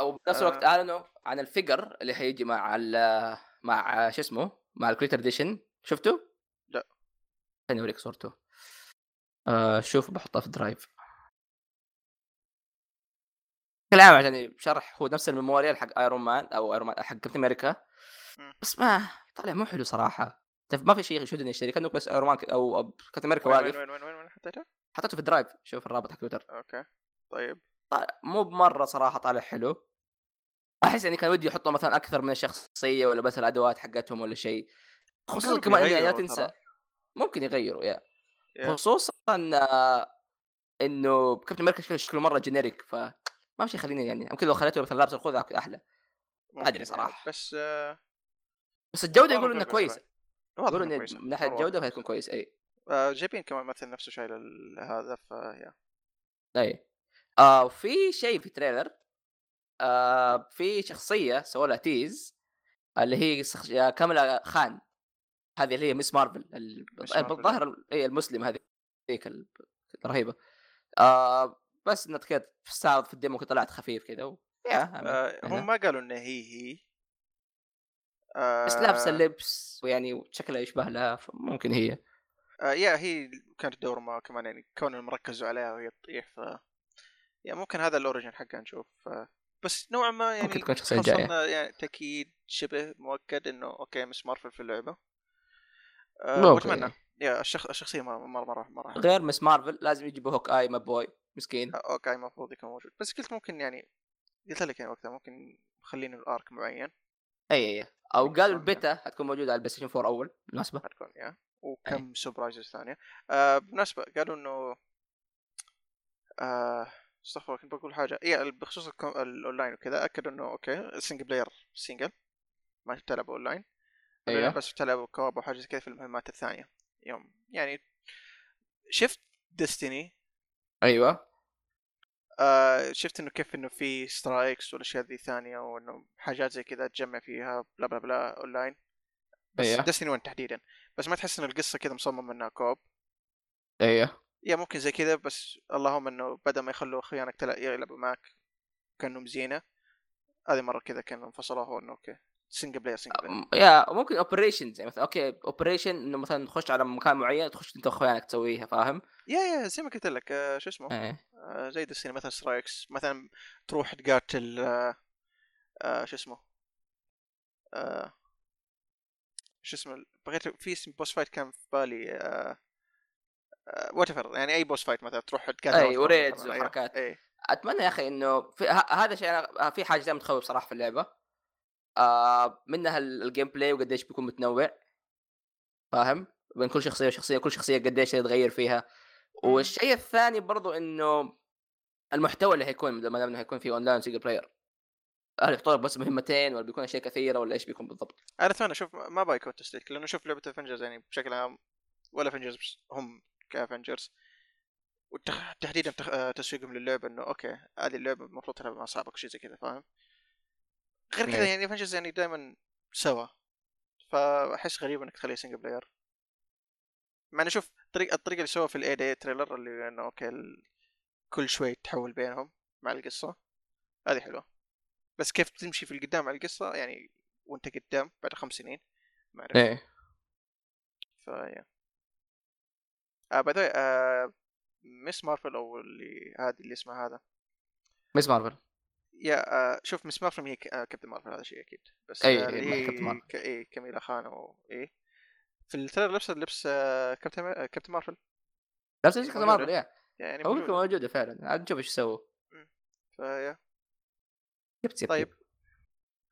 Speaker 1: او بنفس
Speaker 2: آه.
Speaker 1: الوقت اعلنوا عن الفيجر اللي حيجي مع ال مع شو اسمه مع الكريتر اديشن شفته؟
Speaker 2: لا.
Speaker 1: خليني اوريك صورته آه شوف بحطها في درايف بشكل عام عشان شرح هو نفس الميموريال حق ايرون مان او ايرون مان حق كابتن امريكا
Speaker 2: مم.
Speaker 1: بس ما طالع مو حلو صراحه تعرف ما في شيء يشدني الشركه انه بس ايرون مان ك- او أو كابتن امريكا
Speaker 2: وين وين
Speaker 1: واقف
Speaker 2: وين وين, وين, وين حطيته؟
Speaker 1: حطيته في الدرايف شوف الرابط حق تويتر
Speaker 2: اوكي طيب
Speaker 1: طالع- مو بمره صراحه طالع حلو احس يعني كان ودي يحطوا مثلا اكثر من الشخصيه ولا بس الادوات حقتهم ولا شيء خصوصا
Speaker 2: ممكن
Speaker 1: كمان يعني لا
Speaker 2: يغيروا
Speaker 1: تنسى
Speaker 2: ترى.
Speaker 1: ممكن يغيروا يا
Speaker 2: يا.
Speaker 1: خصوصا آه، انه كابتن امريكا شكله- شكله مره جينيريك ف ما في شيء يخليني يعني يمكن لو خليته مثلا لابس الخوذه أكون احلى
Speaker 2: ممكن
Speaker 1: أدري صراحة.
Speaker 2: يعني، بس آه،
Speaker 1: بس الجوده
Speaker 2: والله
Speaker 1: يقولوا انها
Speaker 2: جودة
Speaker 1: كويسه
Speaker 2: واضح
Speaker 1: يقولوا
Speaker 2: إنها
Speaker 1: إن
Speaker 2: كويسة.
Speaker 1: من ناحيه
Speaker 2: مرة
Speaker 1: الجوده
Speaker 2: واضح.
Speaker 1: فهيكون كويس إيه. اي
Speaker 2: آه، جايبين كمان مثل نفسه شايل ال- هذا فيا
Speaker 1: اي آه وفي شيء في تريلر آه في شخصيه سووا لها تيز اللي هي سخ- آه، كاملا خان هذه اللي هي ميس مارفل ال-
Speaker 2: ميس مارفل. آه.
Speaker 1: الظاهر هي المسلمه هذه هذيك ال- الرهيبه آه بس انها كذا استعرض في الديمو كده طلعت خفيف كذا و... يا يعني
Speaker 2: آه،
Speaker 1: أنا.
Speaker 2: هم ما قالوا انها هي هي آه،
Speaker 1: بس لابسه اللبس ويعني شكلها يشبه لها ممكن هي
Speaker 2: آه، يا هي كانت دور ما كمان يعني كونهم مركزوا عليها وهي تطيح ف يا ممكن هذا الاوريجن حقها نشوف ف... بس نوعا ما يعني
Speaker 1: ممكن تكون شخصية
Speaker 2: خاصة
Speaker 1: جاية.
Speaker 2: إنه يعني تاكيد شبه مؤكد انه اوكي مس مارفل في اللعبه
Speaker 1: ممكن،
Speaker 2: أه واتمنى
Speaker 1: يعني.
Speaker 2: يا الشخ... الشخصيه مره مره مره, مرة.
Speaker 1: غير مس مارفل لازم يجيبوا هوك اي ما بوي مسكين
Speaker 2: آه، اوكي المفروض يكون موجود بس قلت ممكن يعني قلت لك يعني وقتها ممكن مخلينه الارك معين
Speaker 1: اي اي او قالوا البيتا حتكون موجوده على البلاي ستيشن 4 اول بالمناسبه
Speaker 2: حتكون يا وكم سبرايزز ثانيه آه بالنسبه قالوا انه آه استغفر الله، كنت بقول حاجه اي بخصوص الكو- الاونلاين وكذا اكدوا انه اوكي السنجل بلاير سنجل ما تلعبوا اونلاين
Speaker 1: ايوه
Speaker 2: إيه، بس تلعبوا كواب وحاجه زي كذا في المهمات الثانيه يوم يعني شفت ديستني
Speaker 1: ايوه
Speaker 2: آه شفت انه كيف انه في سترايكس والاشياء ذي ثانيه وانه حاجات زي كذا تجمع فيها بلا بلا بلا اونلاين بس
Speaker 1: ايوه
Speaker 2: ديستني 1 تحديدا بس ما تحس ان القصه كذا مصممه انها كوب
Speaker 1: ايوه
Speaker 2: يا ممكن زي كذا بس اللهم انه بدل ما يخلوا خيانك تلع- يلعبوا معك كانهم زينه هذه مره كذا كانوا انفصلوها انه اوكي سنجل بلاير سنجل بلاير
Speaker 1: أم- يا ممكن اوبريشنز يعني مثلا اوكي اوبريشن انه مثلا تخش على مكان معين تخش انت واخوانك تسويها فاهم؟
Speaker 2: يا يا زي ما قلت لك آه شو اسمه
Speaker 1: ايه
Speaker 2: آه زي دستني مثلا سترايكس مثلا تروح تقاتل آه آه شو اسمه آه شو اسمه ال- بغيت في اسم بوس فايت كان في بالي آه آه وات يعني اي بوس فايت مثلا تروح تقاتل
Speaker 1: أي،
Speaker 2: واحد مرة
Speaker 1: وريدز
Speaker 2: مثلاً، أيوه،
Speaker 1: وحركات.
Speaker 2: اي
Speaker 1: اتمنى يا اخي انه في ه- هذا شيء انا في حاجه دائما تخوف صراحه في اللعبه آه منها ال- الجيم بلاي وقديش بيكون متنوع فاهم بين كل شخصيه وشخصيه كل شخصيه قديش يتغير فيها والشيء الثاني برضو انه المحتوى اللي حيكون ما دام انه حيكون في اونلاين سنجل بلاير هل يحطوا لك بس مهمتين ولا بيكون اشياء كثيره ولا ايش بيكون بالضبط؟
Speaker 2: انا اتمنى اشوف ما بايكون تسليك لانه شوف لعبه افنجرز يعني بشكل عام ولا افنجرز هم كافنجرز وتحديدا تخ... آه، تسويقهم للعبه انه اوكي هذه اللعبه المفروض تلعب مع اصحابك شيء زي كذا فاهم؟ غير كذا
Speaker 1: إيه.
Speaker 2: يعني فانجز يعني دائما سوا فاحس غريب انك تخليه سنجل بلاير مع انه شوف الطريقه الطريقه اللي سووها في الاي دي تريلر اللي انه اوكي ال... كل شوي تحول بينهم مع القصه هذه حلوه بس كيف تمشي في القدام على القصه يعني وانت قدام بعد خمس سنين ما اعرف
Speaker 1: ايه
Speaker 2: فيا آه باي ذا آه مس مارفل او اللي هذه اللي اسمها هذا
Speaker 1: ميس مارفل
Speaker 2: يا آه شوف مس مارفل هي ك- آه كابتن مارفل هذا شيء اكيد بس
Speaker 1: أي-
Speaker 2: آه
Speaker 1: أي،
Speaker 2: اللي هي
Speaker 1: كابتن مارفل.
Speaker 2: ك... اي كاميلا خان او اي في التريلر لبست لبس آه كابتن آه كابتن مارفل
Speaker 1: نفس الشيء كذا مارفل ايه
Speaker 2: يعني
Speaker 1: هو
Speaker 2: موجودة.
Speaker 1: فكرة موجوده فعلا عاد نشوف ايش يسووا
Speaker 2: فيا
Speaker 1: يب يب
Speaker 2: طيب.
Speaker 1: طيب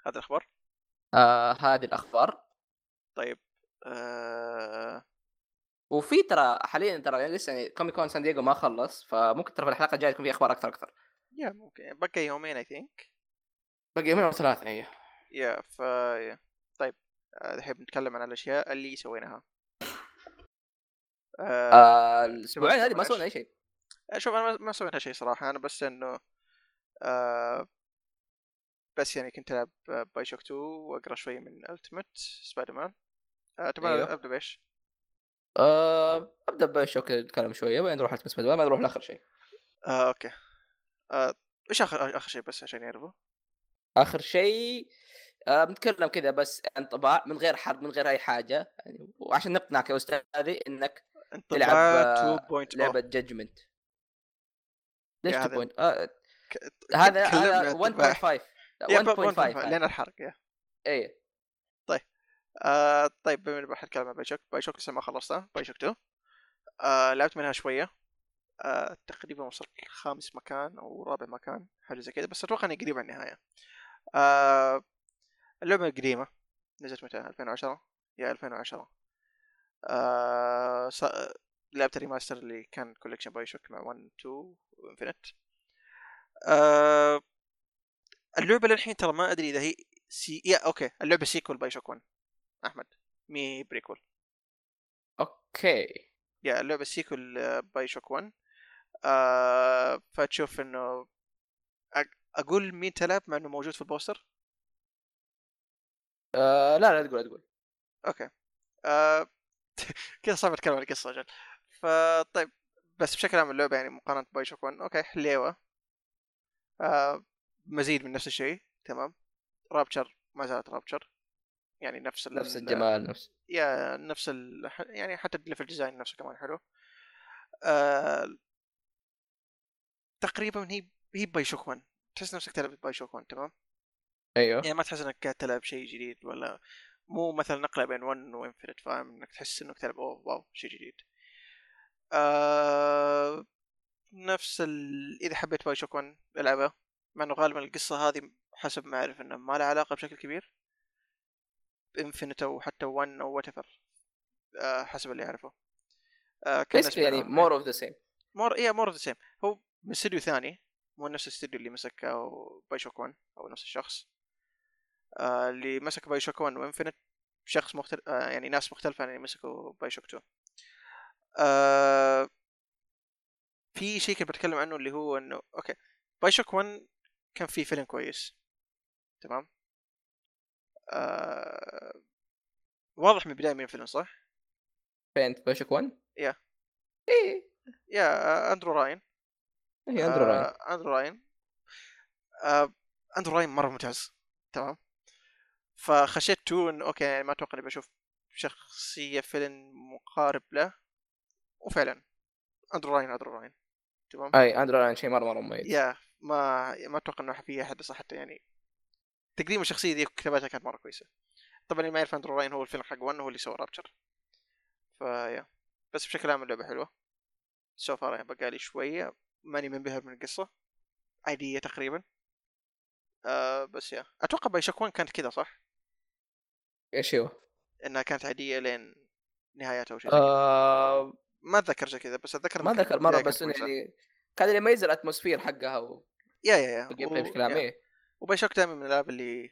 Speaker 2: هذا الاخبار
Speaker 1: آه هذه الاخبار
Speaker 2: طيب آه
Speaker 1: وفي ترى حاليا ترى يعني لسه يعني كومي كون سان دييغو ما خلص فممكن ترى في الحلقه الجايه تكون في اخبار اكثر اكثر
Speaker 2: يا ممكن بقى يومين اي ثينك
Speaker 1: باقي يومين او ثلاثه هي
Speaker 2: إيه. يا فيا طيب آه، الحين بنتكلم عن الاشياء اللي سويناها آه
Speaker 1: آه الاسبوعين هذه ما
Speaker 2: معلش.
Speaker 1: سوينا اي شيء
Speaker 2: شوف انا ما- ما سوينا شيء صراحه انا بس انه آه بس يعني كنت العب باي شوك 2 واقرا شوي من التيمت سبايدر مان آه تبغى
Speaker 1: أيوه.
Speaker 2: ابدا بايش؟
Speaker 1: آه ابدا بشوك نتكلم شويه بعدين نروح على سبايدر مان، بعدين نروح لاخر شيء
Speaker 2: آه اوكي آه ايش اخر اخر شيء بس عشان يعرفوا
Speaker 1: اخر شيء آه بنتكلم كذا بس انطباع من غير حرق من غير اي حاجه يعني وعشان نقنعك يا استاذي انك تلعب، آه،
Speaker 2: انطباع oh. 2.0
Speaker 1: لعبه جادجمنت ليش
Speaker 2: يا هذا-
Speaker 1: 2.0 آه
Speaker 2: ك-
Speaker 1: هذا
Speaker 2: تكلمنا
Speaker 1: هذا
Speaker 2: عن
Speaker 1: 1.5
Speaker 2: يا،
Speaker 1: لا،
Speaker 2: ب- 1.5
Speaker 1: 1.5
Speaker 2: لين الحرق يا
Speaker 1: اي
Speaker 2: آه طيب بما اني بتكلم عن باي شوك باي شوك لسه ما خلصتها باي شوك 2 آه لعبت منها شويه آه تقريبا وصلت لخامس مكان او رابع مكان حاجه زي كذا بس اتوقع اني قريب على النهايه آه اللعبه قديمه نزلت متى 2010 يا 2010 آه ص... لعبت الريماستر اللي كان كوليكشن باي شوك مع 1 2 وانفنت آه اللعبه للحين ترى ما ادري اذا هي سي يا اوكي اللعبه سيكول باي شوك 1 احمد مي بريكول
Speaker 1: اوكي
Speaker 2: يا اللعبه سيكول آه، باي شوك 1 آه فتشوف انه أق- اقول مين تلعب مع انه موجود في البوستر
Speaker 1: آه لا لا تقول لا تقول
Speaker 2: اوكي آه كذا صعب اتكلم عن القصه اجل فطيب طيب. بس بشكل عام اللعبه يعني مقارنه باي شوك 1 اوكي حليوه آه مزيد من نفس الشيء تمام رابتشر ما زالت رابتشر يعني نفس ال-
Speaker 1: نفس الجمال نفس
Speaker 2: يا نفس ال... ح- يعني حتى الليفل ديزاين نفسه كمان حلو آه... تقريبا هي هي باي شوك 1 تحس نفسك تلعب باي شوك 1 تمام
Speaker 1: ايوه
Speaker 2: يعني ما تحس انك قاعد تلعب شيء جديد ولا مو مثلا نقله بين 1 وانفنت فاهم انك تحس انك تلعب اوه واو شيء جديد آه... نفس ال... اذا حبيت باي شوك 1 العبها مع انه غالبا القصه هذه حسب ما اعرف انه ما لها علاقه بشكل كبير بانفنت او حتى 1 او وات ايفر آه حسب اللي اعرفه آه كان
Speaker 1: بس يعني
Speaker 2: اسمه-
Speaker 1: مور اوف ذا سيم
Speaker 2: مور ايه مور ذا سيم هو من استوديو ثاني مو نفس الاستوديو اللي مسك او باي شوك 1 او نفس الشخص آه اللي مسك باي شوك 1 وانفنت شخص مختلف آه يعني ناس مختلفة عن اللي مسكوا باي شوك 2 آه في شيء كنت بتكلم عنه اللي هو انه اوكي باي شوك 1 كان فيه فيلم كويس تمام آه واضح من البداية مين الفيلم صح؟
Speaker 1: بينت بشك 1
Speaker 2: يا.
Speaker 1: ايه
Speaker 2: يا آه اندرو راين
Speaker 1: هي اندرو
Speaker 2: آه،
Speaker 1: راين
Speaker 2: اندرو راين آه، اندرو راين مره ممتاز تمام فخشيت تو انه اوكي يعني ما اتوقع اني بشوف شخصيه فيلم مقارب له وفعلا اندرو راين اندرو راين تمام
Speaker 1: اي اندرو راين شيء مره مره مميز
Speaker 2: يا ما ما اتوقع انه في احد بس حتى يعني تقديم الشخصيه دي كتاباتها كانت مره كويسه طبعا اللي ما يعرف اندرو راين هو الفيلم حق ون هو اللي سوى رابتشر فيا بس بشكل عام اللعبه حلوه سو فار يعني بقالي شويه ماني منبهر من القصه عاديه تقريبا آه بس يا اتوقع باي شوك 1 كانت كذا صح؟
Speaker 1: ايش هو؟
Speaker 2: انها كانت عاديه لين نهايتها او شيء زي كذا.
Speaker 1: آه
Speaker 2: ما اتذكر زي كذا بس اتذكر
Speaker 1: ما
Speaker 2: إنها كانت
Speaker 1: ذكر مره
Speaker 2: بداية
Speaker 1: بس
Speaker 2: كانت
Speaker 1: انه
Speaker 2: كويسة.
Speaker 1: يعني كان اللي يميز الاتموسفير حقها و-
Speaker 2: يا يا يا
Speaker 1: والجيم
Speaker 2: و-
Speaker 1: بلاي بشكل عام
Speaker 2: يا.
Speaker 1: ايه
Speaker 2: وباي شوك دائما من الالعاب اللي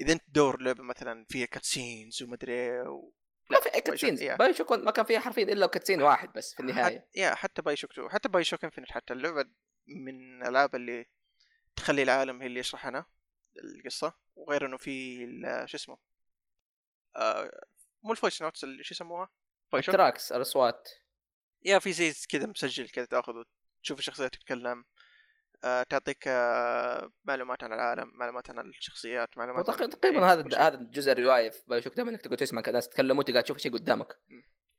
Speaker 2: اذا انت تدور لعبه مثلا فيها كاتسينز ومدري إيه
Speaker 1: ما في كاتسينز
Speaker 2: يا.
Speaker 1: باي شوك ما كان فيها حرفيا الا كاتسين واحد بس في النهايه
Speaker 2: حت... يا حتى باي شوك 2 حتى باي شوك انفنت حتى اللعبه من الالعاب اللي تخلي العالم هي اللي يشرح انا القصه وغير انه في ال- شو اسمه آه مو الفويس نوتس اللي شو يسموها؟ باي شوك
Speaker 1: تراكس الاصوات
Speaker 2: يا في زي كذا مسجل كذا تاخذه تشوف الشخصيه تتكلم آه تعطيك آه معلومات عن العالم معلومات عن الشخصيات معلومات
Speaker 1: وتق-
Speaker 2: عن-
Speaker 1: تقريبا
Speaker 2: إيه،
Speaker 1: هذا
Speaker 2: كل شيء.
Speaker 1: هذا الجزء الروايه في باي شوك دائما انك تقعد تسمع ناس يتكلموا تقعد تشوف شيء قدامك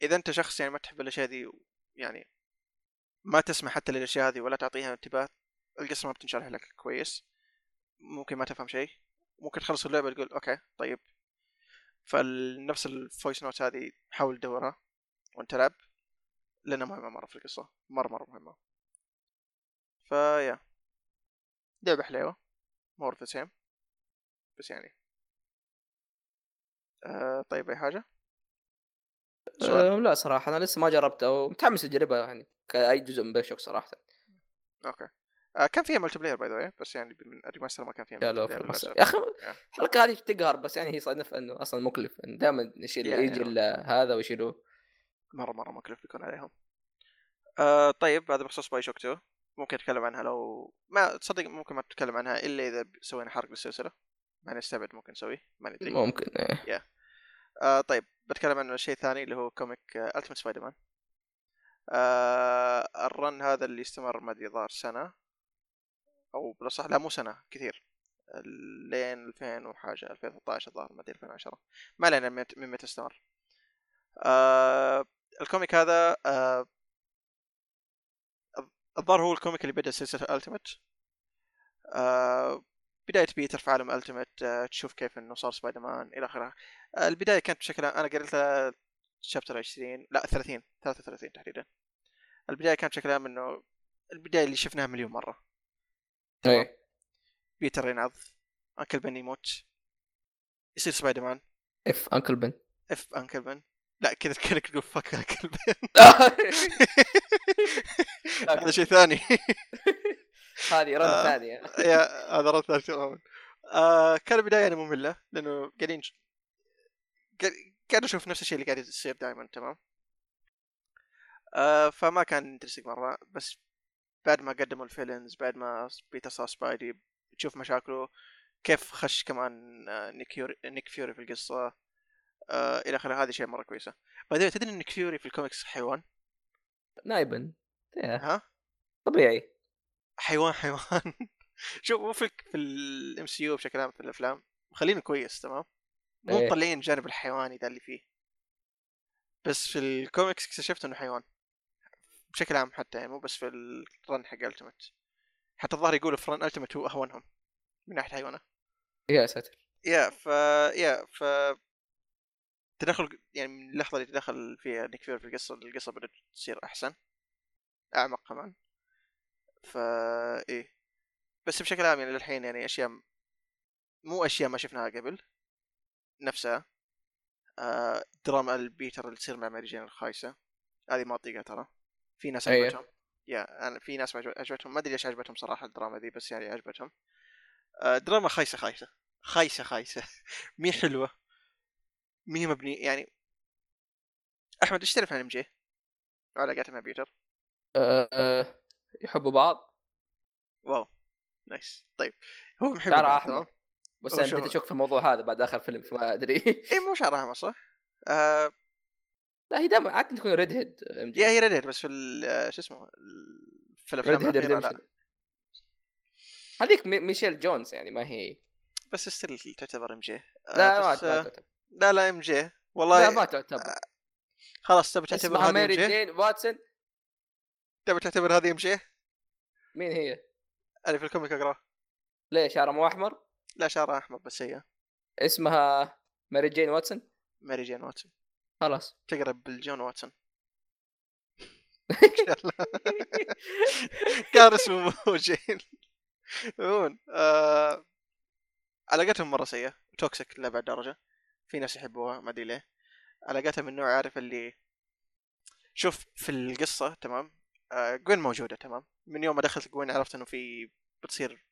Speaker 2: اذا انت شخص يعني ما تحب الاشياء ذي يعني ما تسمع حتى للاشياء هذه ولا تعطيها انتباه القصه ما بتنشرح لك كويس ممكن ما تفهم شيء ممكن تخلص اللعبه تقول اوكي طيب فنفس الفويس نوت هذه حاول تدورها وانت لعب لانها مهمه مره في القصه مره مره مهمه فيا لعبه حلوه مور ذا سيم بس يعني آه طيب اي حاجه سؤال؟
Speaker 1: أه لا صراحه انا لسه ما جربتها ومتحمس اجربها يعني كاي جزء من باي شوك صراحه
Speaker 2: اوكي آه كان فيها ملتي بلاير باي ذا واي بس يعني من الريماستر ما كان فيها
Speaker 1: قالوا
Speaker 2: multiplayer
Speaker 1: في المس-
Speaker 2: للأسف.
Speaker 1: يا اخي الحلقه هذه تقهر بس يعني هي صادف انه اصلا مكلف إنه دائما يشيل
Speaker 2: يا- يا.
Speaker 1: يجي إلا هذا ويشيلوه
Speaker 2: مره مره مكلف بيكون عليهم آه طيب هذا بخصوص باي شوك 2 ممكن اتكلم عنها لو ما تصدق ممكن ما تتكلم عنها الا اذا سوينا حرق للسلسله ما نستبعد ممكن نسويه ما ندري
Speaker 1: ممكن إيه.
Speaker 2: آه طيب بتكلم عن شيء ثاني اللي هو كوميك التيمت سبايدر مان آه الرن هذا اللي استمر ما ادري ظهر سنه او بالاصح لا مو سنه كثير لين 2000 وحاجه 2013 الظاهر ما ادري 2010 ما علينا من مت- من متى استمر آه الكوميك هذا آه الظاهر هو الكوميك اللي بدا سلسله التيمت آه بدايه بيتر في عالم التيمت آه تشوف كيف انه صار سبايدر مان الى اخره البدايه آه، كانت بشكل عام انا قريتها شابتر 20 لا 30 33 تحديدا البدايه كانت بشكل عام انه البدايه اللي شفناها مليون مره
Speaker 1: إيه.
Speaker 2: بيتر ينعض انكل بن يموت يصير سبايدر مان
Speaker 1: اف انكل بن
Speaker 2: اف انكل بن لا كذا كانك تقول فك انكل بن هذا شيء ثاني
Speaker 1: هذه رن
Speaker 2: آه.
Speaker 1: ثانيه
Speaker 2: يا هذا رد ثالث تماما آه كان البدايه يعني ممله لانه قاعدين قاعد- قاعد اشوف نفس الشيء اللي قاعد يصير دائما تمام آه فما كان انترستنج مره بس بعد ما قدموا الفيلنز بعد ما بيتر صار سبايدي تشوف مشاكله كيف خش كمان آه، نيك يوري نيك فيوري في القصه آه الى اخره هذه شيء مره كويسه بعدين تدري ان نيك فيوري في الكوميكس حيوان
Speaker 1: نايبا إيه،
Speaker 2: ها
Speaker 1: طبيعي
Speaker 2: حيوان حيوان شوف مو في في الام سي يو بشكل عام في الافلام مخلينه كويس تمام مو
Speaker 1: إيه.
Speaker 2: مطلعين الجانب الحيواني ذا اللي فيه بس في الكوميكس اكتشفت انه حيوان بشكل عام حتى يعني مو بس في الرن حق التمت حتى الظاهر يقولوا في رن التمت هو اهونهم من ناحيه حيوانه
Speaker 1: يا ساتر
Speaker 2: يا ف يا ف تدخل يعني من اللحظة اللي تدخل فيها نيك فيوري في القصة القصة بدأت تصير أحسن أعمق كمان فا إيه بس بشكل عام يعني للحين يعني أشياء مو أشياء ما شفناها قبل نفسها آه دراما البيتر اللي تصير مع ماري جين الخايسة هذه ما أطيقها ترى في ناس
Speaker 1: أيوه.
Speaker 2: عجبتهم يا أنا في ناس عجب- عجبتهم ما أدري ليش عجبتهم صراحة الدراما دي بس يعني عجبتهم آه دراما خايسة خايسة خايسة خايسة مي حلوة مي مبني يعني أحمد إيش تعرف عن ام جي؟ وعلاقتها مع بيتر؟
Speaker 1: أه، أه، يحبوا بعض
Speaker 2: واو نايس طيب هو محب
Speaker 1: شعره
Speaker 2: البنات،
Speaker 1: أحمر.
Speaker 2: تمام؟
Speaker 1: بس
Speaker 2: هو
Speaker 1: انا
Speaker 2: شو-
Speaker 1: بديت اشك في الموضوع هذا بعد اخر فيلم فما ادري
Speaker 2: اي إيه، مو شعرها احمر صح؟ آه
Speaker 1: لا هي دائما عاده تكون ريد هيد
Speaker 2: يا هي ريديت بس في ال- آه، شو اسمه ال- في الافلام
Speaker 1: ريد هيد
Speaker 2: الأخيرة لا
Speaker 1: ريدمشن هذيك مي- ميشيل جونز يعني ما هي
Speaker 2: بس ستيل تعتبر ام جي
Speaker 1: لا ما
Speaker 2: آه، بس آه،
Speaker 1: تعتبر
Speaker 2: لا لا ام جي
Speaker 1: لا
Speaker 2: والله
Speaker 1: ما تعتبر
Speaker 2: خلاص تبي تعتبر
Speaker 1: آه، اسمها
Speaker 2: هذه ام
Speaker 1: ميري
Speaker 2: جي؟
Speaker 1: جين واتسون
Speaker 2: تبي تعتبر هذه ام جي؟
Speaker 1: مين هي؟
Speaker 2: انا في الكوميك اقراه
Speaker 1: ليه شعرها مو احمر؟
Speaker 2: لا شعرها احمر بس هي
Speaker 1: اسمها ماري جين واتسون
Speaker 2: ماري جين واتسون
Speaker 1: خلاص
Speaker 2: تقرا بالجون واتسون كان اسمه مو جين عموما آه، علاقتهم مره سيئه توكسيك لأبعد درجه في ناس يحبوها ما ادري ليه علاقتها من نوع عارف اللي شوف في القصه تمام آه، جوين موجوده تمام من يوم ما دخلت جوين عرفت انه في بتصير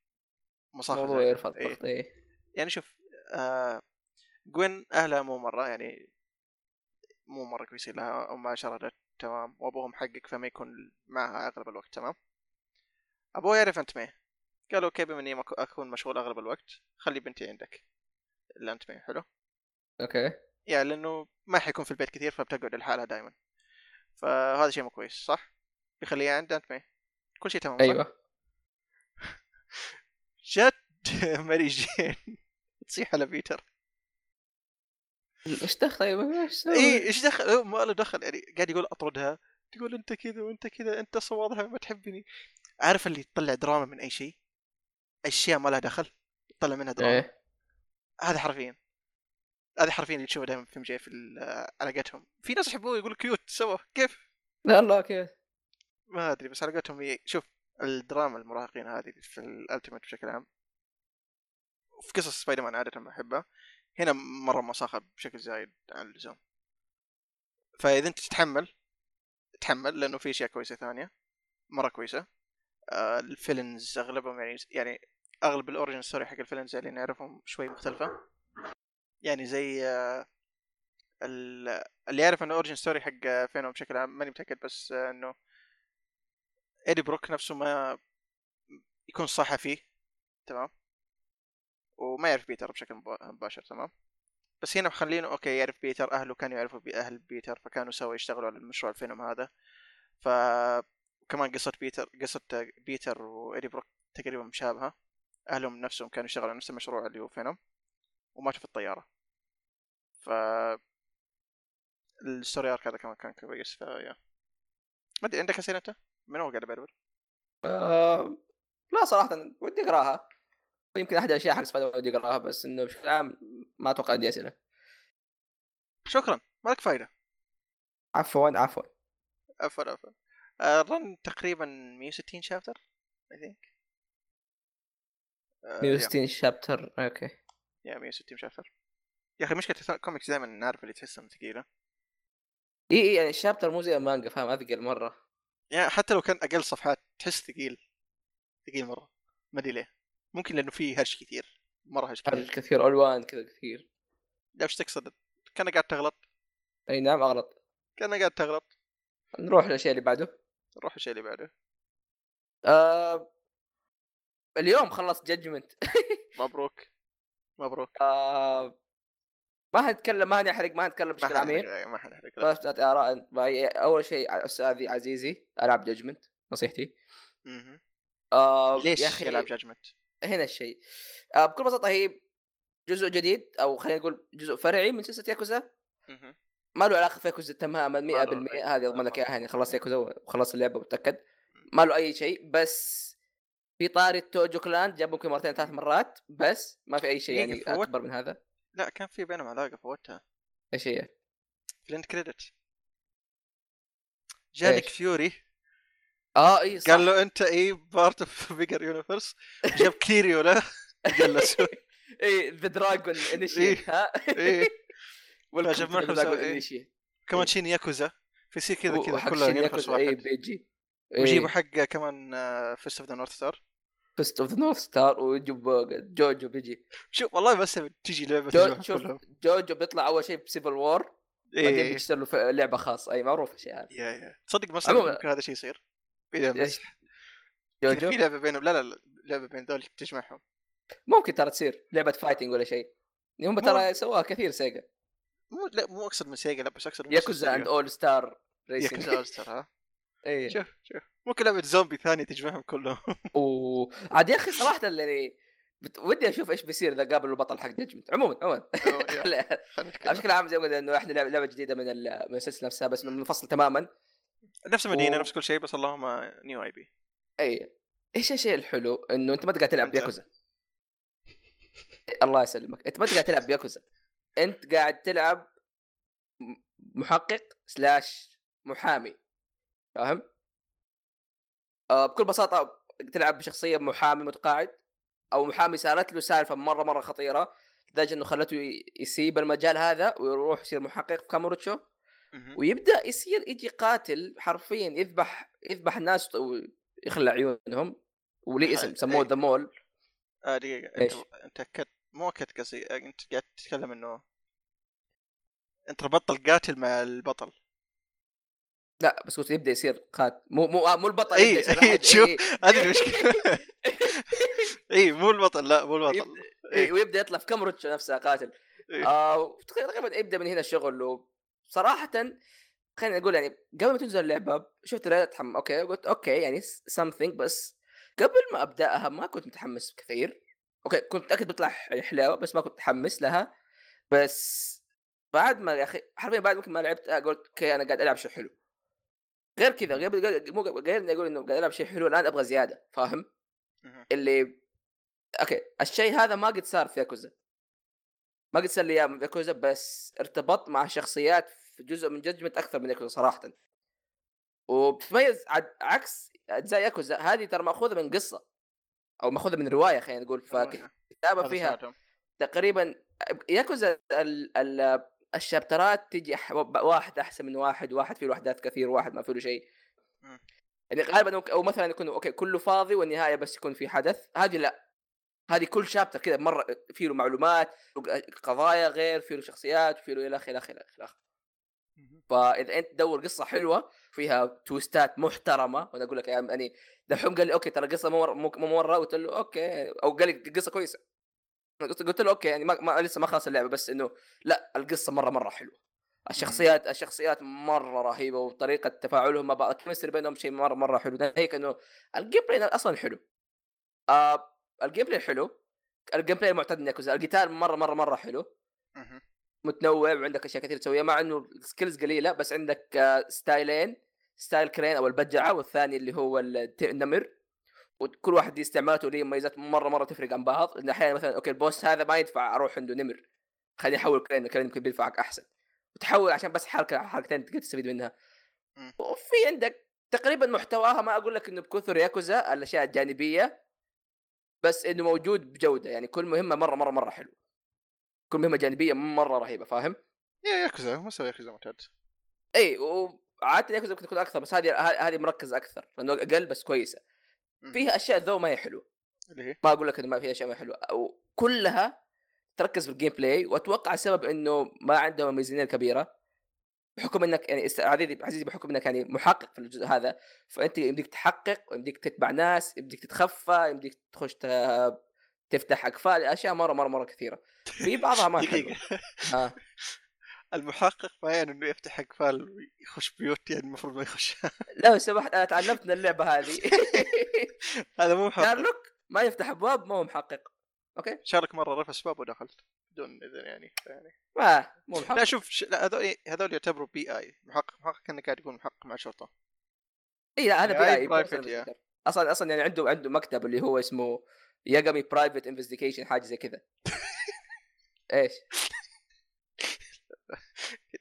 Speaker 2: مصاخب
Speaker 1: الموضوع
Speaker 2: زي-
Speaker 1: يرفع
Speaker 2: إيه.
Speaker 1: الضغط ايه
Speaker 2: يعني شوف آه جوين اهلها مو مره يعني مو مره كويسين لها امها شردت تمام وابوهم حقك فما يكون معها اغلب الوقت تمام ابوي يعرف انت مي قال اوكي بما اني مك- اكون مشغول اغلب الوقت خلي بنتي عندك الا انت مي حلو
Speaker 1: اوكي
Speaker 2: يعني لانه ما حيكون في البيت كثير فبتقعد لحالها دائما فهذا شيء مو كويس صح يخليها عند انت مي كل شيء تمام صح؟
Speaker 1: ايوه
Speaker 2: جت ماري جين تصيح على بيتر
Speaker 1: ايش دخل ايوه ايش سوى؟
Speaker 2: اي ايش إيه، دخل هو ما له دخل يعني قاعد يقول اطردها تقول انت كذا وانت كذا انت اصلا واضح إنك ما تحبني عارف اللي تطلع دراما من اي شيء اشياء ما لها دخل تطلع منها دراما
Speaker 1: ايه
Speaker 2: هذا حرفيا هذا حرفيا اللي تشوفه دائما في مجي في ال- علاقتهم في ناس يحبوه يقول كيوت سوا كيف
Speaker 1: والله اوكي
Speaker 2: ما ادري بس علاقتهم هي شوف الدراما المراهقين هذه في الالتيميت بشكل عام في قصص سبايدر مان عاده ما احبها هنا مره مساخه بشكل زايد عن اللزوم فاذا انت تتحمل تحمل لانه في اشياء كويسه ثانيه مره كويسه آه الفيلنز اغلبهم يعني يعني اغلب الاوريجن ستوري حق الفيلنز اللي نعرفهم شوي مختلفه يعني زي آه ال- اللي يعرف انه اوريجن ستوري حق آه، فينوم بشكل عام ماني متاكد بس آه انه ايدي بروك نفسه ما يكون صحفي تمام وما يعرف بيتر بشكل مب- مباشر تمام بس هنا مخلينه اوكي يعرف بيتر اهله كانوا يعرفوا بي- اهل بيتر فكانوا سوا يشتغلوا على المشروع الفيلم هذا ف كمان قصة بيتر قصة بيتر وايدي بروك تقريبا مشابهة اهلهم نفسهم كانوا يشتغلوا على نفس المشروع اللي هو فينوم وماتوا في الطيارة ف الستوري ارك هذا كمان كان كويس فيا ما ادري عندك اسئلة انت؟ من هو قاعد ابربر؟
Speaker 1: آه، لا صراحه ودي اقراها يمكن احد الاشياء حق سبايدر ودي اقراها بس انه بشكل عام ما اتوقع عندي اسئله
Speaker 2: شكرا مالك فايده
Speaker 1: عفوا عفوا
Speaker 2: عفوا عفوا آه، رن تقريبا 160 شابتر اي ثينك
Speaker 1: 160 شابتر اوكي
Speaker 2: يا 160 شابتر يا اخي مشكله الث- الكوميكس دائما نعرف اللي تحسها إنها ثقيله
Speaker 1: اي اي يعني الشابتر مو زي المانجا فاهم اثقل مره
Speaker 2: يعني حتى لو كان اقل صفحات تحس ثقيل ثقيل مره ما ادري ليه ممكن لانه فيه هرش كثير مره هرش
Speaker 1: حرج
Speaker 2: كثير
Speaker 1: كثير الوان كذا كثير
Speaker 2: لا وش تقصد كان قاعد تغلط
Speaker 1: اي نعم اغلط
Speaker 2: كان قاعد تغلط
Speaker 1: نروح للشيء اللي بعده
Speaker 2: نروح الشيء اللي بعده
Speaker 1: آه... اليوم خلصت جادجمنت
Speaker 2: مبروك مبروك
Speaker 1: آه... ما هنتكلم ما هنحرق ما هنتكلم
Speaker 2: ما
Speaker 1: بشكل عميق
Speaker 2: حنحرق ما حنحرق لا.
Speaker 1: بس أعطي اراء انطباعية. اول شيء استاذي عزيزي العب جادجمنت نصيحتي
Speaker 2: مهم.
Speaker 1: آه...
Speaker 2: ليش
Speaker 1: يا اخي
Speaker 2: يلعب جاجمنت
Speaker 1: هنا الشيء آه بكل بساطه هي جزء جديد او خلينا نقول جزء فرعي من سلسله ياكوزا ما له علاقه في ياكوزا تماما 100%
Speaker 2: علاقة.
Speaker 1: هذه اضمن لك اياها يعني خلصت ياكوزا وخلصت اللعبه وتاكد ما له اي شيء بس في طاري توجو كلاند جاب ممكن مرتين ثلاث مرات بس ما في اي شيء
Speaker 2: دقيقة،
Speaker 1: يعني
Speaker 2: فوت-
Speaker 1: اكبر من هذا
Speaker 2: لا كان في بينهم علاقه فوتها
Speaker 1: ايش هي؟
Speaker 2: في الاند كريدت جانك
Speaker 1: إيش؟
Speaker 2: فيوري
Speaker 1: اه اي
Speaker 2: قال له إيه، انت اي بارت اوف بيجر يونيفرس جاب كيريو له جلسوا
Speaker 1: اي ذا دراجون
Speaker 2: إيه.
Speaker 1: انيشيت ها
Speaker 2: إيه. فجاب
Speaker 1: ولا
Speaker 2: معهم
Speaker 1: دراجون
Speaker 2: سوا- إيه.
Speaker 1: انيشيت
Speaker 2: كمان شين ياكوزا فيصير كذا كذا كلها يونيفرس
Speaker 1: اي
Speaker 2: واحد
Speaker 1: بيجي
Speaker 2: ويجيبوا حق كمان آه، فيست اوف ذا نورث ستار
Speaker 1: فيست اوف ذا نورث ستار ويجيب جوجو بيجي
Speaker 2: شوف والله بس تجي لعبه
Speaker 1: جو
Speaker 2: تجمع
Speaker 1: شوف
Speaker 2: كلهم.
Speaker 1: جوجو بيطلع اول شيء بسيفل وور بعدين
Speaker 2: إيه.
Speaker 1: بيشتري له ف- لعبه خاصه اي معروف الشيء هذا
Speaker 2: يا يا تصدق بس
Speaker 1: عموماً.
Speaker 2: ممكن هذا الشيء يصير إيه، بس
Speaker 1: إيش؟
Speaker 2: كذا في
Speaker 1: جوجو
Speaker 2: لعبه بينهم لا لا لا لعبه بين ذول تجمعهم
Speaker 1: ممكن ترى تصير لعبه فايتنج ولا شيء يعني هم
Speaker 2: مو-
Speaker 1: ترى سواها كثير سيجا
Speaker 2: مو لا مو اقصد من سيجا لا بس اقصد من
Speaker 1: ياكوزا اند اول ستار ريسنج
Speaker 2: ياكوزا All Star، ها
Speaker 1: اي
Speaker 2: شوف شوف ممكن لعبه زومبي ثانيه تجمعهم كلهم
Speaker 1: وعاد يا اخي صراحه اللي بت- ودي اشوف ايش بيصير اذا قابلوا البطل حق جدجمنت عموما عموما خلي-
Speaker 2: خلينا نتكلم.
Speaker 1: بشكل عام زي ما قلنا انه احنا لعبه لعبة جديده من ال- من السلسله نفسها بس من منفصل تماما
Speaker 2: نفس المدينه
Speaker 1: و-
Speaker 2: نفس كل شيء بس اللهم نيو اي بي
Speaker 1: اي ايش إيه. الشيء الحلو انه انت ما تقعد تلعب
Speaker 2: أنت.
Speaker 1: ياكوزا الله يسلمك انت ما تقعد تلعب ياكوزا انت قاعد تلعب م- محقق سلاش محامي فاهم؟ آه بكل بساطه تلعب بشخصيه محامي متقاعد او محامي صارت له سالفه مره مره خطيره لدرجه انه خلته ي- يسيب المجال هذا ويروح يصير محقق في كاموروتشو ويبدا يصير يجي قاتل حرفيا يذبح يذبح ناس ويخلع عيونهم وليه اسم
Speaker 2: حلو.
Speaker 1: سموه
Speaker 2: إيه.
Speaker 1: ذا مول
Speaker 2: آه دقيقه
Speaker 1: إيش؟
Speaker 2: آه، انت انت اكدت مو اكدت قصدي انت قاعد تتكلم انه انت ربطت القاتل مع البطل
Speaker 1: لا بس قلت يبدا يصير قات مو مو آه، مو البطل
Speaker 2: إي،
Speaker 1: يبدأ يصير
Speaker 2: إي،
Speaker 1: أحد. إيه.
Speaker 2: تشوف.
Speaker 1: إي،
Speaker 2: هذه المشكله اي مو البطل لا مو البطل
Speaker 1: إي، ويبدا إيه، يطلع في كامرتش نفسها قاتل
Speaker 2: إي.
Speaker 1: آه، تقريبا يبدا من هنا الشغل وصراحه خليني اقول يعني قبل ما تنزل اللعبه شفت الرياضة تحمس اوكي قلت اوكي يعني سمثينج بس قبل ما ابداها ما كنت متحمس كثير اوكي كنت متاكد بيطلع حلاوه يعني بس ما كنت متحمس لها بس بعد ما يا اخي حرفيا بعد ممكن ما لعبت آه، قلت اوكي انا قاعد العب شيء حلو غير كذا غير غير- مو غير اني اقول انه قاعد العب شيء حلو الان ابغى زياده فاهم؟
Speaker 2: مهم.
Speaker 1: اللي اوكي الشيء هذا ما قد صار في ياكوزا ما قد صار لي اياه من ياكوزا بس ارتبط مع شخصيات في جزء من جدمت اكثر من ياكوزا صراحه وبتميز عد- عكس اجزاء ياكوزا هذه ترى ماخوذه من قصه او ماخوذه من روايه خلينا نقول فالكتابه
Speaker 2: هذا
Speaker 1: فيها
Speaker 2: سمعتهم.
Speaker 1: تقريبا ياكوزا ال ال الشابترات تجي أح- واحد احسن من واحد واحد فيه له احداث كثير واحد ما فيه له شيء
Speaker 2: مم.
Speaker 1: يعني غالبا أوك- او مثلا يكون اوكي كله فاضي والنهايه بس يكون في حدث هذه لا هذه كل شابتر كذا مره فيه له معلومات قضايا غير فيه له شخصيات فيه له الى اخره الى اخره الى اخره
Speaker 2: مهم.
Speaker 1: فاذا انت تدور قصه حلوه فيها تويستات محترمه وانا اقول لك يعني يعني دحوم قال لي اوكي ترى قصه مو مره- مو مو مره قلت له اوكي او قال لي قصه كويسه قلت قلت له اوكي يعني ما, ما لسه ما خلص اللعبه بس انه لا القصه مره مره حلوه الشخصيات الشخصيات مره رهيبه وطريقه تفاعلهم مع بعض الكيمستري بينهم شيء مره مره حلو ده هيك انه الجيم بلاي اصلا حلو آه الجيم بلاي حلو الجيم بلاي معتاد من ياكوزا القتال مره مره مره حلو
Speaker 2: مهم.
Speaker 1: متنوع وعندك اشياء كثير تسويها مع انه سكيلز قليله بس عندك آه، ستايلين ستايل كرين او البجعه والثاني اللي هو الت- النمر وكل واحد ليه استعمالاته وليه مميزات مره مره تفرق عن بعض لان احيانا مثلا اوكي البوس هذا ما يدفع اروح عنده نمر خليني احول كرين كرين يمكن بيدفعك احسن وتحول عشان بس حركه حركتين تقدر تستفيد منها
Speaker 2: مم.
Speaker 1: وفي عندك تقريبا محتواها ما اقول لك انه بكثر ياكوزا الاشياء الجانبيه بس انه موجود بجوده يعني كل مهمه مره مره مره حلو كل مهمه جانبيه مره رهيبه فاهم؟
Speaker 2: يا ياكوزا ما سوى ياكوزا معتاد
Speaker 1: اي وعاده ياكوزا ممكن تكون اكثر بس هذه ه- هذه مركز اكثر لانه اقل بس كويسه
Speaker 2: مم.
Speaker 1: فيها اشياء ذو ما هي حلوه
Speaker 2: اللي هي
Speaker 1: ما اقول لك انه ما فيها اشياء ما هي حلوه أو كلها تركز في الجيم بلاي واتوقع السبب انه ما عندهم الميزانيه الكبيره بحكم انك يعني است- عزيزي عزيزي بحكم انك يعني محقق في الجزء هذا فانت يمديك تحقق ويمديك تتبع ناس يمديك تتخفى يمديك تخش ت- تفتح اقفال اشياء مره مره مره كثيره في بعضها ما حلوه
Speaker 2: دقيقة
Speaker 1: آه.
Speaker 2: المحقق بيان انه يفتح اقفال ويخش بيوت يعني المفروض ما يخش
Speaker 1: لو سمحت انا تعلمت من اللعبه هذه
Speaker 2: هذا مو محقق
Speaker 1: شارلوك ما يفتح ابواب ما هو محقق اوكي
Speaker 2: شارك مرة رفع اسباب ودخلت بدون اذن يعني يعني
Speaker 1: ما مو محقق
Speaker 2: لا شوف ش- لا هذول هذول يعتبروا بي اي محقق محقق كانك قاعد يكون محقق مع شرطة
Speaker 1: اي إيه، لا هذا
Speaker 2: يا
Speaker 1: بي
Speaker 2: أي
Speaker 1: اي
Speaker 2: يعني private
Speaker 1: personal
Speaker 2: يا.
Speaker 1: investigator. اصلا اصلا يعني عنده عنده مكتب اللي هو اسمه ياجامي برايفت انفستيجيشن حاجه زي كذا ايش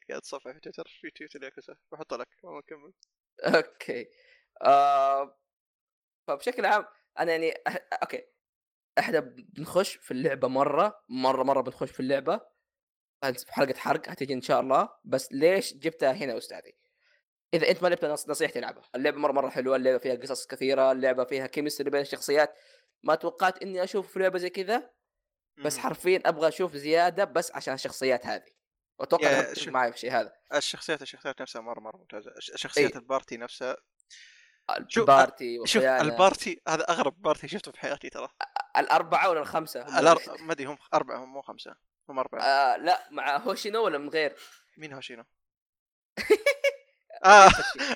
Speaker 2: قاعد تصفح في تويتر في تويتر ياكوزا بحط لك ما اكمل
Speaker 1: اوكي آه فبشكل عام انا يعني أح- اوكي احنا بنخش في اللعبه مره مره مره بنخش في اللعبه أنت في حلقه حرق هتجي ان شاء الله بس ليش جبتها هنا يا استاذي؟ اذا انت ما لعبتها نص- نصيحتي العبها، اللعبه مره مره حلوه، اللعبه فيها قصص كثيره، اللعبه فيها كيمستري بين الشخصيات ما توقعت اني اشوف في لعبه زي كذا بس
Speaker 2: مم.
Speaker 1: حرفيا ابغى اشوف زياده بس عشان الشخصيات هذه. واتوقع
Speaker 2: يا-
Speaker 1: إنك بتتفق
Speaker 2: شوف.
Speaker 1: معي في الشيء هذا.
Speaker 2: الشخصيات الشخصيات نفسها مرة مرة ممتازة الش- شخصيات
Speaker 1: إي.
Speaker 2: البارتي نفسها شوف،
Speaker 1: البارتي
Speaker 2: شوف
Speaker 1: والخيانة.
Speaker 2: البارتي هذا اغرب بارتي شفته في حياتي ترى
Speaker 1: الاربعه ولا الخمسه؟ هم
Speaker 2: الأر- ما ادري هم اربعه هم مو خمسه هم اربعه
Speaker 1: آه لا مع هوشينو ولا من غير؟
Speaker 2: مين هوشينو؟ اه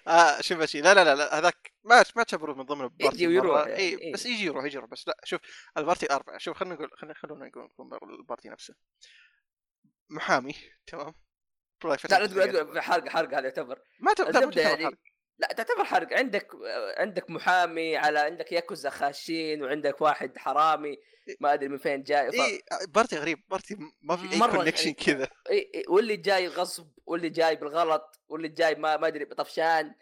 Speaker 2: اه شيباشي لا لا لا, لا هذاك ما ما تعتبره من ضمن البارتي
Speaker 1: يجي ويروح
Speaker 2: مرة.
Speaker 1: يعني،
Speaker 2: اي
Speaker 1: إي.
Speaker 2: بس يجي يروح يجي يروح بس لا شوف البارتي اربعه شوف خلينا نقول خلينا خلونا نقول نقول البارتي نفسه محامي تمام برايفت
Speaker 1: لا لا تقول لا تقول حرق حرق هذا يعتبر
Speaker 2: ما تعتبر لا، ما
Speaker 1: الزبدة
Speaker 2: تعتبر
Speaker 1: يعني-
Speaker 2: حرب.
Speaker 1: لا تعتبر حرق عندك آه، عندك محامي على عندك ياكوزا خاشين وعندك واحد حرامي ما ادري من فين جاي ف...
Speaker 2: اي إيه، بارتي غريب بارتي ما في اي
Speaker 1: مرة يعني
Speaker 2: كونكشن
Speaker 1: غريب.
Speaker 2: كذا
Speaker 1: إي- إي، واللي جاي غصب واللي جاي بالغلط واللي جاي ما ما ادري طفشان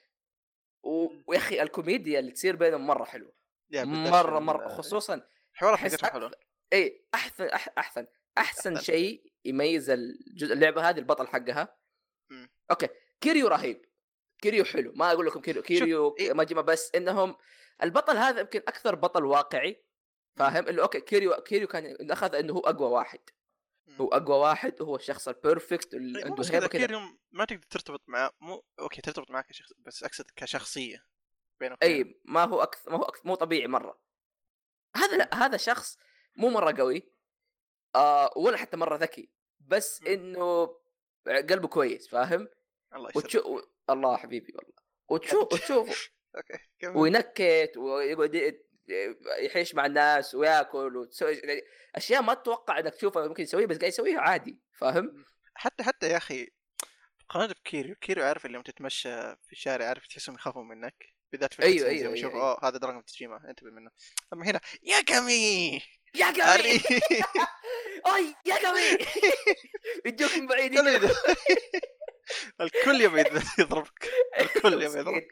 Speaker 1: و... ويا اخي الكوميديا اللي تصير بينهم مره حلوه
Speaker 2: يا بالذات
Speaker 1: مره
Speaker 2: ال-
Speaker 1: مره خصوصا
Speaker 2: حوارات
Speaker 1: أحس
Speaker 2: يعني حقتهم يعني حلوه
Speaker 1: اي احسن إيه، أح- احسن احسن شيء يميز الجزء اللعبه هذه البطل حقها
Speaker 2: مم.
Speaker 1: اوكي كيريو رهيب كيريو حلو ما اقول لكم كيريو كيريو
Speaker 2: إيه.
Speaker 1: ماجما بس انهم البطل هذا يمكن اكثر بطل واقعي فاهم اللي اوكي كيريو كيريو كان اخذ انه هو اقوى واحد هو اقوى واحد هو الشخص البيرفكت اللي
Speaker 2: طيب مو
Speaker 1: عنده
Speaker 2: بس
Speaker 1: هيبه
Speaker 2: كذا
Speaker 1: كذا
Speaker 2: كيريوم ما تقدر ترتبط معاه مو اوكي ترتبط معاه كشخص بس اقصد كشخصيه بينك وبينه.
Speaker 1: اي طيب، ما هو أكثر ما هو أكثر مو طبيعي مره هذا لا هذا شخص مو مره قوي آه ولا حتى مره ذكي بس
Speaker 2: مم.
Speaker 1: انه قلبه كويس فاهم
Speaker 2: الله يسلمك
Speaker 1: وتشوف الله حبيبي والله وتشوف وتشوف
Speaker 2: اوكي كمل.
Speaker 1: وينكت ويقعد ي- يحيش مع الناس وياكل وتسوي يعني اشياء ما تتوقع انك تشوفها ممكن يسويها بس قاعد يسويها عادي فاهم؟
Speaker 2: حتى حتى يا اخي مقارنة بكيريو كيريو عارف اللي لما تتمشى في الشارع عارف تحسهم يخافوا منك بالذات في
Speaker 1: أيوة،
Speaker 2: الكاتسينز
Speaker 1: أيوة،
Speaker 2: لما
Speaker 1: أيوة،
Speaker 2: يشوف
Speaker 1: أيوة.
Speaker 2: اه هذا دراجون تسوشيما انتبه منه اما هنا يا كامي
Speaker 1: يا قوي
Speaker 2: أري.
Speaker 1: اي يا قوي يجوك من بعيد
Speaker 2: الكل يد- الكل يبي يد- يضربك الكل يبي
Speaker 1: مسكين.
Speaker 2: يضربك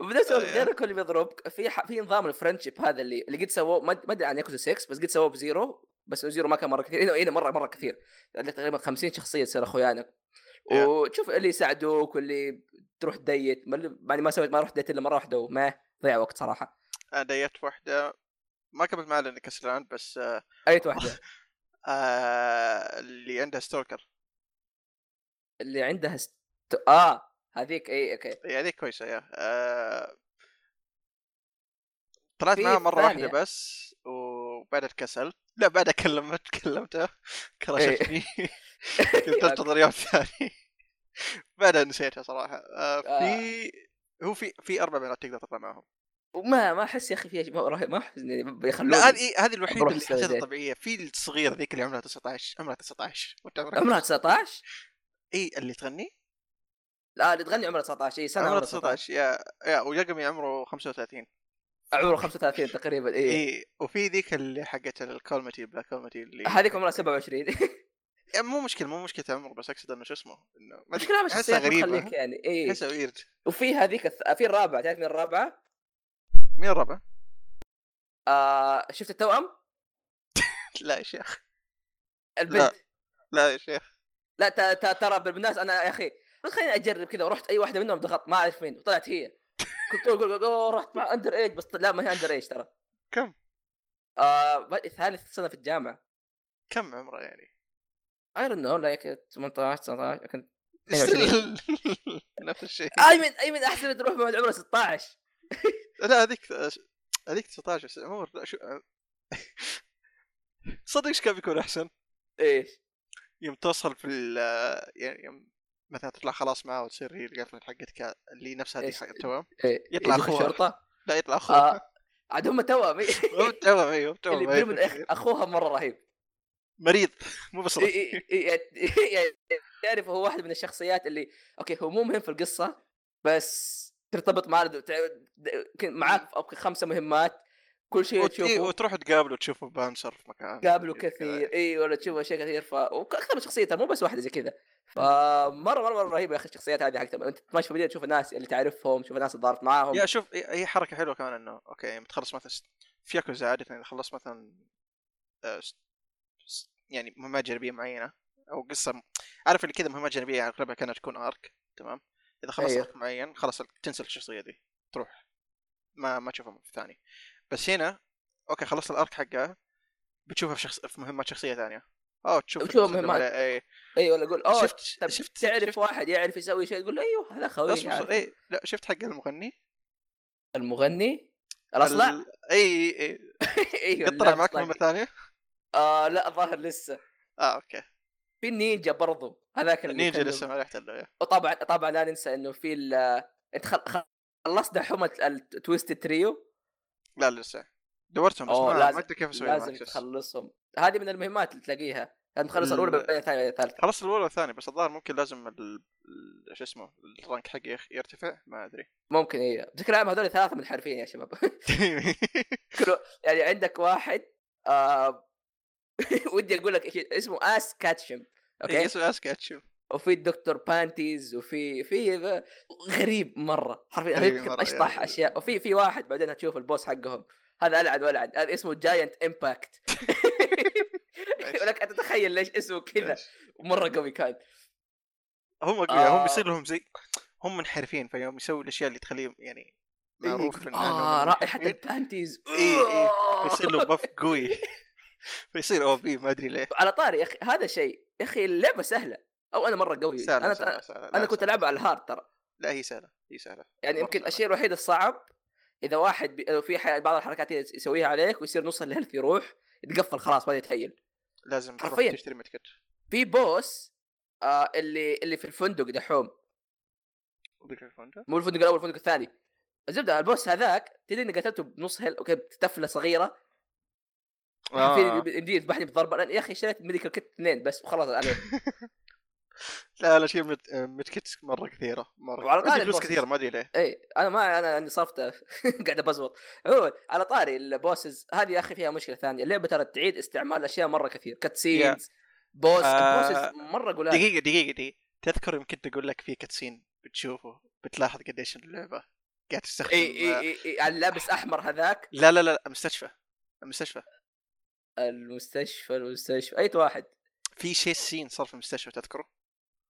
Speaker 1: وبنفس الوقت
Speaker 2: آه.
Speaker 1: غير الكل بيضربك في ح... في نظام الفرنشيب هذا اللي اللي قد سووه ما ما ادري عن ياكوزا 6 بس قد سووه بزيرو بس زيرو ما كان مره كثير هنا هنا مره مره كثير عندك تقريبا 50 شخصيه تصير اخويانك
Speaker 2: Yeah.
Speaker 1: وتشوف اللي يساعدوك واللي تروح ديت ما اللي- يعني ما سويت ما رحت ديت الا مره واحده وما ضيع وقت صراحه
Speaker 2: انا ديت واحدة ما كملت معها لاني كسلان بس آه،
Speaker 1: اي واحده
Speaker 2: آه، اللي عندها ستوكر
Speaker 1: اللي عندها ست... اه هذيك اي اوكي
Speaker 2: يعني هذيك كويسة يا آه، طلعت
Speaker 1: في
Speaker 2: معها مرة
Speaker 1: الثانية.
Speaker 2: واحدة بس وبعدها اتكسلت لا بعدها كلمت كلمتها كرشتني كنت انتظر يوم ثاني بعدها نسيتها صراحة آه، في هو في في اربع بنات تقدر تطلع معهم
Speaker 1: وما ما احس يا اخي فيها شيء ما رهيب- ما احس إني بيخلوني
Speaker 2: لا هذه هذه الوحيده
Speaker 1: بروح
Speaker 2: اللي
Speaker 1: أسوي
Speaker 2: حسيتها
Speaker 1: زين.
Speaker 2: طبيعيه في الصغير ذيك اللي عمرها 19 عمرها 19 وانت عمرك
Speaker 1: عمرها 19
Speaker 2: اي اللي تغني
Speaker 1: لا اللي تغني عمرها 19 اي سنه
Speaker 2: عمرها 19 يا يا ويقمي عمره 35
Speaker 1: عمره 35 تقريبا اي
Speaker 2: اي وفي ذيك اللي حقت الكوميدي بلاك كوميدي اللي
Speaker 1: هذيك عمرها 27
Speaker 2: يعني مو مشكله مو مشكله عمر بس اقصد انه شو اسمه انه ما
Speaker 1: مشكلة مش
Speaker 2: احسها غريبه
Speaker 1: خليك يعني اي
Speaker 2: احسها ويرد
Speaker 1: وفي هذيك الث... في الرابعة تعرف مين الرابعة؟
Speaker 2: مين الرابع؟
Speaker 1: آه شفت التوأم؟
Speaker 2: لا يا شيخ
Speaker 1: البنت
Speaker 2: لا يا شيخ
Speaker 1: لا, ت... ت... ترى بالناس انا يا اخي قلت خليني اجرب كذا ورحت اي واحدة منهم ضغط ما اعرف مين وطلعت هي كنت أقول- أقول- أقول رحت مع اندر ايج بس لا ما هي اندر ايج ترى
Speaker 2: كم؟
Speaker 1: آه ب- ثالث سنة في الجامعة
Speaker 2: كم عمره يعني؟
Speaker 1: اي دونت نو لايك 18 19 كنت
Speaker 2: نفس الشيء
Speaker 1: اي من اي من احسن تروح مع العمر 16
Speaker 2: لا هذيك هذيك 19 بس عمر لا، شو صدق ايش كان بيكون احسن؟
Speaker 1: ايش؟
Speaker 2: يوم توصل في ال يعني يوم مثلا تطلع خلاص معاه وتصير هي القفله حقتك اللي نفسها هذيك
Speaker 1: إيش؟
Speaker 2: حق توام
Speaker 1: إيه،
Speaker 2: يطلع
Speaker 1: يجوك
Speaker 2: أخوها.
Speaker 1: الشرطة
Speaker 2: لا يطلع اخوه
Speaker 1: آه عاد هم توأم إيه.
Speaker 2: هو توام ايوه
Speaker 1: اللي
Speaker 2: توام
Speaker 1: بينهم
Speaker 2: أيوه.
Speaker 1: الأخ- اخوها مره رهيب
Speaker 2: مريض مو بس رهيب.
Speaker 1: إي- إي- إي- يعني تعرف هو واحد من الشخصيات اللي اوكي هو مو مهم في القصه بس ترتبط معاه لد- تع- د- ك- معاك في أوكي خمسه مهمات كل شيء
Speaker 2: وت- إيه،
Speaker 1: تشوفه
Speaker 2: وتروح تقابله تشوفه بانسر في مكان
Speaker 1: قابله
Speaker 2: كذا.
Speaker 1: كثير اي ولا تشوفه شيء كثير ف واكثر من شخصيه ترى مو بس واحده زي كذا فمره مره مره رهيبه يا اخي الشخصيات هذه حقت انت تمشي في المدينه تشوف الناس اللي تعرفهم تشوف الناس اللي ضارت معاهم
Speaker 2: يا شوف هي هي حركه حلوه كمان انه اوكي يوم تخلص مثلا س- في ياكوزا عاده اذا خلصت مثلا آه، س- س- يعني مهمات جانبيه معينه او قصه م- عارف اللي كذا مهمات جانبيه يعني اغلبها كانت تكون ارك تمام اذا خلصت
Speaker 1: أيوه.
Speaker 2: ارك معين خلاص ال- تنسى الشخصيه دي تروح ما ما تشوفها في ثاني بس هنا اوكي خلصت الارك حقها بتشوفها في شخص في مهمات شخصيه ثانيه او تشوف
Speaker 1: بتشوفها
Speaker 2: القصة اللي
Speaker 1: مهمات.
Speaker 2: ولا- اي
Speaker 1: اي ولا اقول اوه
Speaker 2: شفت
Speaker 1: طب
Speaker 2: شفت
Speaker 1: تعرف
Speaker 2: شفت-
Speaker 1: واحد يعرف يسوي شيء تقول له ايوه هذا خوي
Speaker 2: أصبر-
Speaker 1: عارف.
Speaker 2: اي إيه، لا شفت حق المغني
Speaker 1: المغني الاصلع
Speaker 2: ال- إيه، اي اي, إي.
Speaker 1: ايوه
Speaker 2: قد طلع معك
Speaker 1: الأصلع.
Speaker 2: مهمه ثانيه
Speaker 1: آه لا الظاهر لسه
Speaker 2: اه اوكي
Speaker 1: في النينجا برضو هذاك اللي
Speaker 2: نينجا
Speaker 1: كان-
Speaker 2: لسه ما رحت له
Speaker 1: وطبعا طبعا لا ننسى انه في ال انت خل- خل- خلصت دحومه التويست تريو
Speaker 2: لا لسه دورتهم بس
Speaker 1: أوه،
Speaker 2: ما
Speaker 1: لازم-
Speaker 2: ما ادري كيف اسوي
Speaker 1: لازم تخلصهم هذه من المهمات اللي تلاقيها لازم تخلص
Speaker 2: ال-
Speaker 1: الاولى بعدين الثانيه بعدين الثالثه
Speaker 2: خلصت الاولى والثانيه بس الظاهر ممكن لازم ال... ال- شو اسمه الرانك حقي يخ- يرتفع ما ادري
Speaker 1: ممكن اي بشكل عام هذول ثلاثه منحرفين يا شباب كله يعني عندك واحد آه ودي اقول لك إيش اسمه اس كاتشم
Speaker 2: اوكي
Speaker 1: اوكي
Speaker 2: اسمه اسكتش
Speaker 1: وفي الدكتور بانتيز وفي في غريب مره حرفيا
Speaker 2: غريب
Speaker 1: هذيك
Speaker 2: مرة،
Speaker 1: اشطح
Speaker 2: يعني.
Speaker 1: اشياء وفي في واحد بعدين هتشوف البوس حقهم هذا العن ولعن هذا اسمه جاينت امباكت ولك أن تتخيل ليش اسمه كذا مره قوي كان
Speaker 2: هم
Speaker 1: آه.
Speaker 2: هم يصير لهم زي هم منحرفين فيوم يسووا الاشياء اللي تخليهم يعني
Speaker 1: إيه.
Speaker 2: معروف إن- إنهم
Speaker 1: اه رائحه
Speaker 2: منحرفين، إيه،
Speaker 1: البانتيز
Speaker 2: إي، إي. يصير له بف قوي فيصير او بي ما ادري ليه
Speaker 1: على طاري يا اخي هذا شيء يا اخي اللعبه سهله او انا مره قوي
Speaker 2: سهلة
Speaker 1: انا
Speaker 2: سهلة سهلة لا
Speaker 1: انا كنت
Speaker 2: سهلة.
Speaker 1: العبها على الهارد ترى
Speaker 2: لا هي سهلة هي سهلة
Speaker 1: يعني
Speaker 2: مرة
Speaker 1: يمكن
Speaker 2: سهلة.
Speaker 1: الشيء الوحيد الصعب اذا واحد بي... لو في ح... بعض الحركات يس- يسويها عليك ويصير نص الهيلث يروح يتقفل خلاص ما يتهيل
Speaker 2: لازم تروح
Speaker 1: حرفياً.
Speaker 2: تشتري متكت
Speaker 1: في بوس آه اللي اللي في الفندق دحوم
Speaker 2: وذيك الفندق
Speaker 1: مو الفندق الاول الفندق الثاني الزبده البوس هذاك تدري اني قتلته بنص هيل اوكي تفله صغيره
Speaker 2: آه.
Speaker 1: في يمديني يذبحني بضربه لأن يا اخي اشتريت ميديكال كيت اثنين بس وخلاص انا
Speaker 2: لا لا شيء مت... متكت مرة كثيرة مرة
Speaker 1: وعلى
Speaker 2: عندي
Speaker 1: طاري
Speaker 2: فلوس
Speaker 1: البوسس.
Speaker 2: كثيرة ما ادري ليه
Speaker 1: اي انا ما انا اني صرفت قاعد ابزوط عموما على طاري البوسز هذه يا اخي فيها مشكله ثانيه اللعبه ترى تعيد استعمال اشياء مره كثير كاتسينز بوس
Speaker 2: آه،
Speaker 1: البوسز مره قلال
Speaker 2: دقيقة دقيقة دقيقة تذكر يمكن تقول لك في كاتسين بتشوفه بتلاحظ قديش اللعبة قاعد تستخدم
Speaker 1: اي اي اي, إي على اللابس احمر هذاك
Speaker 2: لا لا لا مستشفى المستشفى
Speaker 1: المستشفى المستشفى اي واحد
Speaker 2: في شيء سين صار في المستشفى تذكره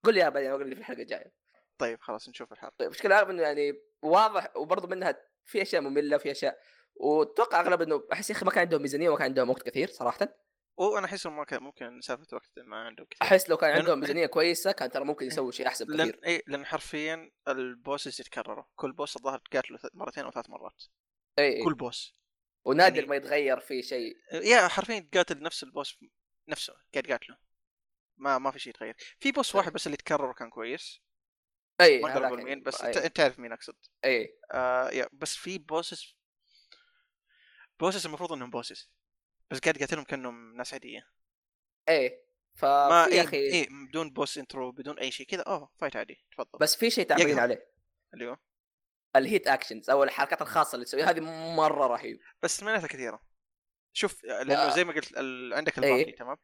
Speaker 1: قول لي إياها بعدين اقول لي في الحلقه الجايه
Speaker 2: طيب خلاص نشوف الحلقة
Speaker 1: طيب مشكلة عارف انه يعني واضح وبرضه منها في اشياء ممله وفي اشياء واتوقع اغلب انه احس يا اخي ما كان عندهم ميزانيه وما كان عندهم وقت كثير صراحه
Speaker 2: وانا احس إنه ما كان ممكن سالفة وقت ما عندهم كثير
Speaker 1: احس لو كان
Speaker 2: لأنه-
Speaker 1: عندهم ميزانيه كويسه كان ترى ممكن يسووا شيء احسن
Speaker 2: لان
Speaker 1: بكثير
Speaker 2: اي لان حرفيا البوسز يتكرروا كل بوس الظاهر تقاتله ث- مرتين او ثلاث مرات
Speaker 1: اي
Speaker 2: كل بوس
Speaker 1: ونادر
Speaker 2: يعني-
Speaker 1: ما يتغير في شيء
Speaker 2: يا حرفيا تقاتل نفس البوس نفسه قاعد قاتله ما ما في شيء يتغير في بوس واحد بس اللي تكرر وكان كويس
Speaker 1: اي
Speaker 2: ما اقدر اقول مين بس
Speaker 1: إيه،
Speaker 2: انت إيه؟ انت تعرف مين اقصد
Speaker 1: اي
Speaker 2: آه يا بس في بوسس بوسس المفروض انهم بوسس بس قاعد قاتلهم كانهم ناس عاديه
Speaker 1: اي إيه. ف
Speaker 2: ما
Speaker 1: آه، يا
Speaker 2: اي
Speaker 1: اخي
Speaker 2: إيه بدون بوس انترو بدون اي شيء كذا اوه فايت عادي تفضل
Speaker 1: بس في شيء تعبانين
Speaker 2: يقهر.
Speaker 1: عليه
Speaker 2: اللي هو
Speaker 1: الهيت اكشنز او الحركات الخاصه اللي تسويها هذه مره رهيب
Speaker 2: بس معناتها كثيره شوف لانه
Speaker 1: آه.
Speaker 2: زي ما قلت ال... عندك
Speaker 1: إيه.
Speaker 2: البارتي تمام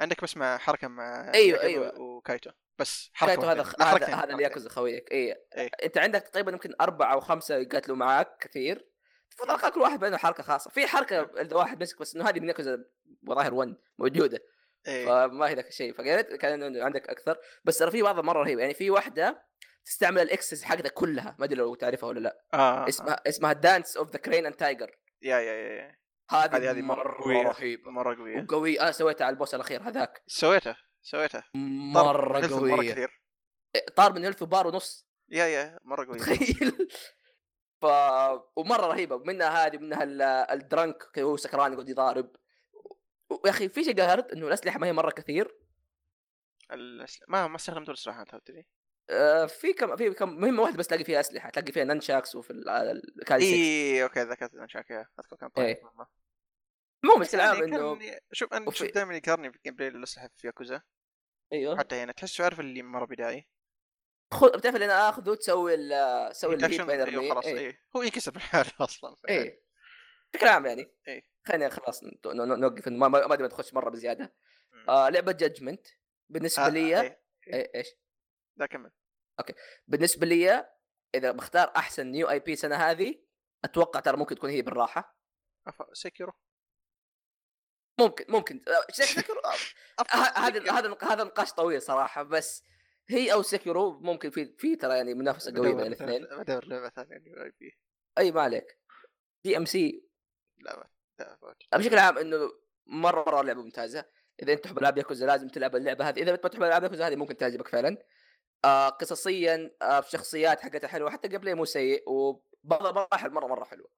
Speaker 2: عندك بس مع حركه مع
Speaker 1: أيوة،
Speaker 2: ناجل
Speaker 1: أيوة.
Speaker 2: و- وكايتو بس حركه
Speaker 1: كايتو هذا
Speaker 2: واحدة. لا،
Speaker 1: هذا
Speaker 2: حركتين،
Speaker 1: هذا اللي
Speaker 2: حركتين.
Speaker 1: ياكل خويك اي
Speaker 2: إيه.
Speaker 1: انت عندك تقريبا يمكن اربعه او خمسه يقاتلوا معاك كثير المفروض على الأقل كل واحد بينه حركه خاصه في حركه اذا واحد مسك بس انه هذه من ياكوزا وظاهر 1 موجوده
Speaker 2: إيه.
Speaker 1: فما هي ذاك الشيء فقالت كان إنه عندك اكثر بس ترى في بعضها مره رهيب يعني في واحده تستعمل الاكسس حقتك كلها ما ادري لو تعرفها ولا لا
Speaker 2: آه.
Speaker 1: اسمها اسمها دانس اوف ذا كرين اند تايجر
Speaker 2: يا يا يا, يا.
Speaker 1: هذه
Speaker 2: هذه-
Speaker 1: هذه
Speaker 2: هذه مرة
Speaker 1: مره
Speaker 2: قوية. إيه.
Speaker 1: رهيبه
Speaker 2: مره قويه
Speaker 1: وقوي انا سويتها على البوس الاخير هذاك
Speaker 2: سويته سويته طار
Speaker 1: مره
Speaker 2: هيلث مره
Speaker 1: قويه
Speaker 2: كثير
Speaker 1: إيه، طار من هيلث بار ونص
Speaker 2: يا يا مره قويه
Speaker 1: تخيل ف ومره رهيبه منها هذه منها ال- الدرنك كي هو سكران يقعد يضارب و- ويا اخي في شيء قهرت انه الاسلحه ما هي مره كثير
Speaker 2: الأسلحة. ما ما استخدمت الاسلحه انت تدري
Speaker 1: آه، في كم في كم مهمه واحده بس تلاقي فيها اسلحه تلاقي فيها ننشاكس وفي ال- آه، ال- الكالسيكس
Speaker 2: اي اوكي إيه، ذكرت انا شاكيها اذكر كان طيب
Speaker 1: إيه. مو بس
Speaker 2: يعني
Speaker 1: العاب
Speaker 2: كان-
Speaker 1: انه
Speaker 2: شوف انا
Speaker 1: وفي-
Speaker 2: شوف دائما يقارني بالجيم بلاي الاسلحه في ياكوزا
Speaker 1: ايوه
Speaker 2: حتى هنا تحسه عارف اللي مره بدايه
Speaker 1: خذ بتعرف اللي انا اخذه تسوي ال- تسوي الهيت
Speaker 2: Reduction،
Speaker 1: بين
Speaker 2: ايوه خلاص
Speaker 1: إيه.
Speaker 2: اي هو ينكسر بالحال اصلا
Speaker 1: ايه بشكل عام يعني
Speaker 2: إيه.
Speaker 1: خلينا خلاص ن- ن- ن- نوقف ما ما ما ادري تخش مره بزياده
Speaker 2: مم.
Speaker 1: آه لعبه جادجمنت بالنسبه
Speaker 2: آه،
Speaker 1: لي
Speaker 2: إيه.
Speaker 1: إيه، ايش
Speaker 2: لا كمل
Speaker 1: بالنسبه لي اذا بختار احسن نيو اي بي سنه هذه اتوقع ترى ممكن تكون هي بالراحه
Speaker 2: أف- سكروا
Speaker 1: ممكن ممكن آه، سكرو آه، ه- هذا هذا هذا نقاش طويل صراحه بس هي او سكرو ممكن في في ترى يعني منافسه قويه بين الاثنين
Speaker 2: بدور لعبه ثانيه اللي اي بي
Speaker 1: اي ما عليك دي ام سي
Speaker 2: لا ما- لا ما-
Speaker 1: بشكل عام انه مره مره لعبه ممتازه اذا انت تحب العاب ياكوزا لازم تلعب اللعبه هذه اذا انت ما تحب العاب ياكوزا هذه ممكن تعجبك فعلا آه قصصيا آه الشخصيات حقتها حلوه حتى قبل مو سيء وبعض المراحل مره مره حلوه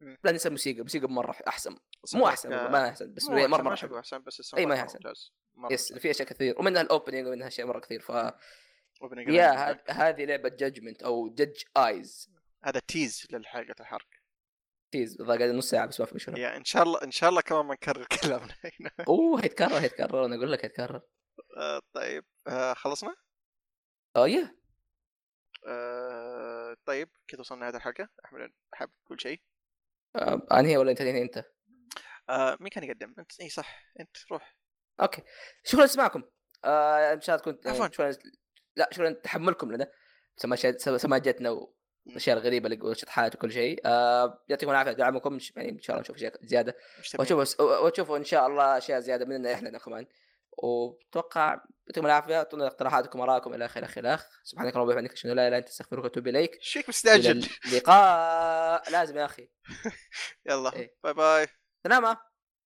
Speaker 2: مم.
Speaker 1: لا ننسى الموسيقى الموسيقى مره احسن مو احسن
Speaker 2: آه،
Speaker 1: والله، ما احسن بس
Speaker 2: مو
Speaker 1: مره
Speaker 2: أحسن،
Speaker 1: مره حلوة.
Speaker 2: ما شبه احسن بس السمبل
Speaker 1: إي، ما هي
Speaker 2: مرة
Speaker 1: أحسن.
Speaker 2: ممتاز. مرة
Speaker 1: يس
Speaker 2: ممتاز.
Speaker 1: في اشياء كثير ومنها الاوبننج ومنها اشياء مره كثير ف
Speaker 2: Opening
Speaker 1: يا
Speaker 2: Grand
Speaker 1: ه- هذه لعبه جادجمنت او جدج ايز
Speaker 2: هذا تيز للحلقه الحرق
Speaker 1: تيز ضاق علي نص ساعه بس ما في مشكله
Speaker 2: يا ان شاء الله ان شاء الله كمان ما نكرر كلامنا هنا
Speaker 1: اوه هيتكرر هيتكرر انا اقول لك هيتكرر
Speaker 2: آه، طيب آه، خلصنا
Speaker 1: اه يا
Speaker 2: آه، طيب كذا وصلنا لهذه الحلقه احمد حاب تقول شيء
Speaker 1: آه، انهي ولا انت انهي انت
Speaker 2: آه، مين كان يقدم انت اي صح انت روح
Speaker 1: اوكي شكرا لسماعكم آه ان شاء الله تكون
Speaker 2: عفواً.
Speaker 1: شكرا لا شكرا لتحملكم لنا سماشات- سم- سماجتنا والاشياء الغريبه اللي شطحات وكل شيء آه يعطيكم العافيه على دعمكم إن ش- يعني ان شاء الله نشوف اشياء زياده
Speaker 2: مشتبه.
Speaker 1: وتشوفوا وتشوفوا ان شاء الله اشياء زياده مننا احنا كمان واتوقع يعطيكم العافيه اعطونا اقتراحاتكم ارائكم الى اخره الى اخره سبحانك اللهم وبحمدك اشهد ان لا اله الا انت استغفرك واتوب اليك
Speaker 2: شيك
Speaker 1: الى
Speaker 2: مستعجل
Speaker 1: اللقاء لازم يا اخي
Speaker 2: يلا
Speaker 1: إيه.
Speaker 2: باي باي
Speaker 1: سلامه